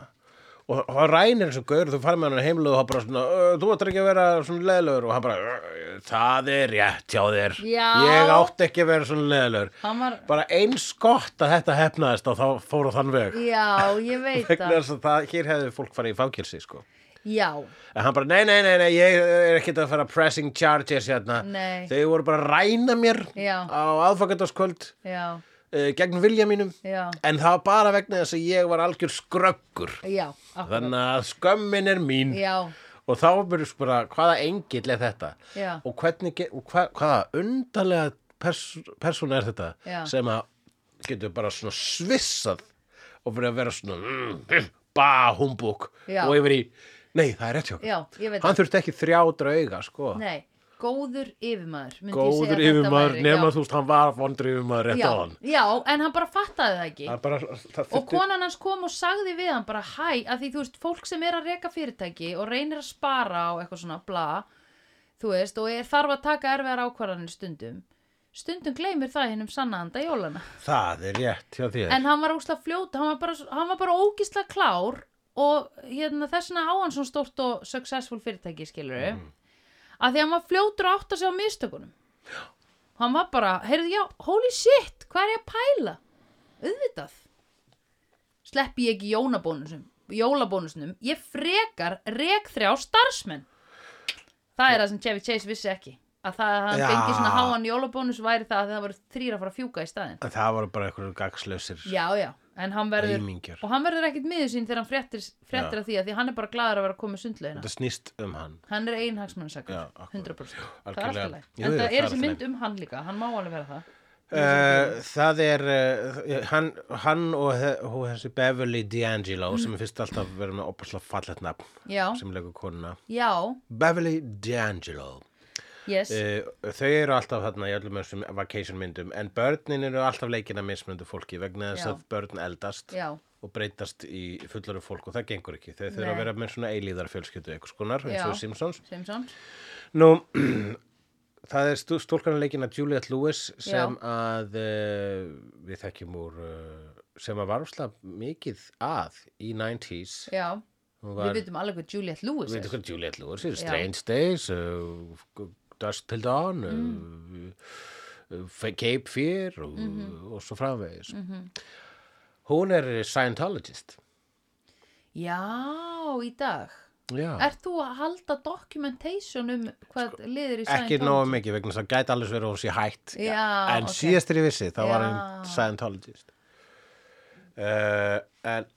Speaker 1: og og hann rænir þessum gaur og þú farið með hann heimlu og hann bara svona, "Ö, þú ættir ekki að vera svona leðlur og hann bara, "Ö, það er rétt hjá þér,
Speaker 2: Já.
Speaker 1: ég átti ekki að vera svona leðlur
Speaker 2: hann var
Speaker 1: bara eins gott að þetta hefnaðist og þá fór á þann veg
Speaker 2: Já, ég veit
Speaker 1: vegna
Speaker 2: það
Speaker 1: þess að það, hér hefði fólk farið í fangilsi sko.
Speaker 2: Já,
Speaker 1: en hann bara, nei, nei, nei, nei ég er ekkert að fara pressing charges hérna
Speaker 2: Nei.
Speaker 1: þau voru bara að ræna mér
Speaker 2: Já.
Speaker 1: á aðfangandaskvöld
Speaker 2: já,
Speaker 1: uh, gegn vilja mínum
Speaker 2: já
Speaker 1: en það var bara vegna þess að ég var algjör skröggur
Speaker 2: Já, akkurat
Speaker 1: þannig að skömmin er mín
Speaker 2: Já,
Speaker 1: og þá verður sko bara, hvaða engill er þetta
Speaker 2: Já.
Speaker 1: og, hvernig, ge- og hva, hvaða undarlega pers, persóna er þetta
Speaker 2: Já.
Speaker 1: sem að getur bara svona svissað og verið að vera svona mm, mm, bah, humbúk
Speaker 2: Já.
Speaker 1: og yfir í, nei, það er rétt hjá okkur.
Speaker 2: já, ég veit
Speaker 1: hann þurfti ekki þrjá drauga sko.
Speaker 2: það Nei, góður yfirmaður myndi ég segja
Speaker 1: góður
Speaker 2: að þetta
Speaker 1: yfirmaður,
Speaker 2: væri.
Speaker 1: nema
Speaker 2: Já.
Speaker 1: þú veist hann var vondur yfirmaður rétt á hann
Speaker 2: já, já, en hann bara fattaði það ekki
Speaker 1: Það er bara, það
Speaker 2: og
Speaker 1: þurfti,
Speaker 2: konan hans kom og sagði við hann bara hæ, að því þú veist, fólk sem er að reka fyrirtæki og reynir að spara og eitthvað svona bla, þú veist og er þarf að taka erfiðar ákvarðanir stundum stundum gleymir það hinn um sannaðanda jólana,
Speaker 1: það er rétt hjá þér
Speaker 2: en hann var ógisla fljóta hann var bara, hann var bara ógisla klár og hérna þessna á hann svona stórt og successful fyrirtæki skilur við, að því hann var fljótur að átta sig á mistökunum hann var bara, heyrðu já, holy shit hvað er ég að pæla auðvitað sleppi ég ekki jónabónusum jólabónusnum, ég frekar rek þrjá starfsmenn það er það sem Chevy Chase vissi ekki að það að hann
Speaker 1: Já.
Speaker 2: fengi svona háan jólabónus væri það að það voru þrýra að fara að fjúka í staðin
Speaker 1: En það voru bara einhverjum gagslausir
Speaker 2: já, já, en hann verður
Speaker 1: Æmingjar.
Speaker 2: og hann verður ekkit miður sín þegar hann fréttir, fréttir að því að því að hann er bara gladur að vera að koma sundlegina
Speaker 1: þetta snýst um hann
Speaker 2: hann er ein hagsmannsakur,
Speaker 1: Já, akkurat.
Speaker 2: 100% það er
Speaker 1: Algjörlega.
Speaker 2: alltaf leið,
Speaker 1: Jú,
Speaker 2: en
Speaker 1: jú,
Speaker 2: það
Speaker 1: það er
Speaker 2: er þessi
Speaker 1: allt í
Speaker 2: mynd um hann líka hann má alveg vera það
Speaker 1: Uh, það er uh, hann, hann og, he- og þessi Beverly D'Angelo sem er fyrst alltaf verið með opaslega fallet nafn
Speaker 2: já,
Speaker 1: sem leikur konuna
Speaker 2: já,
Speaker 1: Beverly D'Angelo
Speaker 2: yes
Speaker 1: uh, þau eru alltaf þarna í öllum þessum vacation myndum en börnin eru alltaf leikin að mismundu fólki vegna þess
Speaker 2: Já.
Speaker 1: að börn eldast
Speaker 2: já,
Speaker 1: og breytast í fullaru fólk og það gengur ekki þau þurfa
Speaker 2: Nei.
Speaker 1: að vera með svona eilíðar fjölskyldu einhvers konar eins og
Speaker 2: Já.
Speaker 1: Simpsons
Speaker 2: Simpson
Speaker 1: Nú, það er stú, stúlkanleikina Juliette Lewis sem
Speaker 2: Já.
Speaker 1: að uh, við þekkjum úr uh, sem að var úrslega mikið að í 90s.
Speaker 2: já,
Speaker 1: Hún
Speaker 2: við
Speaker 1: var,
Speaker 2: vitum alveg hvað Juliette Lewis
Speaker 1: við
Speaker 2: er
Speaker 1: veitum hvað Juliette Lewis er,
Speaker 2: Já.
Speaker 1: Strange Days, uh, Dust Till Dawn, mm. uh, F- Cape Fear og,
Speaker 2: Mhm.
Speaker 1: og svo framvegis. Hún er Scientologist.
Speaker 2: Já, í dag.
Speaker 1: Já.
Speaker 2: Er þú að halda documentation um hvað liðir í
Speaker 1: ekki nógu mikið vegna þess að gæti alveg verið að hún sé hætt
Speaker 2: Já,
Speaker 1: en
Speaker 2: ok.
Speaker 1: síðast er ég vissi, þá var
Speaker 2: Já.
Speaker 1: hann Scientologist uh, en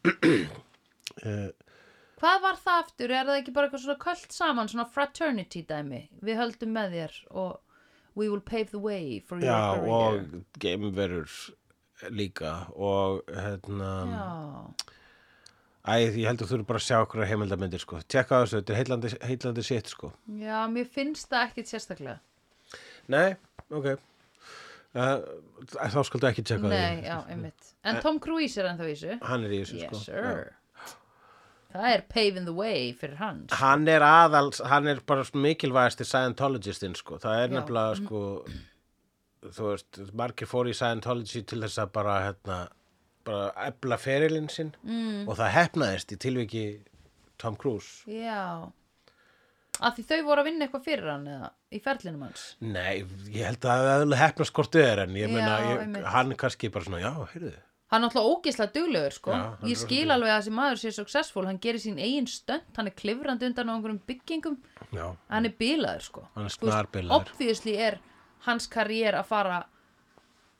Speaker 2: Hvað var það aftur? Er það ekki bara eitthvað svona kvöld saman, svona fraternity dæmi? Við höldum með þér og we will pave the way for your
Speaker 1: já,
Speaker 2: career.
Speaker 1: og gameverur líka og hérna
Speaker 2: Já,
Speaker 1: æ, ég heldur þú eru bara að sjá okkur heimildamindir sko, tjekka á þessu, þetta er heillandi, heillandi sitt sko,
Speaker 2: já, mér finnst það ekkit sérstaklega.
Speaker 1: nei, ok uh, þá skaldu ekki tjekka á
Speaker 2: Nei,
Speaker 1: því
Speaker 2: já, einmitt. En Tom Cruise er ennþá í þessu.
Speaker 1: hann er í þessu
Speaker 2: Yes,
Speaker 1: sko Já.
Speaker 2: sir. Það er paving the way fyrir hans.
Speaker 1: hann er aðal, hann er bara svona mikilvægasti Scientologistinn sko, það er
Speaker 2: Já. Mhm.
Speaker 1: nefnilega sko þú veist, margir fóru í Scientology til þess að bara hérna, bara ebla ferilinn sinn mm. og það hefnaðist í tilviki Tom Cruise
Speaker 2: Já. Af því þau voru að vinna eitthvað fyrir hann eða í ferlinum hans.
Speaker 1: nei, ég held að það hefna hefnast hvort þau er en ég
Speaker 2: Já,
Speaker 1: meina, ég,
Speaker 2: einmitt.
Speaker 1: hann kannski bara svona, já, heyrðu
Speaker 2: hann er alltaf ógeðslega duglegur sko
Speaker 1: Já, hann er
Speaker 2: ég skil alveg að þessi maður sé successful hann gerir sín eigin stönd, hann er klifrandi undan á einhverjum byggingum,
Speaker 1: já,
Speaker 2: hann er bilaður sko
Speaker 1: Hann er
Speaker 2: Þú veist,
Speaker 1: snarbilaður.
Speaker 2: obviously er hans karriér að fara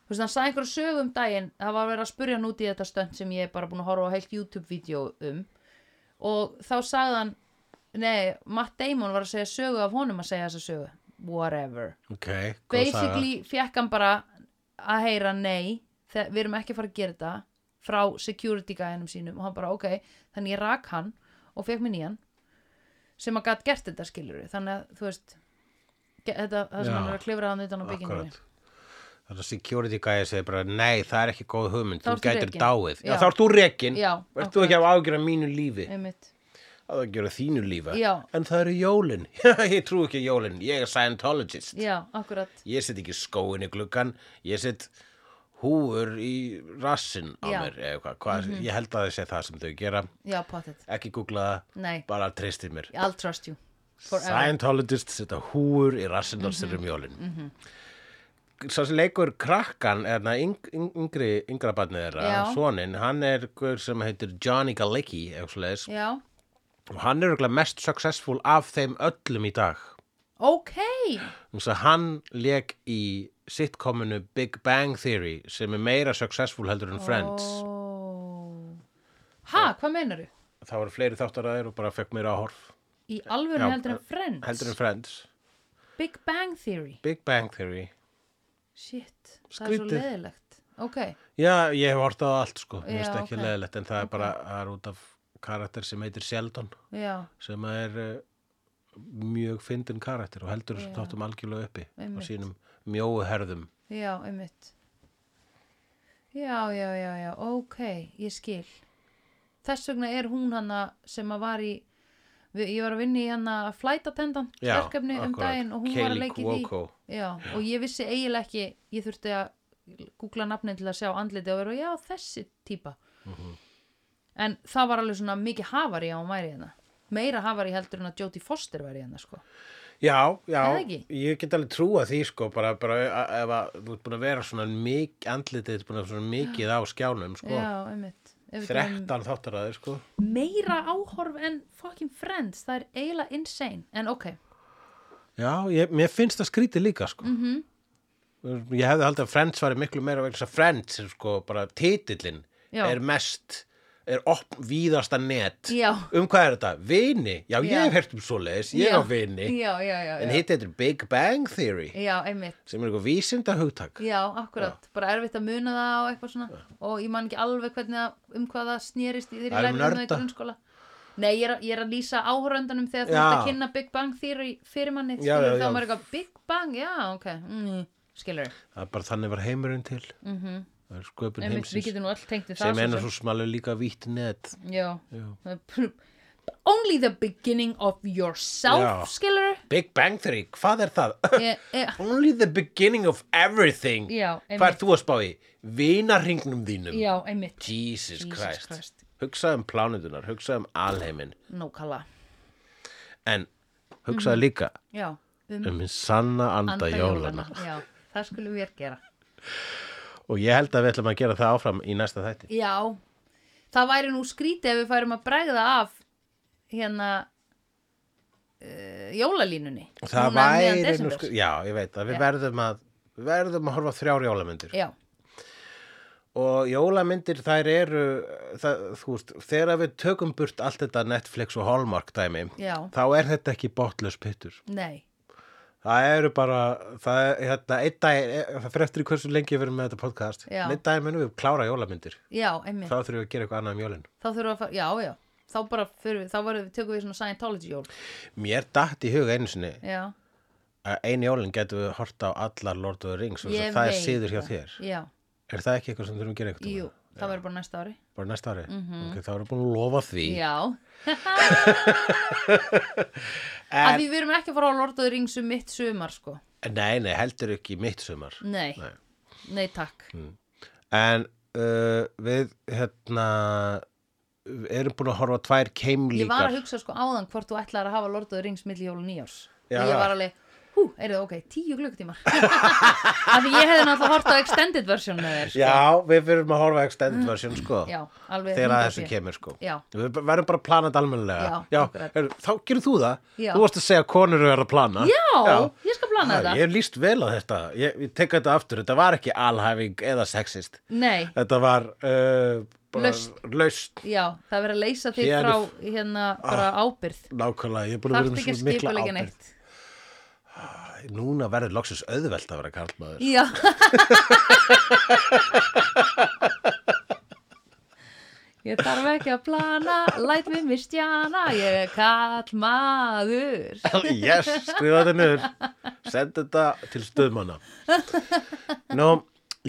Speaker 2: þú veist, hann sagði einhverju sögu um daginn það var að vera að spurja hann út í þetta stönd sem ég er bara búin að horfa á heilt YouTube-vídeó um og þá sagði hann nei, Matt Damon var að segja sögu af honum að segja þessa sögu whatever
Speaker 1: ok, góð saga.
Speaker 2: basically fekk hann bara að heyra nei þegar við erum ekki að fara að gera þetta frá security gæðinum sínum og hann bara ok, þannig ég rak hann og fekk mér nýjan sem að gat gert þetta skilur þannig að þú veist ge- þetta, það sem
Speaker 1: Já.
Speaker 2: hann er að klifra hann utan á byggingunni
Speaker 1: Akkurat. Þannig að security guy segir bara nei, það er ekki góð hugmynd,
Speaker 2: Þá
Speaker 1: þú
Speaker 2: ertu
Speaker 1: gætir
Speaker 2: rekinn.
Speaker 1: dáið. Já,
Speaker 2: Já.
Speaker 1: þá ert þú rekin,
Speaker 2: Já,
Speaker 1: ert þú ekki að ágjöra mínu lífi,
Speaker 2: einmitt
Speaker 1: að það gera þínu lífa.
Speaker 2: Já.
Speaker 1: En það eru jólin, ég trú ekki á jólin, ég er Scientologist.
Speaker 2: já, akkurat
Speaker 1: Ég set ekki skóin í gluggan, ég set húur í rassin á
Speaker 2: Já. Mhm.
Speaker 1: mér, eða hvað, hvað ég held að það sé það sem þau gera,
Speaker 2: já, pottet,
Speaker 1: ekki googla það,
Speaker 2: nei,
Speaker 1: bara treystið mér.
Speaker 2: I'll trust you forever
Speaker 1: Scientologist setja húur í rassinn á
Speaker 2: Mhm.
Speaker 1: sér um jólin Svo sem leikur krakkan er það yng, yng, yngri, yngra barnið þeirra
Speaker 2: Já.
Speaker 1: soninn, hann er hver sem heitir Johnny Galecki eitthvað svoleiðis.
Speaker 2: já,
Speaker 1: og hann er örugglega mest successful af þeim öllum í dag
Speaker 2: ok
Speaker 1: Þannig að hann lék í sitcominu Big Bang Theory sem er meira successful heldur en Friends
Speaker 2: Ó. ha, hvað meinaru?
Speaker 1: Það voru fleiri þáttar að þeir og bara fekk meira að horf
Speaker 2: í alvöru
Speaker 1: Já,
Speaker 2: heldur en Friends
Speaker 1: heldur en Friends
Speaker 2: Big Bang Theory
Speaker 1: Big Bang Theory
Speaker 2: shit, það er svo
Speaker 1: Skrítið.
Speaker 2: leðilegt ok,
Speaker 1: Já, ég hef hort á allt sko, mér
Speaker 2: Já,
Speaker 1: finnst ekki
Speaker 2: ok.
Speaker 1: leðilegt en það er bara það er út af karakter sem heitir Sheldon
Speaker 2: já,
Speaker 1: sem er uh, mjög fyndin karakter og heldur þessum
Speaker 2: Já.
Speaker 1: þáttum algjörlega uppi á
Speaker 2: Einmitt.
Speaker 1: sínum mjóu herðum
Speaker 2: já, einmitt já, já, já, já ok, ég skil þess vegna er hún hana sem að var í við- ég var að vinna í hana flight attendant
Speaker 1: Já,
Speaker 2: verkefni um
Speaker 1: akkurat.
Speaker 2: daginn og hún var að
Speaker 1: Kaylee
Speaker 2: leika í því
Speaker 1: Cuoco.
Speaker 2: já, og ég vissi eiginlega ekki ég þurfti að googla nafnin til að sjá andliti og vera, já, þessi típa
Speaker 1: Mhm.
Speaker 2: en það var alveg svona mikið hafari að hún væri hérna meira hafari heldur en að Jóti Foster væri hérna sko.
Speaker 1: Já,
Speaker 2: Eða
Speaker 1: já,
Speaker 2: ekki?
Speaker 1: ég get alveg trúa því sko, bara, bara a- ef að þú ert búin að vera svona mikið, andlitið er búin að vera svona mikið á skjánum sko,
Speaker 2: já, einmitt Ef við tölum-
Speaker 1: 13 þáttar að þeir sko
Speaker 2: meira áhorf en fucking friends það er eiginlega insane en ok,
Speaker 1: Já, ég, mér finnst það skrítið líka sko. mm
Speaker 2: Mhm.
Speaker 1: -hmm. ég hefði haldið að Friends væri miklu meira vegna þess að Friends er sko bara titillin
Speaker 2: Já.
Speaker 1: er mest er opp víðasta net
Speaker 2: Já.
Speaker 1: um hvað er þetta? Vini? Já, ég
Speaker 2: Já.
Speaker 1: hef hert um svoleiðis, ég
Speaker 2: Já.
Speaker 1: á vini
Speaker 2: já, já, já,
Speaker 1: en
Speaker 2: já.
Speaker 1: hitt heitir Big Bang Theory
Speaker 2: já einmitt
Speaker 1: sem er eitthvað vísinda hugtak
Speaker 2: já, akkurat, bara erfitt að muna það og eitthvað svona og ég man ekki alveg hvernig að um hvað það snýrist í þeirri
Speaker 1: Það er um
Speaker 2: lærið um það í
Speaker 1: nörda.
Speaker 2: grunnskóla Nei, ég er, að- ég er að lýsa áhoröndanum þegar þú
Speaker 1: Já.
Speaker 2: ert að kynna Big Bang Theory fyrir manni,
Speaker 1: Já,
Speaker 2: skilur
Speaker 1: já,
Speaker 2: þá
Speaker 1: já.
Speaker 2: maður eitthvað Big Bang, já, ok, mm, skilur
Speaker 1: það er bara þannig var heimurinn til mm -hmm. sköpun
Speaker 2: Mhm. einmitt, við
Speaker 1: heimsins
Speaker 2: getum nú allt tengt við það
Speaker 1: sem
Speaker 2: svo
Speaker 1: eina
Speaker 2: sem.
Speaker 1: svo smalur líka vítt net
Speaker 2: Já.
Speaker 1: Já.
Speaker 2: Only the beginning of yourself,
Speaker 1: Já.
Speaker 2: skilur
Speaker 1: Big Bang Theory, hvað er það?
Speaker 2: e, e,
Speaker 1: Only the beginning of everything
Speaker 2: Já, einmitt.
Speaker 1: Hvað er þú að spá í? Vinarringnum þínum
Speaker 2: Já, einmitt
Speaker 1: Jesus,
Speaker 2: Jesus
Speaker 1: Christ.
Speaker 2: Christ.
Speaker 1: Hugsaðu um plánutunar, hugsaðu um alheimin
Speaker 2: Nókala
Speaker 1: En
Speaker 2: Mhm.
Speaker 1: hugsaðu líka
Speaker 2: Já, um
Speaker 1: um hinn sanna anda jólana
Speaker 2: Já, það skulum við gera
Speaker 1: Og ég held að við ætlum að gera það áfram í næsta þætti
Speaker 2: Já, það væri nú skrítið ef við færum að bregða af hérna uh, jólalínunni
Speaker 1: Það
Speaker 2: Núna um miðjan
Speaker 1: væri nú
Speaker 2: desember.
Speaker 1: sko Já, ég veit að við verðum að við verðum að horfa á þrjár jólamyndir
Speaker 2: Já,
Speaker 1: og jólamyndir þær eru það, þú veist, þegar við tökum burt allt þetta Netflix og Hallmark dæmi
Speaker 2: já,
Speaker 1: þá er þetta ekki botlaus pittur
Speaker 2: nei
Speaker 1: Það eru bara, það er þetta, einn dag, það fyrir eftir í hversu lengi við erum með þetta podcast,
Speaker 2: Já.
Speaker 1: einn dag munum við klára jólamyndir,
Speaker 2: Já, einmitt,
Speaker 1: þá þurfum við að gera eitthvað annað um jólin.
Speaker 2: þá þurfum við að fara Já, já, þá bara fyrir við, þá varum við tökum við svona Scientology jól
Speaker 1: Mér datt í huga einu sinni
Speaker 2: Já,
Speaker 1: að einu jólin getum við horta á allar Lord of the Rings og
Speaker 2: ég
Speaker 1: það er
Speaker 2: veit
Speaker 1: síður hjá þér.
Speaker 2: Já,
Speaker 1: Er það ekki eitthvað sem þurfum að gera eitthvað?
Speaker 2: jú, það verður bara næsta ári
Speaker 1: Bara næsta ári? Mm -hmm. Ok, þá erum við búin að lofa því.
Speaker 2: Já, af
Speaker 1: En,
Speaker 2: því við erum ekki að fara á Lord of the Rings um mitt sumar sko
Speaker 1: nei, nei, heldur ekki mitt sumar.
Speaker 2: Nei,
Speaker 1: Nei.
Speaker 2: nei, takk
Speaker 1: En uh, við, hérna, erum búin að horfa á tvær keimlíkar.
Speaker 2: Ég var að hugsa sko áðan hvort þú ætlaðir að hafa Lord of the Rings milli jól og nýjárs
Speaker 1: Já.
Speaker 2: Ég var alveg, hú, er það ok, tíu klukkutímar Af því ég hefði náttúrulega hort á extended version með þér sko. Mm.
Speaker 1: Já, við fyrir að horfa á extended version, sko.
Speaker 2: Já, alveg
Speaker 1: þegar að
Speaker 2: 100%
Speaker 1: þessu kemur sko
Speaker 2: Já,
Speaker 1: við b- verðum bara að plana þetta almennilega
Speaker 2: Já, akkurat.
Speaker 1: er, þá gerir þú það,
Speaker 2: Já.
Speaker 1: þú varst að segja að konur eru að plana
Speaker 2: já, ég skal plana
Speaker 1: Já,
Speaker 2: þetta
Speaker 1: ég hef líst vel á þetta, ég, ég tek þetta aftur þetta var ekki alhæfing eða sexist
Speaker 2: Nei,
Speaker 1: þetta var uh, bara
Speaker 2: Lausn.
Speaker 1: lausn,
Speaker 2: já, það verður að leysa þig
Speaker 1: Hér er- Ah.
Speaker 2: frá hérna bara ábyrð
Speaker 1: nákvæmlega ég er búin að
Speaker 2: Þarft
Speaker 1: vera
Speaker 2: ekki
Speaker 1: um
Speaker 2: að
Speaker 1: svo mikla
Speaker 2: skipulega
Speaker 1: ábyrgð
Speaker 2: neitt
Speaker 1: núna verður loksins auðvelt að vera karlmaður
Speaker 2: Já
Speaker 3: Ég þarf ekki að plana, læt við mig stjana, ég er kall maður.
Speaker 1: yes, skrifa þetta niður send þetta til stöðmanna nú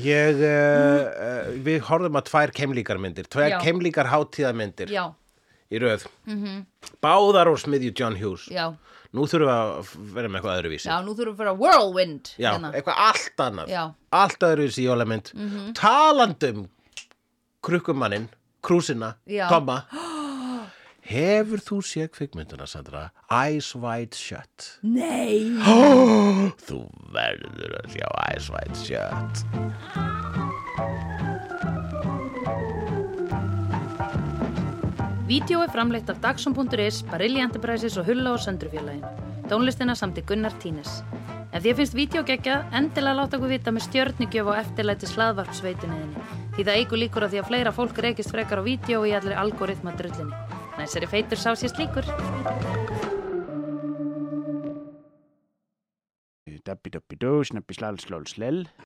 Speaker 1: ég uh, við horfum að tvær keimlíkarmyndir tvær
Speaker 3: Já.
Speaker 1: keimlíkar hátíðamyndir
Speaker 3: Já, Mhm.
Speaker 1: í röð báðar úr smiðju John Hughes
Speaker 3: já,
Speaker 1: nú þurfum við að vera með eitthvað öðruvísi
Speaker 3: já, nú þurfum við að fara whirlwind.
Speaker 1: Já,
Speaker 3: hérna.
Speaker 1: eitthvað allt annað
Speaker 3: Já. Mhm.
Speaker 1: allt öðruvísi jólamynd mm -hmm. talandum krukkumanninn, krúsina,
Speaker 3: Já.
Speaker 1: Tomma hefur þú séð kvikmynduna Sandra Eyes Wide Shut
Speaker 3: Nei,
Speaker 1: Þú verður að sjá Eyes Wide Shut
Speaker 2: Vídeó er framleitt af Dagsum.is, Barilli Enterprises og Hulla og Söndrufjörlægin. Tónlistina samt í Gunnar Tínes. Ef því finnst vídeo geggja, endilega láta okkur vita með stjörnigjöf og eftirlæti slaðvarpsveituninni. Því það eigur líkur að því að fleira fólk reykist frekar á vídeo í allir algoritma drullinni. Næsari feitur sá sér slíkur.
Speaker 4: Dabbi dabbi dó, snabbi slal slal slel